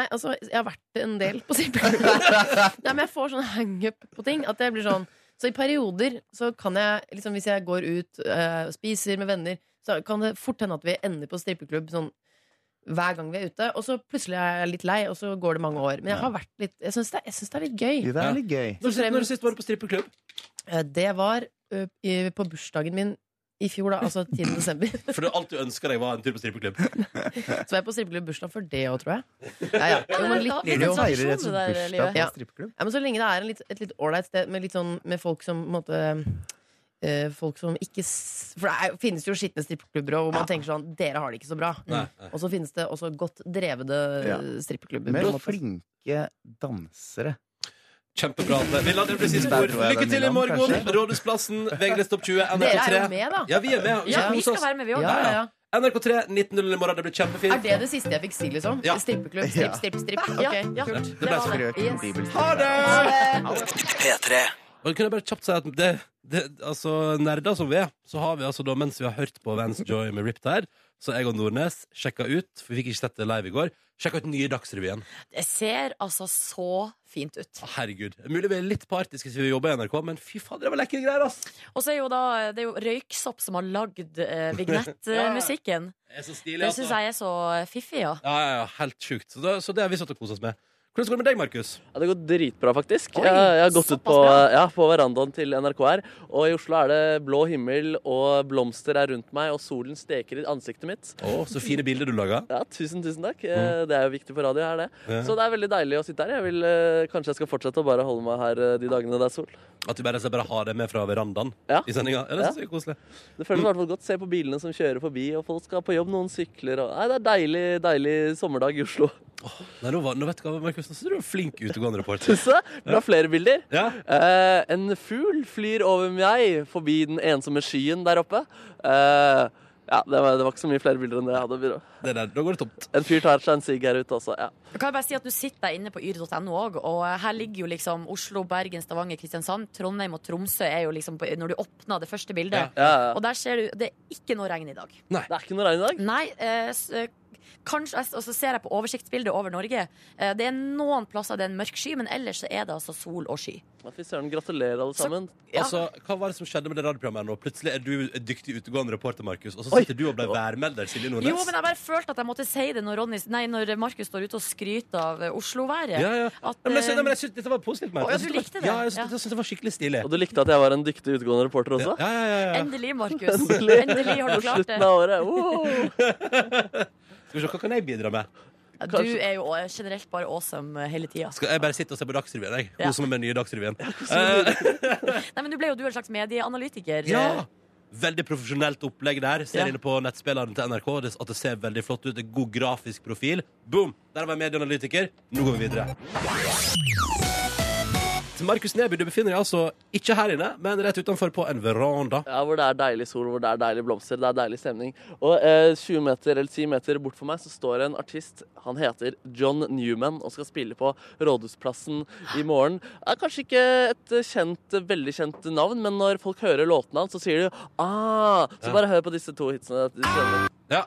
S7: Nei, altså, jeg har vært en del på strippeklubb. Nei, men jeg får sånn hangup på ting. At jeg blir sånn Så i perioder så kan jeg, liksom hvis jeg går ut eh, og spiser med venner, så kan det fort hende at vi ender på strippeklubb sånn hver gang vi er ute. Og så plutselig er jeg litt lei, og så går det mange år. Men jeg har vært litt Jeg syns det, jeg synes det er litt gøy.
S6: Jo, Det er litt gøy.
S2: Når sist- Når sist var du på strippeklubb?
S7: Eh, Det var ø, i, på bursdagen min i fjor, da, altså 10. desember.
S2: For det er alt du ønsker deg, var en tur på strippeklubb.
S7: Så var jeg på strippeklubb bursdag for det òg, tror jeg. Ja, ja. Jo, men litt,
S6: Blir du
S3: Litt
S6: feirer
S3: tradisjon,
S6: et sånt
S3: det der,
S6: bursdag på
S7: Livet.
S6: strippeklubb?
S7: Ja, men Så lenge det er en litt, et litt ålreit sted med, litt sånn, med folk som på en måte eh, Folk som ikke s- For det er, finnes jo skitne strippeklubber og hvor man tenker sånn Dere har det ikke så bra. Mm.
S2: Nei, nei.
S7: Og så finnes det også godt drevede
S6: Ja.
S7: eh, strippeklubber. på en
S6: Med
S7: måte.
S6: flinke dansere.
S2: Kjempebra. Atle. Villand, det blir siste ord.
S6: Der tror jeg
S2: Lykke
S6: den
S2: til i
S6: Villand,
S2: morgen!
S6: kanskje.
S2: Rådhusplassen, VG-list topp 20,
S7: Dere er jo
S2: NRK3.
S7: med, da.
S2: Ja, vi er med. Vi
S3: Ja,
S2: skal
S3: vi
S2: kose
S3: skal
S2: oss.
S3: være med, vi òg.
S7: Ja, ja, ja.
S2: NRK3 19.00 i morgen. Det blir kjempefint.
S7: Er det det siste jeg fikk si, liksom?
S2: Ja.
S7: Strippeklubb, stripp,
S6: Ja.
S7: stripp, stripp.
S3: Ja,
S7: Ok,
S3: ja.
S7: kult.
S2: Det ble
S3: var
S6: Frøken
S3: Ah, Yes.
S6: Bibelstjerne.
S2: Ha det! Og kunne jeg bare kjapt si at det, det, altså, nerder som vi er, så har vi altså da, mens vi har hørt på Vans Joy med Riptide, så jeg og Nordnes sjekka ut, for vi fikk ikke sett det live i går, sjekka ut nye Dagsrevyen.
S3: Det ser altså så fint ut.
S2: Å, Herregud. Mulig vi er litt partiske siden vi jobber i NRK, men fy fader, det var lekre greier, ass!
S3: Og så er jo da Det er jo Røyksopp som har lagd eh, vignettmusikken.
S2: Det er så stilig, altså.
S3: Det syns jeg er så fiffig, ja.
S2: Ja, ja, ja, helt sjukt. Så det, så det har vi satt og kost oss med. Hvordan går det med deg, Markus?
S5: Ja, det går dritbra, faktisk.
S3: Oi,
S5: jeg, jeg har gått
S3: såpass
S5: ut på,
S3: bra.
S5: ja, på verandaen til NRK her. Og i Oslo er det blå himmel, og blomster er rundt meg, og solen steker i ansiktet mitt.
S2: Å, så fine bilder du laga.
S5: Ja, tusen, tusen takk. Eh, Det er jo viktig for radio, er det.
S2: Ja.
S5: Så det er veldig deilig å sitte her. Jeg vil, eh, kanskje jeg skal fortsette å bare holde meg her eh, de dagene det er sol.
S2: At vi bare, så jeg bare har det med fra verandaen
S5: Ja.
S2: i sendinga. Ja, det synes jeg er koselig.
S5: Det føles i hvert fall godt. Se på bilene som kjører forbi, og folk skal på jobb, noen sykler og Nei, det er deilig, deilig sommerdag i Oslo.
S2: Nei, nå, var, nå vet du hva, Markus, nå synes du er en flink utegående reporter.
S5: Tusse! Bra flere bilder.
S2: Ja,
S5: Eh, en fugl flyr over meg forbi den ensomme skyen der oppe. Eh, ja, det var, det var ikke så mye flere bilder enn det jeg hadde. Byrå.
S2: det der, Da går det tomt.
S5: En fyr tar seg en sigg her ute også. Ja.
S3: Kan jeg bare si at Du sitter deg inne på yr.no òg, og eh, her ligger jo liksom Oslo, Bergen, Stavanger, Kristiansand. Trondheim og Tromsø er jo liksom på, når du åpner det første bildet.
S5: Ja, ja.
S3: Og der ser du Det er ikke noe regn i dag.
S5: Det er ikke noe regn i dag.
S3: Nei, eh, s- eh, kanskje Og så ser jeg på oversiktsbildet over Norge. Eh, det er noen plasser det er en mørk sky, men ellers så er det altså sol og sky.
S5: Ja, Fy søren, gratulerer alle sammen.
S3: Ja.
S2: Altså, Hva var det som skjedde med det radioprogrammet her nå? Plutselig er du en dyktig utegående reporter, Markus, og så
S5: Oi.
S2: sitter du og ble værmelder, Silje Nordnes.
S3: Jo, men jeg bare følte at jeg måtte si det når, Ronny, nei, når Markus står ute og skryter av eh, Oslo-været.
S2: ja, ja.
S3: At,
S2: Nei, men, jeg synes-
S3: eh,
S2: nei, men jeg synes dette var positivt. Markus.
S3: Å, ja, du
S2: Jeg synes
S3: likte
S2: var-
S3: det.
S2: Ja, jeg synes,
S3: Ja.
S2: jeg synes det var skikkelig stilig.
S5: Og du likte at jeg var en dyktig utegående reporter også?
S2: Ja, ja, ja, ja.
S3: Endelig, Markus.
S5: Endelig.
S3: Endelig har
S5: På
S3: du klart
S5: slutten
S3: det.
S5: av året. Wow.
S2: Skal vi se, Hva kan jeg bidra med?
S3: Du er jo eh, generelt bare awesome eh, hele tida.
S2: Skal jeg bare sitte og se på Dagsrevyen? jeg?
S3: Ja.
S2: Kose meg med den nye Dagsrevyen.
S3: Nei, men du ble jo du en slags medieanalytiker.
S2: Ja! Veldig profesjonelt opplegg der. Ser
S3: Ja.
S2: inne på nettspilleren til NRK det- at det ser veldig flott ut. Det er God grafisk profil. Boom! Der var jeg medieanalytiker. Nå går vi videre. Så Markus Neby, du befinner deg altså ikke her inne, men rett utenfor på en veranda.
S5: Ja, hvor det er deilig sol, hvor det er deilige blomster, det er deilig stemning. Og eh, 20 meter eller 10 meter bort for meg så står en artist. Han heter John Newman og skal spille på Rådhusplassen i morgen. Er kanskje ikke et eh, kjent, veldig kjent navn, men når folk hører låtene hans, så sier de ah! Så bare hør på disse to hitsene. De skjønner.
S2: Ja.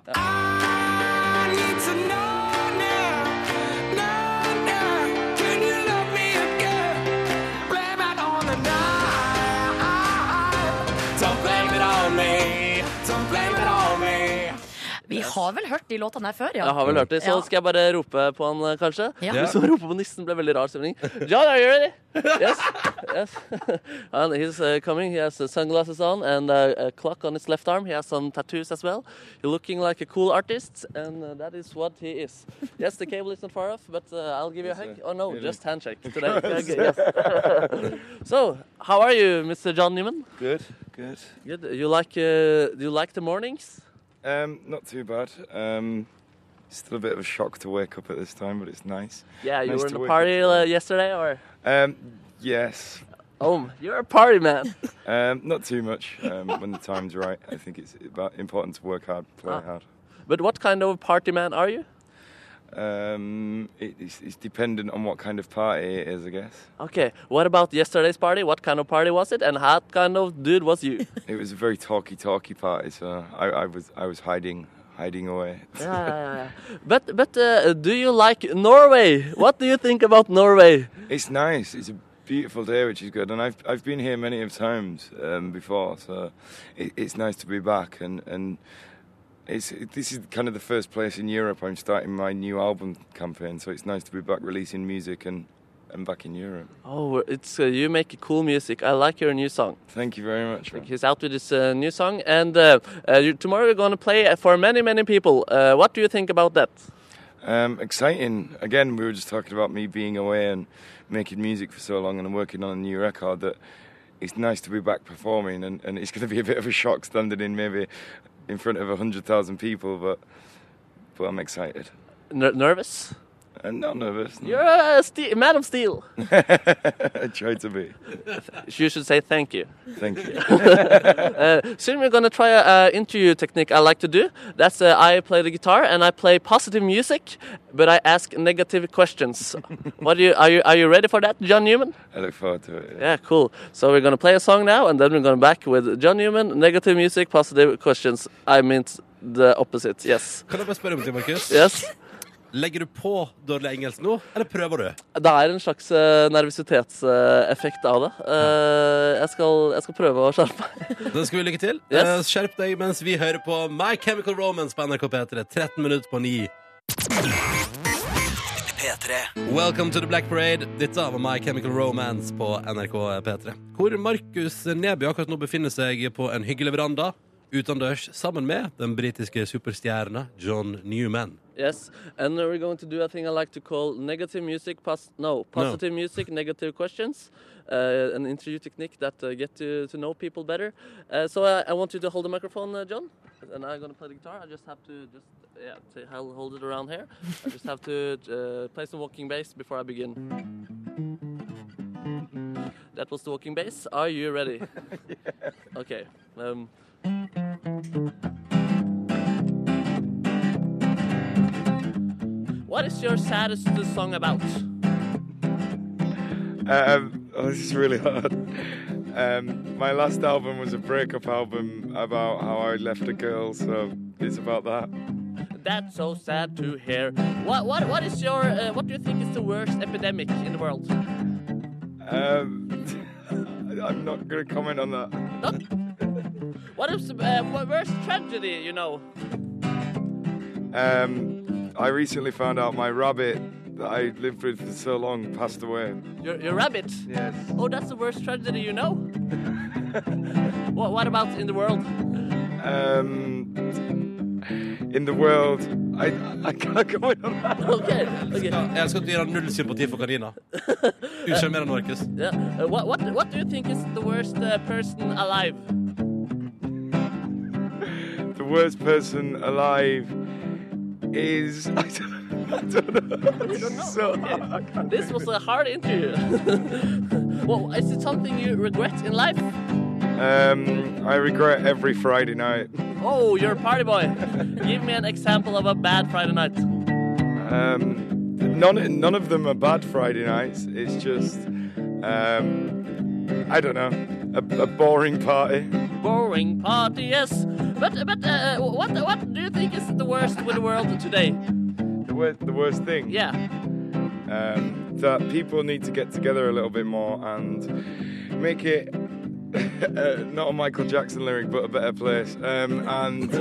S3: Vi har vel hørt de låtene her før, ja.
S5: Jeg har vel hørt det, så
S3: Ja.
S5: skal jeg bare rope på han, eh, kanskje.
S3: Ja.
S5: Hvis man roper på nissen, ble veldig rar stemning. John, are you ready? Yes. yes. and he's uh, coming. He has uh, sunglasses on and uh, a clock on his left arm. He has some tattoos as well. He's looking like a cool artist, and uh, that is what he is. Yes, the cable is not far off, but uh, I'll give you a hug. Oh no, just handshake today. Okay, yes. so, how are you, Mr. John Newman?
S8: Good, good.
S5: Good. You like uh, you like the mornings?
S8: Um, not too bad. Um, still a bit of a shock to wake up at this time, but it's nice.
S5: Yeah, you
S8: Nice
S5: were in
S8: to
S5: a
S8: wake up
S5: party
S8: to.
S5: uh, yesterday, or?
S8: Um, yes.
S5: Oh, you're a party man.
S8: Um, not too much. Um, when the time's right, I think it's about important to work hard, play
S5: Ah.
S8: hard.
S5: But what kind of party man are you?
S8: Um, it, it's, it's dependent on what kind of party it is, I guess.
S5: Okay, what about yesterday's party? What kind of party was it? And what kind of dude was you?
S8: It was a very talky-talky party, so I, I was I was hiding, hiding away.
S5: yeah, yeah, yeah. But but uh, do you like Norway? What do you think about Norway?
S8: It's nice. It's a beautiful day, which is good. And I've I've been here many of times um, before, so it, it's nice to be back. And and it's it, this is kind of the first place in Europe I'm starting my new album campaign, so it's nice to be back releasing music and and back in Europe.
S5: Oh, it's uh, you make cool music. I like your new song.
S8: Thank you very much. man.
S5: He's out with his uh, new song, and uh, uh, you, tomorrow you're going to play for many many people. Uh, what do you think about that?
S8: Um, exciting. Again, we were just talking about me being away and making music for so long and working on a new record that it's nice to be back performing and, and it's going to be a bit of a shock standing in maybe in front of 100,000 people, but but I'm excited.
S5: Ner nervous?
S8: And not nervous. no.
S5: You're a ste- Madam Steel.
S8: I try to be.
S5: You should say thank you.
S8: Thank you.
S5: Uh, soon we're gonna try a uh, interview technique I like to do. That's uh, I play the guitar and I play positive music, but I ask negative questions. what do you are you are you ready for that, John Newman?
S8: I look forward to it.
S5: Yeah, cool. So we're gonna play a song now, and then we're gonna back with John Newman. Negative music, positive questions. I meant the opposite. Yes,
S2: Kan jeg bare spørre om det, Markus?
S5: yes.
S2: Legger du på dårlig engelsk nå, eller prøver du?
S5: Det er en slags eh, nervøsitetseffekt av det. Eh, jeg, skal, jeg skal prøve å skjerpe meg.
S2: Da skal vi lykke til.
S5: Yes.
S2: Eh, Skjerp deg mens vi hører på My Chemical Romance på NRK P3. 13 minutter på 9. Welcome to the Black Parade. Dette var My Chemical Romance på NRK P3. Hvor Markus Neby akkurat nå befinner seg på en hyggelig veranda utendørs sammen med den britiske superstjerna John Newman.
S5: Yes, and we're going to do a thing I like to call negative music, pos no, positive music, negative questions, uh, an interview technique that uh, get to, to know people better. Uh, so I, I want you to hold the microphone, uh, John, and I'm going to play the guitar. I just have to just yeah, to, I'll hold it around here. I just have to uh, play some walking bass before I begin. That was the walking bass. Are you ready? Okay. Um, what is your saddest song about?
S8: Um, oh, this is really hard. Um, my last album was a breakup album about how I left a girl, so it's about that.
S5: That's so sad to hear. What what what is your uh, what do you think is the worst epidemic in the world?
S8: Um, I'm not going to comment on that.
S5: Not, what is the uh, wo- worst tragedy? You know.
S8: Um, I recently found out my rabbit that I lived with for so long passed away.
S5: Your your rabbit.
S8: Yes.
S5: Oh, that's the worst tragedy you know. what what about in the world?
S8: Um, in the world, I, I can't comment on that.
S5: Okay. Okay.
S2: Ja, jeg elsker at du gir han null sympati for kaniner. Usjarmerende, Markus.
S5: Yeah. Uh, what what what do you think is the worst uh, person alive?
S8: The worst person alive is. I don't, I don't know. This is so hard.
S5: This was a hard interview. well, is it something you regret in life?
S8: Um, I regret every Friday night.
S5: Oh, you're a party boy. Give me an example of a bad Friday night.
S8: Um, none, none of them are bad Friday nights. It's just, um, I don't know, a, a boring party.
S5: boring party, yes. But but uh, what what do you think is the worst with the world today?
S8: The worst, the worst thing.
S5: Yeah,
S8: Um, that people need to get together a little bit more and make it. Uh, not a Michael Jackson lyric, but a better place. Um, and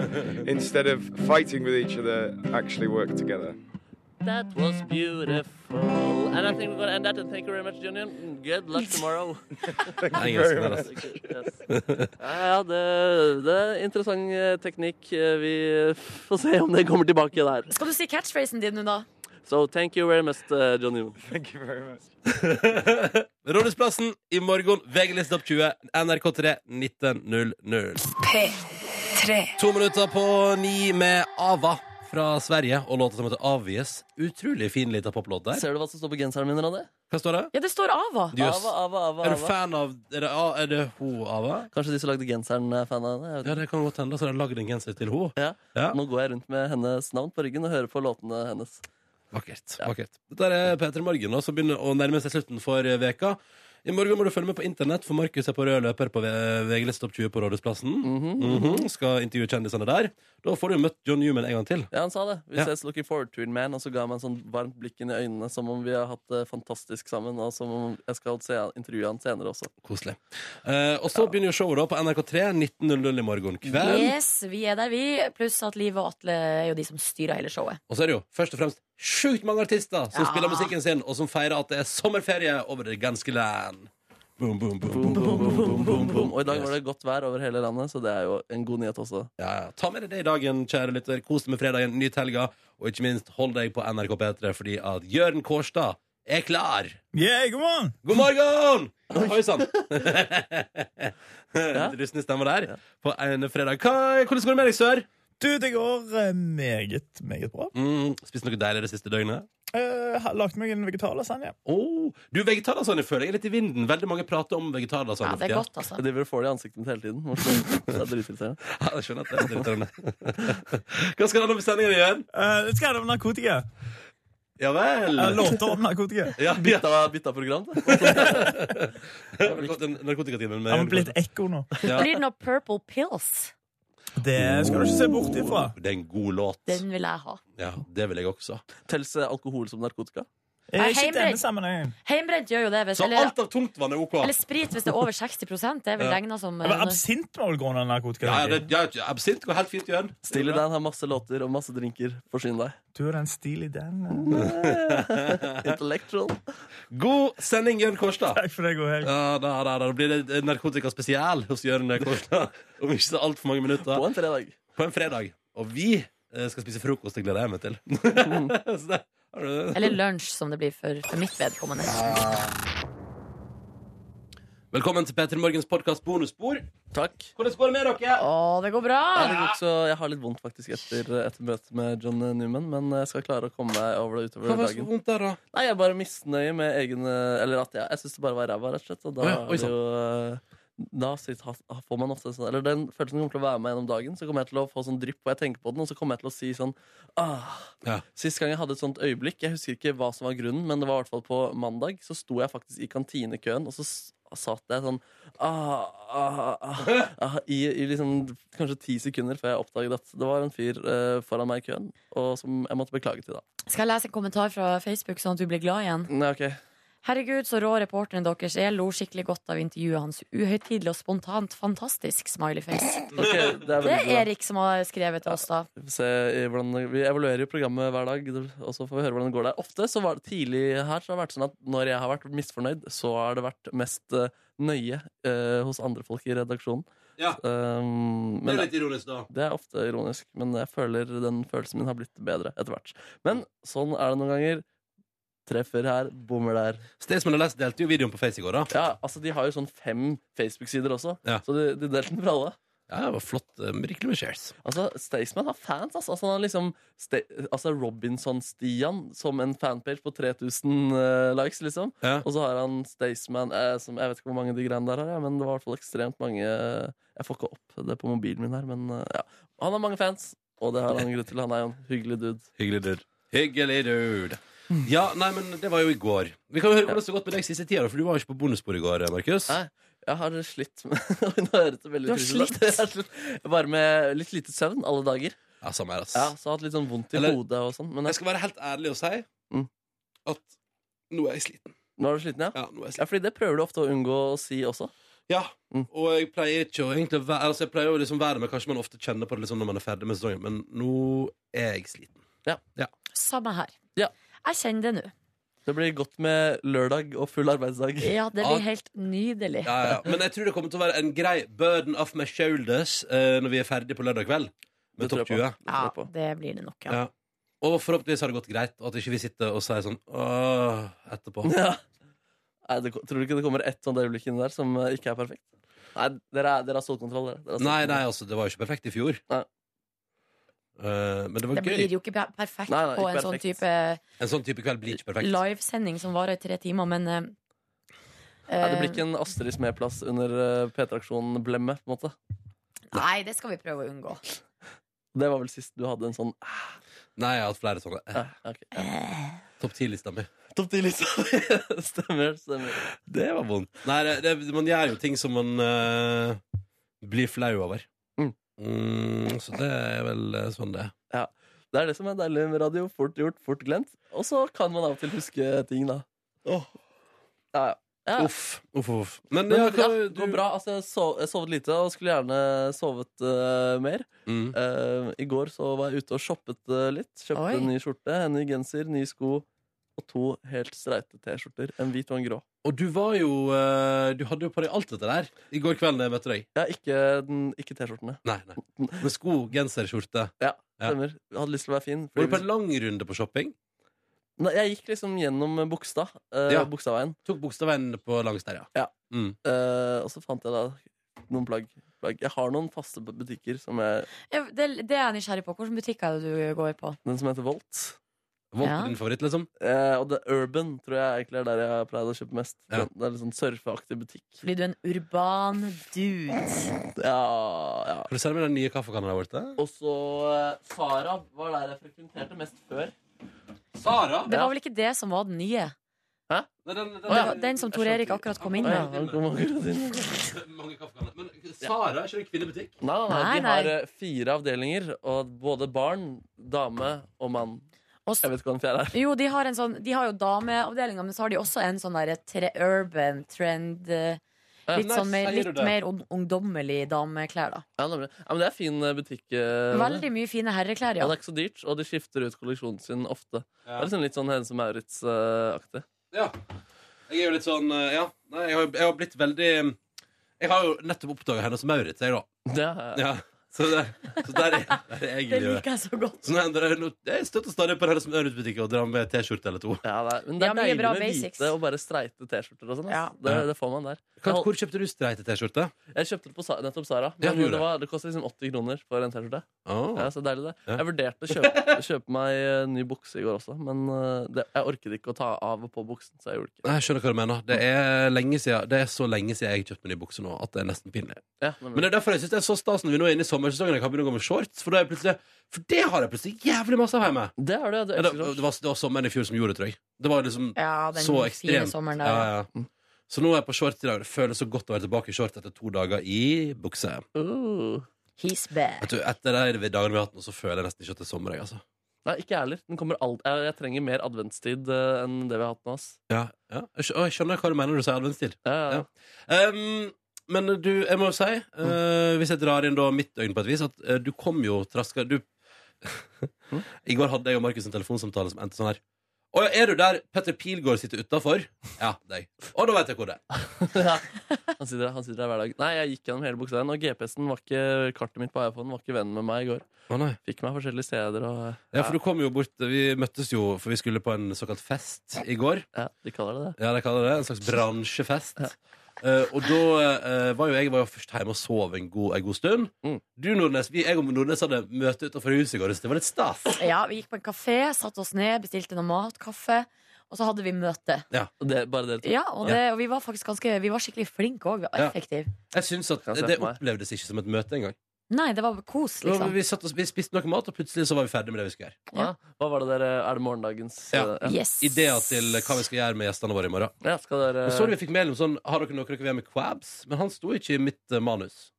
S8: instead of fighting with each other, actually work together.
S5: that was beautiful. And I think we're gonna end that. And thank you very much, Junior. Good luck tomorrow.
S2: Nei, jeg elsker det, altså.
S5: yes. Ja, det, det er interessant eh, teknikk. Eh, Vi får se om det kommer tilbake der.
S3: Skal du si catchphrasen din nå, da?
S5: So thank you very much, eh, John Newman.
S8: Thank you very much.
S2: Rådhusplassen i morgen. VG-liste opp 20. NRK3 1900.
S1: P3
S2: To minutter på ni med Ava fra Sverige og låta som heter Avvies. Utrolig fin lita poplåt der.
S5: Ser du hva som står på genseren min, Randi?
S2: Hva står det?
S3: Ja, det står Ava.
S2: Dios.
S5: Ava, Ava, Ava,
S2: Er du
S5: Ava.
S2: fan av Er det, A- er det ho, Ava?
S5: Kanskje de som lagde genseren, er fan av henne? Jeg vet
S2: Ja, det kan godt hende. Så har de lagd en genser til ho.
S5: ikke.
S2: Ja.
S5: Ja. Nå går jeg rundt med hennes navn på ryggen og hører på låtene hennes.
S2: Vakkert. vakkert. Dette er Peter Morgen, nå, som begynner å nærme seg slutten for eh, veka. I morgen må du følge med på internett, for Markus er på rød løper på V- VG-liste opp 20 på Rådhusplassen. Mhm. Skal intervjue kjendisene der. Da får du jo møtt John Newman en gang til.
S5: Ja, han sa det. Vi
S2: Ja.
S5: ses looking forward to it, man. Og så ga han meg en sånn varmt blikk inn i øynene, som om vi har hatt det fantastisk sammen. Og som om jeg skal se intervjue han senere også.
S2: Koselig. Eh, og så begynner jo showet da på NRK3 19.00 i morgen kveld.
S3: Yes, vi er der, vi. Pluss at Liv og Atle er jo de som styrer hele showet.
S2: Og så er det jo først og fremst sjukt mange artister som
S3: Ja.
S2: spiller musikken sin, og som feirer at det er sommerferie over det ganske land. Boom, boom, boom, boom, boom, boom, boom, boom, boom.
S5: Og i dag var det godt vær over hele landet, så det er jo en god nyhet også.
S2: Ja, ja. Ta med deg det i dagen, kjære lytter. Kos deg med fredagen, nyt helga, og ikke minst hold deg på NRK P3 fordi at Jørn Kårstad er klar.
S9: Yeah, god morgen!
S2: God morgen! Oi sann. Litt Rustne stemmer der på en fredag. Hva, hvordan går det med deg, sør?
S9: Du, det går eh, meget, meget bra.
S2: Mm, spist noe deilig det siste døgnet?
S9: Eh, har lagd meg en vegetarlasagne.
S2: Oh, du, vegetarlasagne føler jeg er litt i vinden. Veldig mange prater om vegetarlasagne.
S3: Ja, det er
S2: for tida.
S3: godt, altså.
S5: Jeg driver og får det i ansiktet mitt hele tiden. Morten. Det er dritirriterende.
S2: Ja, jeg skjønner at det er litt irriterende. Hva skal det handle om sendingen igjen?
S9: Eh, det skal handle om narkotika.
S2: Ja vel.
S9: Eh, låter om narkotika.
S2: Ja, ja.
S5: Bytta, bytta program. da.
S2: Velkommen til Narkotikatimen. med
S9: Jeg har
S2: Ronny
S9: blitt ekko nå.
S2: Ja.
S3: Blir det noe Purple Pills?
S8: Eh,
S9: Det skal du ikke se bort ifra.
S2: Bø. Det er en god låt.
S3: Den vil jeg ha.
S2: Ja, Det vil jeg også.
S5: Tels eh, alkohol som narkotika?
S9: Eh,
S3: Nei,
S9: Ikke i
S3: heimbrent.
S9: denne sammenhengen.
S3: Heimbrent gjør jo det. Hvis,
S2: Så
S3: eller,
S2: alt av tungtvann er OK?
S3: eller sprit hvis det er over 60 Det er vel
S2: Ja.
S3: regna som
S9: Men Absint må vel gå under narkotika?
S2: Ja, ja, det,
S9: tenker jeg.
S2: ja, ja, absint går helt fint, Jørn.
S5: Steely Dan har masse låter og masse drinker. Forsyn deg.
S9: Du er den stilige den.
S5: Intellectual.
S2: God sending, Jørn Kårstad.
S9: Takk for det, god helg.
S2: Ja, da, da, da blir det narkotikaspesial hos Jørn Kårstad om ikke så altfor mange minutter.
S5: På en fredag.
S2: På en fredag. Og vi eh, skal spise frokost. Det gleder jeg meg til. så det, har du det?
S3: Eller lunsj, som det blir for, for mitt vedkommende.
S2: Velkommen til P3 Morgens podkast bonusspor.
S5: Takk.
S2: Hvordan går det med dere?
S3: Å, det går bra!
S5: Ja, det går ikke så, jeg har litt vondt faktisk etter et møte med John Newman, men jeg skal klare å komme meg over det
S2: Hva
S5: utover
S2: var det så
S5: dagen.
S2: vondt der, da?
S5: Nei, jeg er bare misnøye med egen eh, Eller at jeg, jeg syns det bare var ræva, rett og slett. Og da,
S2: Å ja, oi,
S5: er det jo, eh, da sitt- ha- ha- får man ofte sånn Eller den følelsen kommer til å være med gjennom dagen. Så kommer jeg til å få sånn drypp, og jeg tenker på den, og så kommer jeg til å si sånn ah.
S2: Ja.
S5: Sist gang jeg hadde et sånt øyeblikk, jeg husker ikke hva som var grunnen, men det var i hvert fall på mandag, så sto jeg faktisk i kantinekøen, og så s- satt jeg sånn ah, ah, ah, ah, i, i liksom kanskje ti sekunder før jeg oppdaget at det var en fyr eh, foran meg i køen, og som jeg måtte beklage til da.
S3: Skal jeg lese en kommentar fra Facebook, sånn at du blir glad igjen?
S5: Nei, ok.
S3: Herregud, så rå reporteren deres er. Lo skikkelig godt av intervjuet hans. Uhøytidelig og spontant. Fantastisk smileyface.
S5: Ok, det er
S3: Det er
S5: veldig bra.
S3: Erik som har skrevet til oss, da.
S5: Vi får Se, i hvordan, vi evaluerer jo programmet hver dag, og så får vi høre hvordan det går der. Ofte så var det tidlig her så har det vært sånn at når jeg har vært misfornøyd, så har det vært mest eh, nøye eh, hos andre folk i redaksjonen.
S2: Ja.
S5: Um,
S2: Det
S5: men
S2: er
S5: det,
S2: litt ironisk, da.
S5: det er ofte ironisk, men jeg føler den følelsen min har blitt bedre etter hvert. Men sånn er det noen ganger. Treffer her, bommer der.
S2: Staysman og Les delte jo videoen på Face i går, da.
S5: Ja, altså De har jo sånn fem Facebook-sider også,
S2: Ja.
S5: så de, de delte den for alle.
S2: Ja, det var flott. eh, med Rikelig med shares.
S5: Altså, Staysman har fans, altså. altså, han har liksom Sta- altså Robinson-Stian som en fanpage på 3000 eh, likes, liksom.
S2: Ja.
S5: Og så har han Staysman eh, som Jeg vet ikke hvor mange av de greiene der har, ja, men det var i hvert fall ekstremt mange eh, Jeg får ikke opp det på mobilen min her, men eh, ja. Han har mange fans, og det har han grunn til. Han er jo en hyggelig dude.
S2: Hyggelig dude. Hyggelig dude. Ja, nei, men det var jo i går. Vi kan jo høre hvordan det har gått med deg siste tida, da, for du var jo ikke på bonusbordet i går, Markus.
S5: Nei. Jeg har slitt med Nå høres det veldig
S3: Du har
S5: trist ut, da. Jeg har slitt Bare med litt lite søvn alle dager.
S2: Ja, samme her, ass.
S5: Ja, så jeg har hatt litt sånn vondt i
S2: Eller-
S5: hodet og sånn. Men
S2: Jeg
S5: jeg,
S2: skal være helt ærlig og si
S5: Mm.
S2: at nå er jeg sliten.
S5: nå er du sliten, ja?
S2: Ja, nå er jeg
S5: Ja,
S2: sliten.
S5: fordi det prøver du ofte å unngå å si også.
S2: Ja.
S5: Mm.
S2: Og jeg pleier ikke å egentlig være Altså, jeg pleier å liksom være med Kanskje man ofte kjenner på det liksom når man er ferdig med sesongen, men nå er jeg sliten.
S3: Samme her.
S5: Ja.
S3: Jeg kjenner det nå.
S5: Det blir godt med lørdag og full arbeidsdag.
S3: Ja, det
S2: Ja.
S3: blir helt nydelig.
S2: Ja, ja. Men jeg tror det kommer til å være en grei burden off my shoulders eh, når vi er ferdig på lørdag kveld
S5: Det
S2: med
S5: tror
S2: Topp
S5: jeg på.
S2: 20.
S5: Det tror jeg på.
S3: det blir det nok, ja.
S2: Ja. Og forhåpentligvis har det gått greit, og at ikke vi sitter og sier sånn Åh, etterpå.
S5: Ja. Nei, det, tror du ikke det kommer ett sånt øyeblikk inni der som eh, ikke er perfekt? Nei, dere, er, dere har stålkontroll, dere. dere har
S2: Nei, nei,
S5: stålkontroll.
S2: altså, det var jo ikke perfekt i fjor.
S5: Nei.
S2: Eh, men det var
S3: Det
S2: gøy.
S3: blir jo ikke per- perfekt
S5: Nei, nei,
S3: på
S5: ikke
S3: en sånn
S5: perfekt.
S3: type
S2: En sånn type kveld blir ikke perfekt.
S3: livesending som varer i tre timer, men eh,
S5: Nei, det blir ikke en Astrid Smeplass under eh, P3-aksjonen Blemme, på en måte.
S3: eh, Nei, det skal vi prøve å unngå.
S5: Det var vel sist du hadde en sånn
S2: Nei, jeg har hatt flere sånne. Eh,
S5: eh, ok, ja.
S2: Topp 10-lista mi.
S5: Topp 10-lista. stemmer, stemmer.
S2: Det var vondt. Nei, det, det, man gjør jo ting som man eh, blir flau over.
S5: Mm.
S2: Mm, så det er vel eh, sånn det er.
S5: Det er det som er deilig med radio. Fort gjort, fort glemt. Og så kan man av og til huske ting, da. Ja, ja. ja.
S2: Uff, uff, uff. Men,
S5: Men
S2: ja,
S5: ja,
S2: hva,
S5: det
S2: du,
S5: går bra. Altså, jeg sov, jeg sovet lite og skulle gjerne sovet eh, mer.
S2: Mm.
S5: Eh, I går så var jeg ute og shoppet eh, litt. Kjøpte
S3: Oi.
S5: en ny skjorte, en ny genser, nye sko og to helt streite T-skjorter. En hvit og en grå.
S2: Og du var jo eh, Du hadde jo på deg alt dette der i går kveld da jeg møtte deg.
S5: Ja, ikke, den- ikke T-skjortene.
S2: Nei, nei. Med sko, genser, skjorte.
S5: Ja,
S2: Ja.
S5: stemmer. Jeg hadde lyst til å være fin.
S2: Var du
S5: Fordi,
S2: på en lang runde på shopping?
S5: Nei, jeg gikk liksom gjennom eh, Bogstad. eh,
S2: Ja.
S5: Bogstadveien.
S2: Tok bokstaven på langs der, ja.
S5: Ja.
S2: Mm.
S5: Eh, og så fant jeg da noen plagg. Jeg har noen faste b- butikker som jeg
S3: Ja, Det, det er jeg nysgjerrig på. Hvilken butikk er det du går på?
S5: Den som heter Volt.
S2: Volt
S3: Ja.
S2: er din favoritt, liksom?
S5: Eh, og The Urban tror jeg egentlig er der jeg har pleid å kjøpe mest.
S2: Ja.
S5: Det er litt sånn surfeaktig butikk.
S3: Fordi du er en urban dude.
S5: Ja, ja.
S2: Kan du sende meg den nye kaffekanna der borte?
S5: Og så eh, Sara var der jeg frekventerte mest før.
S2: Sara?
S3: Det
S5: Ja.
S3: var vel ikke det som var den nye?
S2: Nei, den, den,
S5: Å, ja.
S3: Den som Tor Erik akkurat kom inn
S5: Å, ja,
S3: med.
S5: han kom akkurat inn.
S2: Mange kaffekanner. Men eh, Sara, er ikke det kvinnebutikk?
S5: Nei, nei, nei,
S3: Nei,
S5: de
S3: nei.
S5: har eh, fire avdelinger, og både barn, dame og mann.
S3: Og s-
S5: Jeg vet ikke hva den fjerde er.
S3: Jo, de har, en sånn, de har jo dameavdelinga, men så har de også en sånn derre tre urban trend eh,
S5: Ja,
S3: Litt,
S2: nice,
S3: sånn mer,
S2: sier du
S3: litt
S2: det.
S3: mer ung- ungdommelig dameklær, da.
S5: Ja, nemlig. ja, men det er fin eh, butikk. eh, Ronny.
S3: Veldig mye fine herreklær,
S5: Og
S3: ja.
S5: det er ikke så dyrt, og de skifter ut kolleksjonen sin ofte. Det
S2: Ja.
S5: er liksom litt sånn Hennes og eh, Maurits-aktig.
S2: Ja. Jeg er jo litt sånn eh, Ja. Nei, jeg, har, jeg har blitt veldig mm, Jeg har jo nettopp oppdaga henne som Maurits, jeg, da.
S5: Det er-
S2: Ja. Så, det, så der er, der er jeg
S3: Det
S2: livet.
S3: liker jeg så godt.
S2: Så nå- det er noe- jeg støtter stadig på Hennes Maurits-butikk og drar med T-skjorte eller to.
S5: Ja, det er, men det er
S3: Ja, mye
S5: deilig
S3: bra
S5: med
S3: basics.
S5: hvite og bare streite T-skjorter og sånn. ass.
S3: Ja.
S5: Det, det får man der. Jeg,
S2: Hvor
S5: hold,
S2: kjøpte du streite T-skjorte?
S5: jeg kjøpte det på Sa- nettopp Sara.
S2: Ja,
S5: Men
S2: du gjorde
S5: det, var, det koster liksom 80 kroner for en T-skjorte.
S2: Oh.
S5: Ja, så deilig det.
S2: Ja.
S5: Jeg vurderte å kjøpe, kjøpe meg eh, ny bukse i går også, men eh, det, jeg orket ikke å ta av og på buksen, så jeg gjorde det ikke.
S2: Nei, Jeg skjønner hva du mener. Det er, lenge siden, det er så lenge siden jeg kjøpte meg ny bukse nå at det er nesten pinlig.
S3: Mm.
S5: Ja,
S2: Men det er derfor jeg synes det er så stas når vi nå er inne i sommersesongen jeg kan begynne å gå med shorts. For, da er jeg plutselig- for det har jeg plutselig jævlig masse av hjemme.
S5: Det har du, ja. Du
S2: Ja, Det,
S5: elsker
S2: det,
S5: shorts.
S2: var, det var sommeren i fjor som gjorde det, tror jeg. Det var liksom
S3: Ja, den
S2: så
S3: fine
S2: ekstremt.
S3: sommeren der.
S2: ja,
S3: ja. Mm.
S2: ja, ja. Så nå er jeg på shorts i dag. Det føles så godt å være tilbake i shorts etter to dager i bukse.
S5: Uh.
S3: He's bad.
S2: Vet du, etter de dagene vi har hatt nå, så føler jeg nesten ikke at det er sommer. Jeg, altså.
S5: Nei, ikke jeg heller. Den kommer ald- jeg, jeg trenger mer adventstid eh, enn det vi har hatt nå. Ass.
S2: ja, ja. Jeg skj- å, jeg skjønner hva du mener når du sier adventstid.
S5: Ja, ja.
S2: Ja. Um, men du, jeg må jo si, eh, hvis jeg drar inn da mitt øyne på et vis, at eh, du kom jo traska du... I går hadde jeg og Markus en telefonsamtale som endte sånn her. Å ja, er du der Petter Pilgaard sitter utafor? Ja, deg. Å, da veit jeg hvor det er.
S5: Ja. Han sitter der han sitter der hver dag. Nei, jeg gikk gjennom hele buksa igjen, og GPS-en var ikke kartet mitt på iPhone var ikke venn med meg i går.
S2: Å nei.
S5: Fikk meg forskjellige steder og
S2: Ja, for du kom jo bort Vi møttes jo, for vi skulle på en såkalt fest i går.
S5: ja, de kaller det det.
S2: Ja, de kaller det En slags bransjefest. Eh, og da eh, var jo jeg var jo først hjemme og sov en god, en god stund.
S5: Mm.
S2: Du, Nordnes, vi, jeg og Nordnes hadde møte utenfor huset i går, så det var litt stas.
S3: Ja, vi gikk på en kafé, satte oss ned, bestilte noe mat, kaffe, og så hadde vi møte.
S5: Og det bare dere to.
S3: Ja, og, det, og vi var faktisk ganske Vi var skikkelig flinke òg. Vi var
S2: Ja.
S3: effektive.
S2: Jeg synes at
S5: Kan jeg se
S2: Det
S5: for meg?
S2: opplevdes ikke som et møte engang.
S3: Nei, det var kos,
S2: Det var-
S3: liksom.
S2: Vi, satt og- vi spiste noe mat, og plutselig så var vi ferdig med det vi skulle gjøre.
S5: Ja. Hva var det dere Er det morgendagens
S2: Ja.
S5: eh, ja.
S3: Yes.
S2: Ideer til hva vi skal gjøre med gjestene våre i morgen.
S5: ja, skal dere
S2: Og så vi fikk mail om sånn Har dere noe dere vil gjøre med Quabs? Men han sto ikke i mitt eh, manus.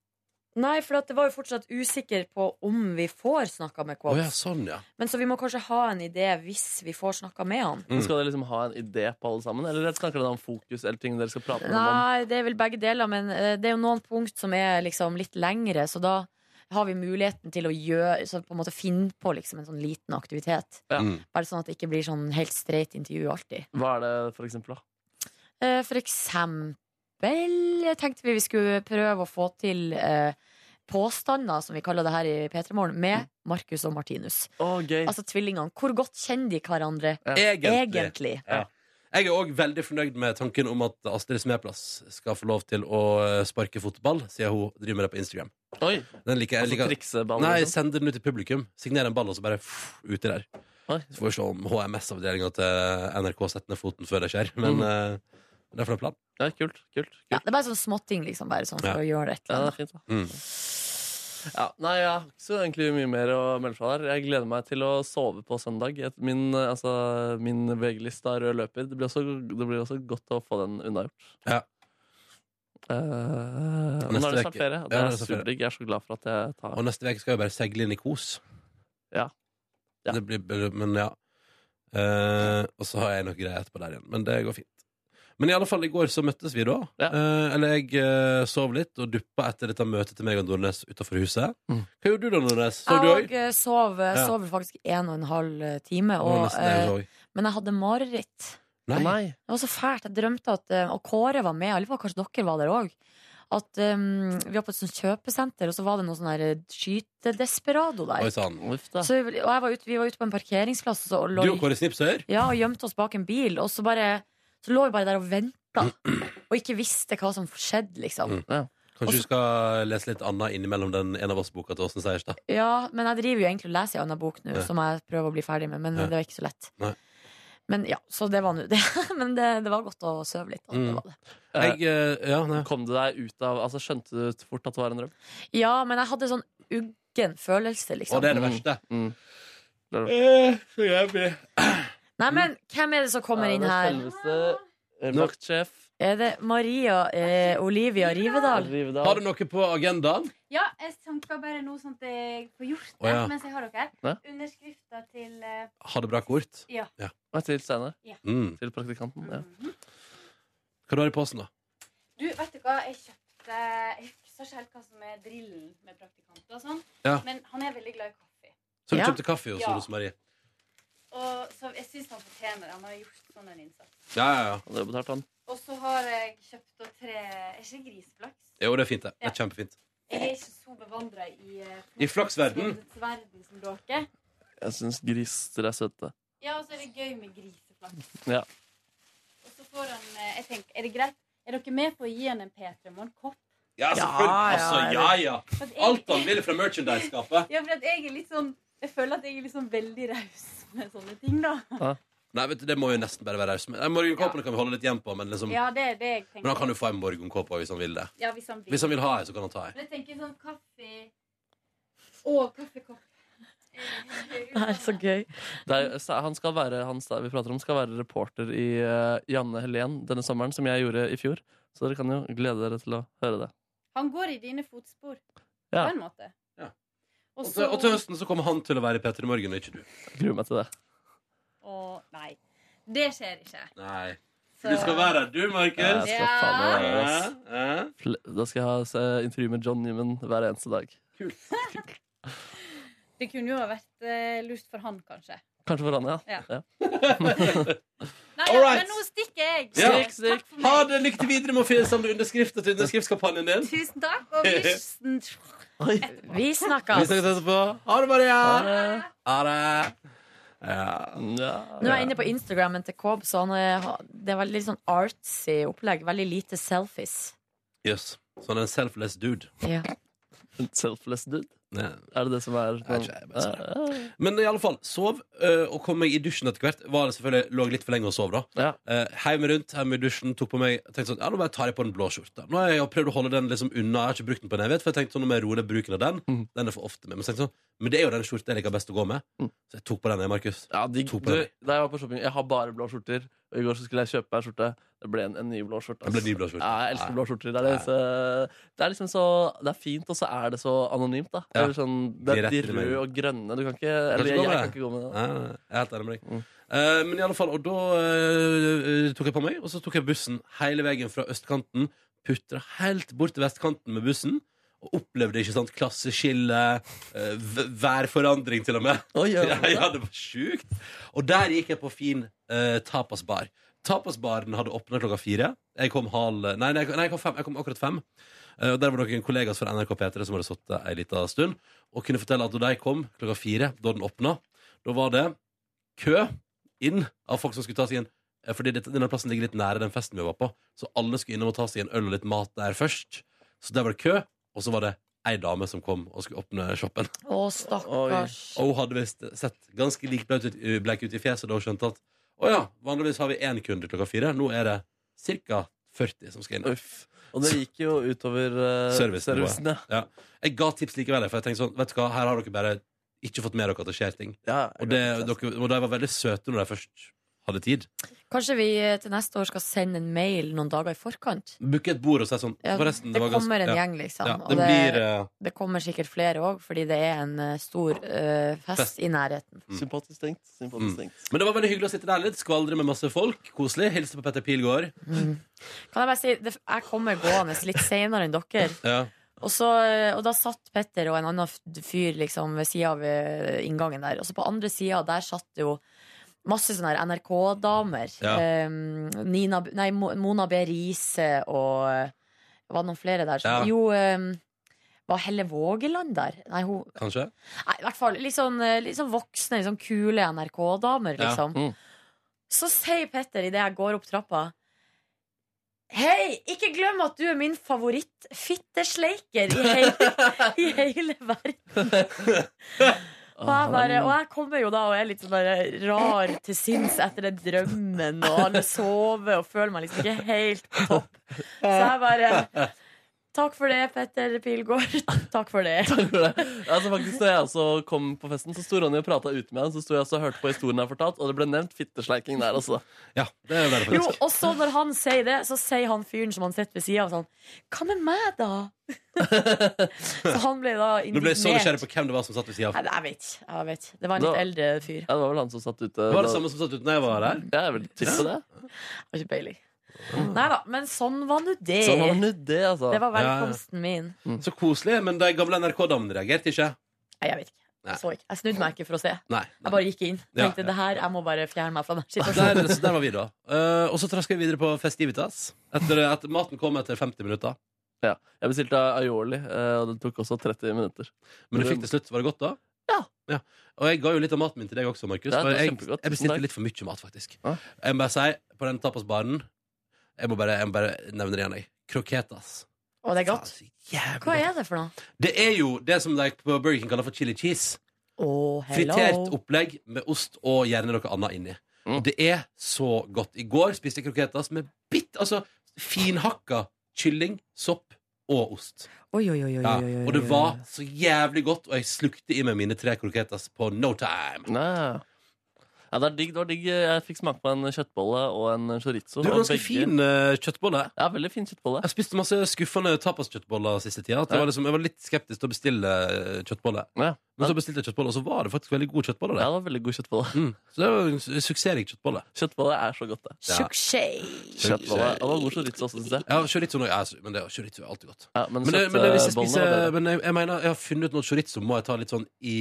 S3: Nei, for at det var jo fortsatt usikker på om vi får snakka med
S2: Å
S3: Kvabs.
S2: ja, sånn, ja.
S3: Men så vi må kanskje ha en idé hvis vi får snakka med han.
S2: Mm.
S5: Skal dere liksom ha en idé på alle sammen, eller snakker dere om fokus eller ting dere skal prate med dem om?
S3: Nei, det er vel begge deler, men eh, det er jo noen punkt som er liksom litt lengre, så da har vi muligheten til å gjøre, så på en måte finne på liksom en sånn liten aktivitet.
S5: Ja.
S2: Mm.
S3: Bare sånn at det ikke blir sånn helt streit intervju alltid.
S5: Hva er det, for eksempel? da?
S3: Eh, For eksempel tenkte vi vi skulle prøve å få til eh, påstander, som vi kaller det her i P3 Morgen, med
S2: Mm.
S3: Markus og Martinus.
S5: Å, gøy.
S3: Altså tvillingene. Hvor godt kjenner de hverandre
S2: Egentlig.
S3: egentlig?
S2: eh, Jeg er òg veldig fornøyd med tanken om at Astrid Smeplass skal få lov til å eh, sparke fotball, siden hun driver med det på Instagram.
S5: Oi!
S2: Den liker jeg.
S5: Altså
S2: liker-
S5: trikseball?
S2: Nei,
S5: liksom.
S2: send den ut til publikum. Signer en ball, og så bare pff, uti der.
S5: sånn. Oi.
S2: Så får vi se om HMS-avdelinga til NRK setter ned foten før det skjer.
S5: Mm.
S2: Men eh, det er for en plan.
S5: Ja, kult. kult, kult.
S3: Ja, det er bare sånn småting, liksom. Bare sånn for
S2: Ja.
S3: å gjøre et
S5: Ja,
S3: eller
S5: det
S3: annet.
S5: er fint, da.
S2: Mm.
S5: Ja, nei, jeg har ikke så egentlig mye mer å melde fra der. Jeg gleder meg til å sove på søndag. Et- Min, eh, altså, min VG-liste av rød løper. Det blir, også, det blir også godt å få den unnagjort.
S2: Ja.
S5: Eh, men nå er det
S2: Neste
S5: snart
S2: uke.
S5: ferie. og Det
S2: Ja, det er
S5: er
S2: snart ferie.
S5: superdigg. Jeg er så glad for at jeg tar
S2: Og neste uke skal jeg bare seile inn i kos.
S5: Ja. Ja.
S2: Det blir, men ja. Eh, og så har jeg noe greier etterpå der igjen. Men det går fint. Men i alle fall, i går så møttes vi da.
S5: Ja.
S2: Eh, eller jeg eh, sov litt og duppa etter dette møtet til meg og Nordnes utafor huset.
S5: Mm.
S2: Hva gjorde du da, Nordnes? Sov du
S3: Jeg
S2: òg?
S3: og, eh, sov, eh,
S2: Ja.
S3: sov vel faktisk en og en halv eh, time, og, eh, men jeg hadde mareritt.
S5: Å,
S2: Nei.
S5: nei.
S3: Det var så fælt. Jeg drømte at eh, Og Kåre var med, jeg lurer på om kanskje dere var der òg. At eh, vi var på et sånt kjøpesenter, og så var det noe sånn her eh, skytedesperado
S2: Oi
S3: der.
S2: sann.
S5: Uff, da.
S3: Så, vi- og jeg var ute, vi var ute på en parkeringsplass og, så, og,
S2: Du
S3: lå,
S2: og Kåre Snipsøyer?
S3: ja, og gjemte oss bak en bil, og så bare Så lå vi bare der og venta, og ikke visste hva som skjedde,
S2: Mm.
S3: liksom.
S5: Ja.
S2: Kanskje du skal lese litt annet innimellom den en av oss-boka til Åsen Seierstad?
S3: Ja, men jeg driver jo egentlig og leser en annen bok nå,
S2: Ja.
S3: som jeg prøver å bli ferdig med, men
S2: Ja.
S3: det var ikke så lett.
S2: Nei.
S3: Men ja, så det var nå det. Men det, det var godt å sove litt. da.
S2: Mm.
S3: Det var det.
S2: Jeg, eh, ja, nei.
S5: Kom du deg ut av Altså Skjønte du fort at det var en drøm?
S3: Ja, men jeg hadde sånn uggen følelse,
S2: Og
S3: liksom.
S2: det er det verste. Eh,
S5: Mm.
S3: Nei, men hvem er det som kommer inn her?
S5: Selveste eh, vaktsjef
S3: Er det Maria eh, Olivia Rivedal?
S5: Rivedal.
S2: Har du noe på agendaen?
S10: Ja, jeg tenker bare noe sånt jeg får gjort
S2: Å, ja.
S10: mens jeg har dere.
S5: Ja.
S10: Underskrifter til eh,
S2: Ha det bra-kort?
S5: Nei, Til Steinar.
S2: Mm.
S5: Til praktikanten. Ja.
S2: Hva du har du i posen, da?
S10: Du, vet du hva? Jeg kjøpte Jeg husker ikke helt hva som er drillen med praktikanter og sånn,
S2: Ja.
S10: men han er veldig glad i kaffe.
S2: Så du
S3: Ja.
S2: kjøpte kaffe hos
S10: Ja.
S2: hos Marie?
S10: Og så jeg syns han fortjener det. Han har gjort sånn en innsats.
S2: Ja, ja, ja.
S5: Og det betalte han.
S10: Og så har jeg kjøpt da tre Er ikke det grisflaks?
S2: Jo, det er fint, det. det
S10: Ja.
S2: er kjempefint.
S10: Jeg er ikke så bevandra i eh,
S2: I flaksverden.
S10: flaks- verden som dere.
S5: Jeg syns griser er søte.
S10: Ja, og så er det gøy med griseflaks.
S5: Ja.
S10: Og så får han eh, Jeg tenker, er det greit? Er dere med på å gi han en P3-morgen-kopp?
S2: Ja, selvfølgelig! Altså, ja, ja.
S10: For at jeg-
S2: Alt han vil fra merchandise-skapet.
S10: Ja, for at jeg er litt sånn Jeg føler at jeg er litt sånn veldig raus med sånne ting, da.
S2: Nei, vet du, det må jo nesten bare være raus med. Nei, Morgenkåpene kan vi holde litt igjen på, men liksom
S10: Ja, det er det jeg tenker.
S2: Men han kan jo få en morgenkåpe også, hvis han vil det.
S10: Ja, hvis han vil.
S2: Hvis han vil ha ei, så kan han ta ei.
S10: Men jeg tenker sånn kaffe Og kaffekopp.
S3: Det er
S10: eh,
S3: så gøy.
S5: Det er, Ste- han skal være, han Ste- vi prater om, skal være reporter i eh, Janne Helen denne sommeren, som jeg gjorde i fjor. Så dere kan jo glede dere til å høre det.
S10: Han går i dine fotspor
S5: Ja.
S10: på en måte.
S2: Ja.
S10: Og
S2: Og
S10: så
S2: til, og til høsten så kommer han til å være i P3 Morgen, og ikke du.
S5: Jeg gruer meg til det.
S10: Å, Nei. Det skjer ikke.
S2: Nei.
S10: Så-
S2: Du skal være der, du,
S5: Jeg
S2: Markus.
S5: skal
S10: Ja.
S5: faen meg være der, ass.
S2: Ja, ja.
S5: Fl- Da skal jeg ha eh, intervju med John Newman hver eneste dag.
S10: Det kunne jo ha vært eh, lurt for han, kanskje.
S5: Kanskje for han, ja.
S10: Ja.
S5: ja.
S10: Nei,
S2: All right.
S10: men nå stikker jeg.
S2: Ja.
S5: Stikk, stikk.
S10: Takk for
S2: Ha
S10: meg.
S2: det! Lykke til videre med å finne- samle underskrifter til underskriftskampanjen din.
S10: Tusen takk, og vi sn-
S3: Vi
S2: Vi snakkes
S3: snakkes.
S2: etterpå. Ha det, Maria!
S5: Ha det.
S2: Ha det! Ja.
S5: Ja.
S3: Nå er jeg inne på Instagrammen til Kåb, så han er, det er veldig sånn artsy opplegg. Veldig lite selfies.
S2: Jøss. Yes. Sånn en selfless dude.
S3: Ja.
S5: En Selfless dude.
S2: Nei.
S5: Er det det som er sånn-
S2: Nei, ikke, jeg bare sa
S5: Ja, ja, ja.
S2: Men i alle fall, sov eh, og kom meg i dusjen etter hvert. Var det selvfølgelig Lå litt for lenge og sov, da.
S5: Ja.
S2: Uh, Heim rundt, hjemme i dusjen, tok på meg Tenkte sånn, ja, nå bare tar jeg på den blå skjorta. Nå har jeg prøvd å holde den liksom unna, jeg har ikke brukt den på en evighet, for jeg tenkte sånn, nå må jeg roe ned bruken av den.
S5: Mhm.
S2: Den er for ofte med. Men, så tenkte jeg sånn, men det er jo den skjorta jeg liker best å gå med.
S5: Mhm.
S2: Så jeg tok på den, jeg, Markus.
S5: Ja, de,
S2: To
S5: du,
S2: på
S5: da
S2: den.
S5: jeg var på shopping, jeg har bare blå skjorter. Og i går så skulle jeg kjøpe meg skjorte. Det ble en, en ny blå skjorte.
S2: Det ble
S5: ass.
S2: ny blå skjorte.
S5: Ja, jeg elsker
S2: Ja.
S5: blå skjorter. Det er, liksom, det er liksom så Det er fint, og så er det så anonymt. da
S2: Ja.
S5: Eller sånn, Det
S2: De
S5: er
S2: rette
S5: de
S2: med.
S5: røde og grønne. Du kan ikke
S2: Kanskje gå
S5: Eller jeg,
S2: med
S5: jeg
S2: det.
S5: kan ikke gå med det.
S2: Ja, jeg er helt enig med deg.
S5: Mm.
S2: Eh, men i alle fall, og da eh, eh, tok jeg på meg, og så tok jeg bussen hele veien fra østkanten, putra helt bort til vestkanten med bussen, og opplevde ikke sant, klasseskille, eh, v- værforandring til og med.
S5: Oi, ja,
S2: ja, ja, det var sjukt. Og der gikk jeg på fin eh, tapasbar. Tapasbaren hadde åpna klokka fire. Jeg kom halv Nei, nei, nei jeg, kom fem. jeg kom akkurat fem. Eh, og Der var noen kollegaer fra NRK P3 som hadde sittet ei lita stund, og kunne fortelle at da de kom klokka fire, da den åpna, da var det kø inn av folk som skulle ta seg en eh, fordi dette- denne plassen ligger litt nære den festen vi var på, så alle skulle innom og ta seg en øl og litt mat der først. Så der var det kø, og så var det ei dame som kom og skulle åpne shoppen.
S3: Å, stakkars.
S2: Og hun hadde visst sett ganske lik blaut ut, blek ut i fjeset da hun skjønte at å ja, vanligvis har vi én kunde klokka fire. Nå er det ca. 40 som skal inn.
S5: Uff. Og det gikk jo utover eh,
S2: Servicen,
S5: servicen. Ja.
S2: Jeg ga tips likevel, for jeg tenkte sånn, vet du hva, her har dere bare ikke fått med dere at det skjer ting.
S5: Ja,
S2: Og, det, dere, og de var veldig søte når de først hadde tid.
S3: Kanskje vi eh, til neste år skal sende en mail noen dager i forkant?
S2: Booke et bord og si sånn
S3: Ja,
S2: Forresten,
S3: det
S2: var ganske
S3: kommer en
S2: ja,
S3: gjeng, liksom.
S2: ja,
S3: og
S2: det
S3: det,
S2: blir eh,
S3: det kommer sikkert flere òg, fordi det er en eh, stor eh, fest,
S2: Fest.
S3: i nærheten.
S2: Mm.
S5: Sympatisk tenkt. Sympatisk tenkt.
S2: Men det var veldig hyggelig å sitte der litt, skvaldre med masse folk. Koselig. Hilse på Petter Pilgaard.
S3: Kan jeg bare si, det, jeg kommer gående litt seinere enn dere.
S2: Ja.
S3: Og, så, eh, og da satt Petter og en annen f- fyr liksom ved sida av eh, inngangen der. Og så på andre sida, der satt det jo masse sånne her NRK-damer.
S2: Ja.
S3: Eh, Nina, B- nei, Mo- Mona B. Riise og eh, Var det noen flere der? Som,
S2: Ja.
S3: Jo, eh, var Helle Vågeland der? Nei, hun
S2: Kanskje?
S3: Nei, i hvert fall litt sånn, eh, litt sånn voksne, litt sånn kule NRK-damer,
S2: Ja,
S3: liksom.
S5: mm.
S3: Så sier Petter idet jeg går opp trappa Hei, ikke glem at du er min favoritt-fittesleiker i hele, i hele verden. Og
S5: Ah,
S3: jeg, bare, og jeg kommer jo da og er litt sånn der rar til sinns etter den drømmen og alle sover og føler meg liksom ikke helt på topp. Så jeg bare Takk for det, Petter Pilgaard. Takk for det.
S5: Takk for det. Altså, faktisk, da jeg også kom på festen, så sto Ronny og prata ute med han. Så sto jeg også og hørte på historien han fortalt, og det ble nevnt fittesleiking der også.
S2: Ja, det er
S3: Jo, og så når han sier det, så sier han fyren som han sitter ved sida av, sånn Hva med meg, da? så han ble da
S2: Nå ble jeg så nysgjerrig
S3: indignert.
S2: på hvem det var som satt ved siden av.
S3: Nei, jeg vet ikke. Jeg vet. ikke. Det var en litt eldre fyr.
S5: Ja, det var vel han som satt ute.
S2: Det var det samme som satt uten da jeg var her?
S5: Ja, jeg vil tippe det.
S3: Jeg Har ikke peiling.
S2: Mm.
S3: Nei da, men sånn var nå det.
S5: Sånn var nå det, altså.
S3: Det var
S2: Ja, ja.
S3: velkomsten min.
S2: Så koselig, men de gamle NRK-damene reagerte ikke.
S3: Nei, jeg vet ikke.
S2: Nei.
S3: Jeg så ikke. Jeg snudde meg ikke for å se.
S2: Nei.
S3: Jeg bare gikk inn.
S2: Ja,
S3: Tenkte
S2: ja.
S3: det her, jeg må bare fjerne meg fra den
S2: Der,
S3: situasjonen.
S2: så der var vi, da. Eh, og så traska vi videre på Festivitas. Etter at maten kom etter 50 minutter.
S5: Ja. Jeg bestilte aioli, eh, og det tok også 30 minutter.
S2: Men du fikk til slutt. Var det godt, da?
S5: Ja.
S2: Og jeg ga jo litt av maten min til deg også, Markus.
S5: Ja, det
S2: for
S5: var
S2: jeg,
S5: kjempegodt.
S2: jeg
S5: Takk.
S2: bestilte litt for mye mat, faktisk.
S5: Ja.
S2: Jeg må bare si, på den tapasbaren Jeg må bare, jeg må bare nevne det igjen, jeg. Kroketas.
S3: Og det er godt.
S2: Faen, så jævlig
S3: Hva
S2: godt.
S3: er det for noe?
S2: Det er jo det som de på Burger King kaller for chili cheese.
S3: Å,
S2: Fritert
S3: hello.
S2: opplegg med ost og gjerne noe annet inni.
S5: Mm.
S2: Og det er så godt. I går spiste jeg kroketas med bitt, altså finhakka kylling, sopp og ost.
S3: Oi, oi, oi, oi,
S2: Ja.
S3: oi, oi,
S2: Og det
S3: oi, oi.
S2: var så jævlig godt, og jeg slukte i meg mine tre kroketas på no time.
S5: Nei. Ja, det, er digg, det var digg. Jeg fikk smake på en kjøttbolle og en chorizo.
S2: Du er
S5: og
S2: ganske
S5: begge-
S2: fin eh, kjøttbolle.
S5: Ja, veldig fin kjøttbolle.
S2: Jeg spiste masse skuffende tapaskjøttboller siste tida. At det
S5: Ja.
S2: var liksom, jeg var litt skeptisk til å bestille eh, kjøttbolle.
S5: Ja.
S2: Men så bestilte jeg kjøttbolle, og så var det faktisk veldig god kjøttbolle.
S5: Ja,
S2: der.
S5: det var veldig god kjøttbolle.
S2: Mm. Så det var en su- suksessrik kjøttbolle.
S5: Kjøttbolle er så godt, det.
S3: Suksess.
S5: Kjøttbolle. Og det var god chorizo også, synes jeg.
S2: Ja, chorizo nå, ja, altså, men det, chorizo er alltid godt.
S5: Ja, men
S2: Men, det, men det, hvis jeg
S5: kjøttbollene var
S2: spiser
S5: bedre.
S2: Men jeg, jeg mener, jeg har funnet noe chorizo, må jeg ta litt sånn i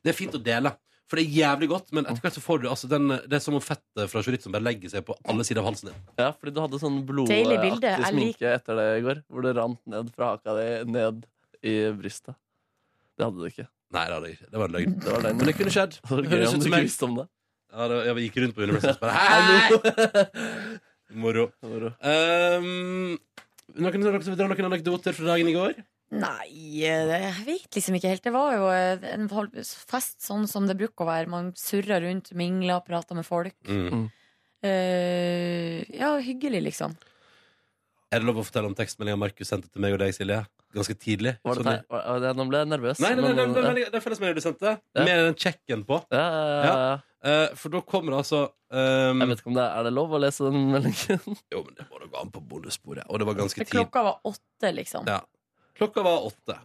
S2: Det er fint å dele. For det er jævlig godt, men etter hvert så får du altså, den, det er som om fettet fra chorizoen bare legger seg på alle sider av halsen din.
S5: Ja, fordi du hadde sånn
S3: Deilig bilde.
S5: blodaktig
S3: Jeg lik-
S5: sminke etter det i går, hvor det rant ned fra haka di, ned i brystet. Det hadde du ikke.
S2: Nei, det, hadde jeg ikke. det var en løgn.
S5: Det var den.
S2: Men det kunne skjedd.
S5: Det var gøy
S2: Høres
S5: om
S2: ut
S5: du
S2: som
S5: ikke
S2: jeg
S5: visste om det.
S2: ja, det, Jeg gikk rundt på Universal og bare Hei! Moro.
S5: Moro.
S2: Um, noen, noen som vil dra noen anekdoter fra dagen i går?
S3: Nei, det, jeg vet liksom ikke helt. Det var jo eh, en hol- fest sånn som det bruker å være. Man surrer rundt, mingler, prater med folk.
S5: Mm.
S3: Eh, ja, hyggelig, liksom.
S2: Er det lov å fortelle om tekstmeldinga Markus sendte til meg og deg, Silje? Ganske tidlig.
S5: Var det
S2: Sånn-
S5: der? Var, var det, nå ble jeg nervøs.
S2: Nei, nei, nei,
S5: men-
S2: nei, nei,
S5: ja.
S2: nei, det er fellesmeldinga du sendte,
S5: Ja.
S2: med den checken på.
S5: Ja, ja, ja, ja.
S2: Eh, for da kommer det altså ehm,
S5: Jeg vet ikke om det er, er det lov å lese den meldingen.
S2: Jo, men det må da gå an på bondesporet. Og det var ganske tid.
S3: Klokka var åtte, liksom.
S2: Ja. Klokka var åtte.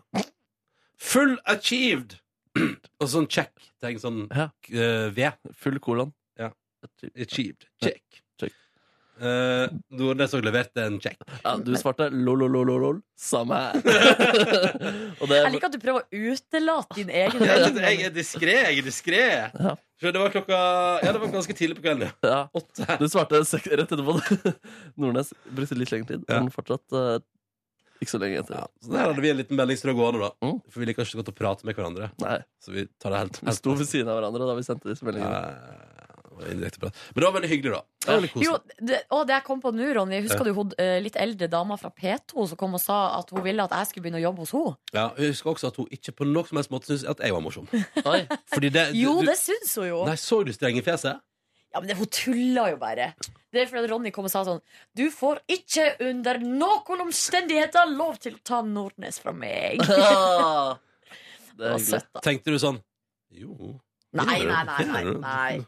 S2: Full achieved! og sånn check. Tenk sånn
S5: Ja.
S2: eh, V.
S5: Full kolon.
S2: Ja.
S5: Ja,
S2: Achieved. Check.
S5: Check.
S2: Eh, Nordnes òg leverte en check.
S5: du svarte lol-lol-lol-lol. Samme her. Og det
S3: Jeg liker at du prøver å utelate din egen
S2: Jeg,
S3: melding.
S2: jeg er diskré, jeg er diskré.
S5: Ja.
S2: Så Det var klokka Ja, det var ganske tidlig på kvelden. ja.
S5: ja.
S2: Åtte.
S5: Du svarte sek rett etterpå. Nordnes brukte litt lengre tid,
S2: Ja.
S5: men fortsatt eh, ikke så lenge etter.
S2: Ja, så der hadde vi en liten meldingsstrøm gående, da.
S5: Mm.
S2: For vi liker ikke så godt å prate med hverandre.
S5: Nei,
S2: Så vi tar det helt,
S5: Vi
S2: helt
S5: sto ved siden av hverandre da vi sendte disse
S2: Ja,
S5: meldingene.
S2: det var indirekte prat. Men det var veldig hyggelig, da. Det var veldig koselig.
S3: Jo, det, og det jeg kom på nå, Ronny Husker du hun eh, litt eldre dama fra P2 som kom og sa at hun ville at jeg skulle begynne å jobbe hos henne?
S2: Ja, jeg husker også at hun ikke på noen som helst måte syntes at jeg var morsom.
S5: Oi,
S2: Fordi det, Eh, du-
S3: Jo,
S2: du-
S3: det syns hun jo!
S2: Nei, Så du streng i fjeset?
S3: Ja, men det, Hun tulla jo bare. Det er fordi Ronny kom og sa sånn Du får ikke under noen omstendigheter lov til å ta Nordnes fra meg.
S5: Ah, det
S3: Det var
S5: er hyggelig.
S3: søtt, da.
S2: Tenkte du sånn Jo.
S3: Nei, nei, nei. nei, nei.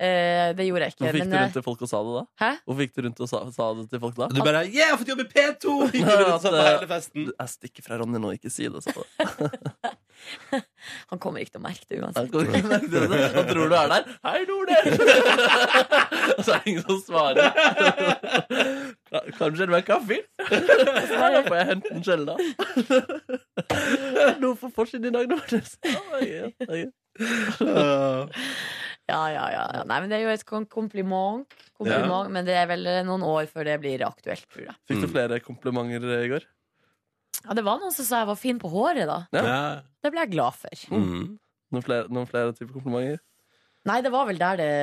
S3: Eh, det gjorde jeg ikke.
S5: Hvorfor gikk
S3: Men
S5: du
S3: eh,
S5: rundt til folk og sa det da?
S3: hæ?
S5: Hvorfor gikk du rundt og sa, sa det til folk da?
S2: Du bare Ja, jeg har fått jobb i P2! Gikk du rundt og sa på hele
S3: eh,
S2: festen.
S5: Jeg stikker fra Ronny nå, ikke si det. sa du.
S3: han kommer ikke til å merke det
S5: Han
S3: uansett.
S5: går ikke merke det. Han tror du er der. 'Hei, Nordnes!' Og så er det ingen som svarer. Ka- Kanskje det var kaffe? Ja, da får jeg hente den selv, da. Noe for forsiden i dag, Nordnes. Oi, ja, oi.
S3: Ja, ja, ja. ja. Nei, men Det er jo et kon- kompliment, kompliment men det er vel eh, noen år før det blir aktuelt, tror jeg.
S5: Fikk du flere komplimenter i går?
S3: Ja, Det var noen som sa jeg var fin på håret, da.
S5: Ja.
S2: Ja.
S3: Det ble jeg glad for.
S2: Mm.
S5: Noen flere, noen flere typer komplimenter?
S3: Nei, det var vel der det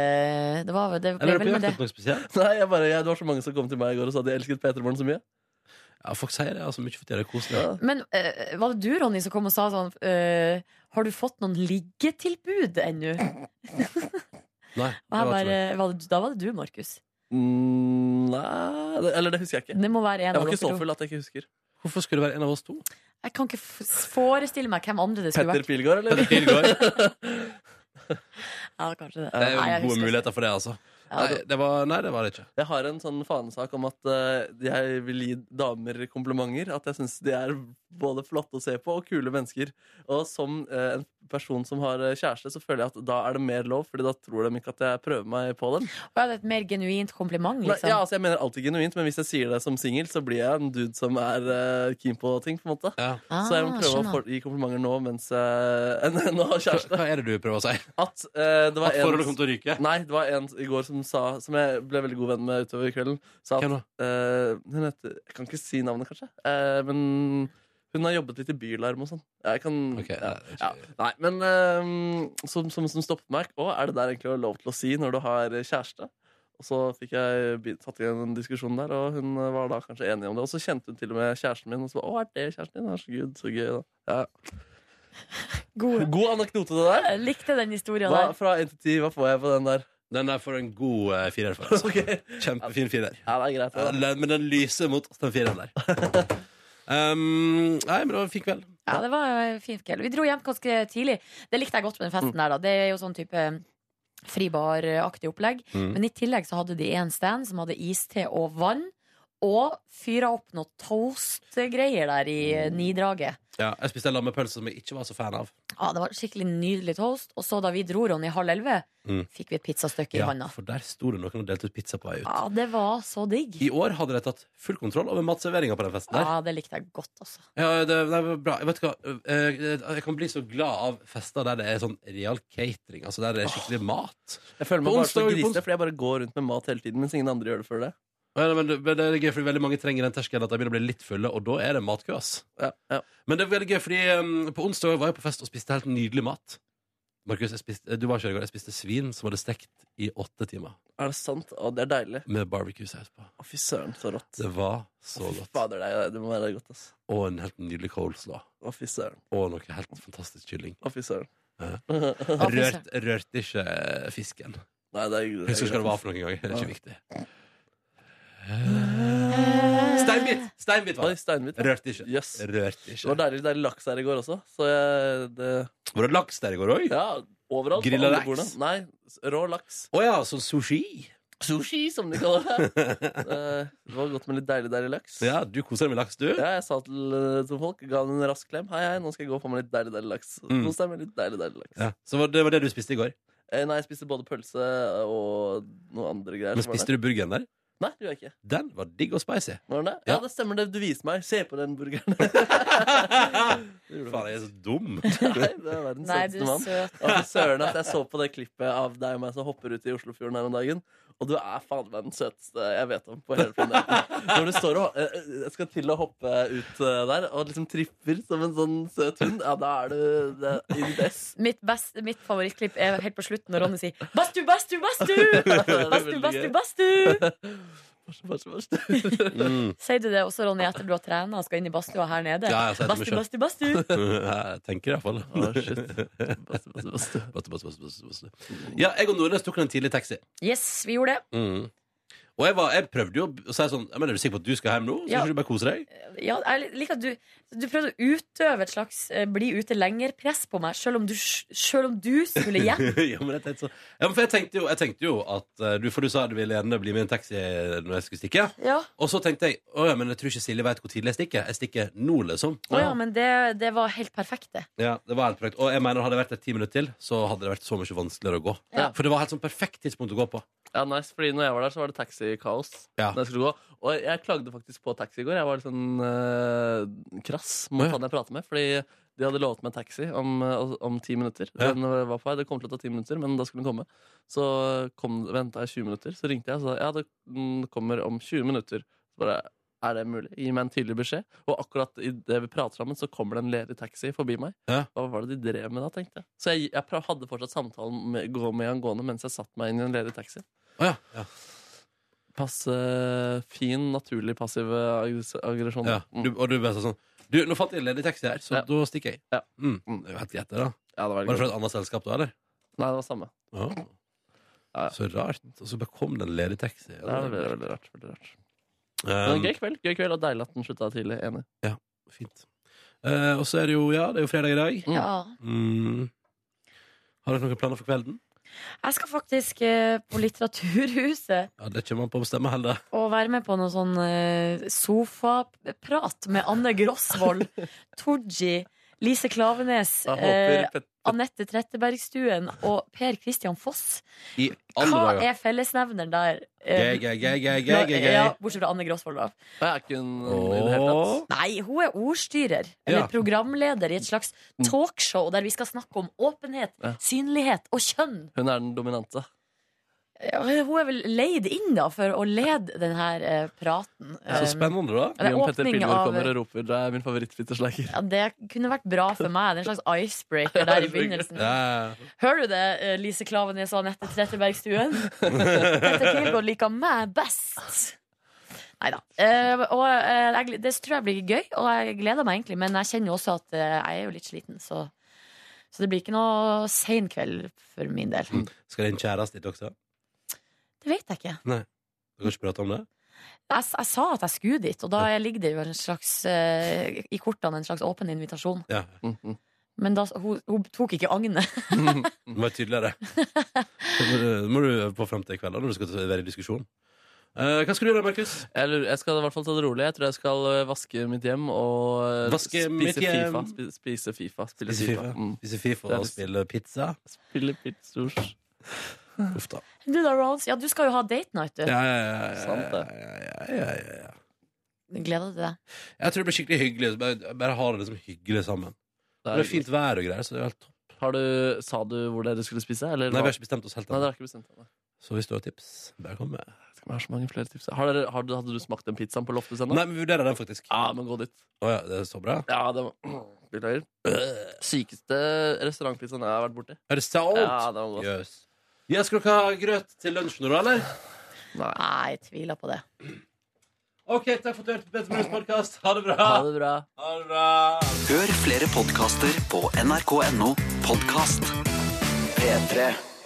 S3: Det, var, vel- det ble
S2: Eller er du
S3: vel
S2: på
S3: med
S2: jakt
S3: det.
S2: etter noe spesielt?
S5: Nei, jeg bare, jeg, det var så mange som kom til meg i går og sa at de elsket Peter Morgen så mye.
S2: Ja, folk sier det. altså Mye fortjener kos. det.
S3: Men eh, var det du, Ronny, som kom og sa sånn eh, Har du fått noen liggetilbud ennå?
S2: Nei, det
S3: Og jeg
S2: var ikke
S3: bare,
S2: meg.
S3: var det, da var det du, Markus.
S5: Mm, nei det- Eller det husker jeg ikke.
S3: Det må være en
S5: Jeg
S3: av
S5: var
S3: dere
S5: ikke så
S3: to.
S5: full at jeg ikke husker.
S2: Hvorfor skulle det være en av oss to?
S3: Jeg kan ikke f- forestille meg hvem andre det skulle
S5: Petter
S3: vært.
S5: Pilgaard, eller?
S2: Petter Pilgaard.
S3: Ja, kanskje det.
S2: Det er jo
S3: Nei, jeg
S2: gode
S3: husker ikke.
S2: muligheter for det, altså.
S3: Ja.
S2: Nei, det var, nei, det var det ikke.
S5: Jeg har en sånn fanesak om at eh, jeg vil gi damer komplimenter. At jeg syns de er både flotte å se på og kule mennesker. Og som eh, en person som har eh, kjæreste, så føler jeg at da er det mer lov, Fordi da tror de ikke at jeg prøver meg på dem.
S3: Var det et mer genuint kompliment,
S5: Nei,
S3: liksom?
S5: ja, altså, jeg mener alltid genuint, men hvis jeg sier det som singel, så blir jeg en dude som er eh, keen på ting, på en måte.
S2: Ja.
S3: Ah,
S5: Så jeg må prøve å
S3: skjønner.
S5: for- gi komplimenter nå mens jeg enn å ha
S2: Hva,
S5: kjæreste.
S2: hva er det du prøver å si?
S5: At eh, det var
S2: At forholdet
S5: en
S2: kommer til å ryke?
S5: Nei, det var en i går som sa Som jeg ble veldig god venn med utover kvelden. Sa at
S2: Hvem da?
S5: eh, Hun heter Jeg kan ikke si navnet, kanskje. Eh, men hun har jobbet litt i Bylarm og sånn. Jeg kan
S2: Ok, nei,
S5: ja,
S2: det er
S5: ja.
S2: ikke-
S5: Nei, men eh, som, som, som stoppet meg. Å, er det der egentlig lov til å si når du har kjæreste? Og så fikk jeg be- tatt igjen en diskusjon der, og hun var da kanskje enig om det. Og så kjente hun til og med kjæresten min, og så ba, å, er det kjæresten din? Ja, så gud, så gøy, da. Ja.
S3: God.
S5: God anekdote, det der.
S3: Jeg likte den historien
S5: Hva,
S3: der.
S5: fra 1 til 10, hva får jeg på den der?
S2: Den der får en god eh, firer for. Altså.
S5: Ok.
S2: Kjempefin firer.
S5: Ja, det er greit.
S2: Ja,
S5: Det.
S2: den- Men den lyser mot den fireren der. Um, nei, men det var en fin kveld.
S3: Ja, det var en fin kveld. Vi dro hjem ganske tidlig. Det likte jeg godt med den
S2: Mm.
S3: festen der, da. Det er jo sånn type fribaraktig opplegg.
S2: Mm.
S3: Men i tillegg så hadde de en stand som hadde iste og vann. Og fyra opp noe toastgreier der i eh,
S2: Mm.
S3: nidraget.
S2: Ja, jeg spiste en lammepølse som jeg ikke var så fan av.
S3: Ja, det var skikkelig nydelig toast. Og så da vi dro Ronny halv elleve,
S2: Mm.
S3: fikk vi et pizzastykke i
S2: Ja,
S3: handa.
S2: for der sto det noen og delte ut pizza på vei ut.
S3: Ja, det var så digg.
S2: I år hadde de tatt full kontroll over matserveringa på den festen der.
S3: Ja, det likte jeg godt, altså.
S2: Ja, det, det var bra. Jeg vet ikke hva, eh, jeg kan bli så glad av fester der det er sånn real catering. Altså der det er skikkelig mat.
S5: Jeg føler
S2: På
S5: meg bare
S2: onsdag- på
S5: så
S2: ons-
S5: grisete, fordi jeg bare går rundt med mat hele tiden, mens ingen andre gjør det før det.
S2: Men, men, det- men det er gøy, fordi veldig mange trenger den terskelen at de begynner å bli litt fulle, og da er det matkø, ass.
S5: Ja, ja.
S2: Men det er veldig gøy, fordi um, på onsdag var jeg på fest og spiste helt nydelig mat. Markus, jeg spiste, du var ikke her i går. Jeg spiste svin som hadde stekt i åtte timer
S5: Er det sant? Å, det er deilig.
S2: med barbecue-saus på.
S5: Å, fy søren, så rått.
S2: Det var så
S5: Å, fy
S2: godt.
S5: Fader, det, er- det må være godt, ass.
S2: Og en helt nydelig coleslaw.
S5: Å, fy søren.
S2: Og noe helt fantastisk kylling.
S5: Å, fy søren.
S3: fy søren.
S2: Rørt, rørte ikke eh, fisken.
S5: Nei, det er, det er
S2: Jeg husker ikke hva det var
S5: greit.
S2: for noen gang. Det er ikke viktig. Steinbit! Steinbit
S5: Oi,
S2: var det.
S5: steinbit. ja.
S2: Rørte ikke.
S5: Yes.
S2: Rørte
S5: Det var
S2: ikke.
S5: deilig, deilig laks her i går også, så jeg det,
S2: Var det laks der i går òg? Å ja.
S5: Ja, overalt. på
S2: Grilla
S5: alle
S2: laks?
S5: bordene. Nei, s- rå laks.
S2: sånn sushi.
S5: Sushi, som de kaller det. Eh, Det var godt med litt deilig, deilig laks.
S2: Ja, du koser deg med laks, du.
S5: Ja, jeg sa til, eh, til folk, ga dem en rask klem. Hei, hei, nå skal jeg gå og få meg litt deilig, deilig laks.
S2: Mm.
S5: Kos deg med litt deilig, deilig laks.
S2: Ja. Så var det var det du spiste i går.
S5: Eh, nei, jeg spiste både pølse og noe andre greier.
S2: Men spiste du burgeren der?
S5: Nei, det gjorde jeg ikke.
S2: Den var digg og spicy.
S5: Var den det?
S2: Ja.
S5: Ja. det stemmer det. Du viste meg. Se på den burgeren. Det gjorde du
S2: Faen, jeg er så dum.
S5: faktisk. Nei, det er verdens
S3: Nei, du
S5: søteste mann.
S3: søt.
S5: Å, fy søren at jeg så på det klippet av deg og meg som hopper ut i Oslofjorden her om dagen. Og du er faen meg den søteste jeg vet om på hele planeten. Når du står og eh, eh, skal til å hoppe ut eh, der og liksom tripper som en sånn søt hund, ja, da er du det, i ditt ess.
S3: Mitt, best, mitt favorittklipp er helt på slutten når Ronny sier 'Bastu, bastu, bastu!' Bastu, bastu, bastu!
S2: Mm.
S3: Sier du det også, Ronny, etter du har trena og skal inn i badstua her nede?
S2: Ja, jeg sier det til meg
S3: bastu, bastu, bastu!
S2: Jeg tenker det iallfall.
S5: Å,
S3: Ah,
S5: shit. Bastu, bastu, bastu.
S2: Ja, jeg og Nordnes tok en tidlig taxi.
S3: Yes, vi gjorde det.
S2: Mm. Og jeg, var, jeg prøvde jo å si sånn «Ja, men Er du sikker på at du skal hjem nå? Skal
S3: Ja.
S2: ikke du bare kose deg?
S3: Ja, jeg liker at du, du prøvde å utøve et slags eh, bli ute lenger-press på meg, selv om, du, selv om du skulle hjem.
S2: ja, men jeg tenkte så. Ja, men for jeg tenkte jo, jeg tenkte jo at eh, du, For du sa du ville gjerne bli med i en taxi eh, når jeg skulle stikke.
S3: Ja,
S2: Og så tenkte jeg å ja, men jeg tror ikke Silje vet hvor tidlig jeg stikker. Jeg stikker nå, liksom.
S3: Å ja men det, det var helt perfekt, det.
S2: Ja, det var helt perfekt. Og jeg mener, hadde jeg vært der ti minutter til, så hadde det vært så mye vanskeligere å gå.
S5: Ja.
S2: For det var helt sånn perfekt tidspunkt å gå på.
S5: Ja, nice, fordi når jeg var der, så var det taxikaos.
S2: Ja.
S5: Når jeg skulle gå. Og jeg klagde faktisk på taxi i går. Jeg var litt sånn eh, krass mot
S2: Åja.
S5: han jeg pratet med. Fordi de hadde lovet meg taxi om, eh, om ti minutter.
S2: Ja.
S5: Den var på vei. Det kom til å ta ti minutter, men da skulle den komme. Så kom, venta jeg 20 minutter, så ringte jeg og sa ja, det mm, kommer om 20 minutter. Så bare Er det mulig? Gi meg en tydelig beskjed. Og akkurat idet vi prater sammen, så kommer det en ledig taxi forbi meg.
S2: Ja.
S5: Hva var det de drev med da, tenkte jeg. Så jeg, jeg pra- hadde fortsatt samtalen med, gå med han gående mens jeg satt meg inn i en ledig taxi.
S2: Å ja, ja.
S5: Passe fin, naturlig passiv aggress- aggresjon.
S2: Ja, du,
S5: Mm.
S2: og du bare sa sånn Du, nå fant jeg en ledig taxi her, så da stikker jeg.
S5: Ja.
S2: Mm. Mm, det er jo helt greit, det, da.
S5: Ja, det var,
S2: Var det fra
S5: det
S2: et annet selskap da, eller?
S5: Nei, det var samme.
S2: Ja.
S5: Ja, ja.
S2: Så rart. Og så bare kom det en ledig taxi.
S5: Det var veldig, veldig rart. Veldig rart. Men
S2: Um,
S5: gøy kveld, gøy kveld, og deilig at den slutta tidlig. Enig.
S2: Fint. Eh, og så er det jo Ja, det er jo fredag i dag.
S3: Ja.
S2: Mm. Har dere noen planer for kvelden?
S3: Jeg skal faktisk eh, på Litteraturhuset
S2: Ja, Det kommer an på å bestemme heller.
S3: og være med på noe sånn eh, sofaprat med Anne Grosvold, Tooji, Lise Klavenes,
S5: Jeg
S3: eh,
S5: håper Pet-
S3: Anette Trettebergstuen og Per Christian Foss.
S2: I alle
S3: Hva
S2: dager.
S3: er fellesnevneren der? Eh,
S2: Gøy, gøy, gøy, gøy, gøy,
S3: la-
S2: gøy, gøy.
S3: Ja, bortsett fra Anne Grosvold, da.
S5: Jeg er ikke en i det hele
S2: Åh.
S5: tatt.
S3: Nei, hun er ordstyrer. Eller
S2: Ja. Mm.
S3: programleder i et slags talkshow der vi skal snakke om åpenhet,
S5: Ja.
S3: synlighet og kjønn.
S5: Hun er den dominante.
S3: Ja, Hun er vel leid inn da for å lede denne eh, praten.
S2: Så
S3: Um,
S2: spennende, da.
S3: det er
S5: Jon Petter
S3: åpning
S5: Pilgaard
S3: av-
S5: kommer og roper Det er min favorittfitteslager.
S3: Eh, ja, det kunne vært bra for meg. Det er en slags icebreaker der i begynnelsen.
S2: Ja.
S3: Hører du det, eh, Lise Klavenes og Anette Trettebergstuen? Petter Pilgaard liker meg best. Nei da. og eh, jeg, gl- det tror jeg blir gøy, og jeg gleder meg egentlig. Men jeg kjenner jo også at eh, jeg er jo litt sliten, så, så det blir ikke noe sen kveld for min del.
S2: Skal din kjæreste dit også?
S3: Det vet jeg ikke.
S2: Dere kan ikke prate om det?
S3: Jeg, s- jeg sa at jeg skulle dit, og da ligger det jo en slags, eh, i kortene en slags åpen invitasjon.
S2: Ja.
S5: Mhm.
S3: Men da, hun, hun tok ikke Agne.
S2: Det må være tydeligere. Det må du- må du øve på frem til i kveld da, når du skal være i diskusjon. Eh, hva skal du gjøre, Markus?
S5: Jeg, lurer, jeg skal i hvert fall ta det rolig. Jeg tror jeg skal øh, vaske mitt hjem og øh,
S2: Vaske
S5: spise,
S2: mitt hjem.
S5: FIFA, spise, spise Fifa. Spille
S2: Spise
S5: Fifa.
S2: FIFA.
S5: Mm.
S2: Spise Fifa og spille pizza?
S5: Spille pizzos.
S2: Uff da.
S3: Du da, Rolls? Ja, du skal jo ha date night, du.
S2: Ja, ja, ja, ja,
S5: Sant det.
S2: ja, ja, ja, ja.
S3: Gleder du deg?
S2: Jeg tror det blir skikkelig hyggelig. så Bare, bare ha det liksom hyggelig sammen.
S5: Det
S2: Det
S5: er
S2: er fint vær og greier. Så det er helt topp.
S5: Har du, sa du hvor dere skulle spise? Eller
S2: Nei, vi
S5: hva?
S2: har ikke bestemt oss helt
S5: Nei, dere
S2: ennå.
S5: har ikke bestemt det.
S2: Så hvis du har tips, bare kom med.
S5: Jeg har så mange flere tips. Har dere, har, du- hadde du smakt den pizzaen på Loftus ennå?
S2: Nei, men vi vurderer den faktisk. Å
S5: Ja, men gå dit.
S2: ja, det er så bra.
S5: Ja, det var Beklager. Sykeste restaurantpizzaen jeg har vært borti.
S2: Er det sant?
S5: Ja, det var godt.
S2: Jøss. Ja, skal dere ha grøt til lunsj nå, da, eller?
S5: Nei.
S3: Nei, jeg tviler på det.
S2: OK, takk for at du hørte på Petter Morgens podkast. Ha det bra.
S5: Ha det bra.
S2: Ha det bra.
S11: Hør flere podkaster på nrk.no podkast P3.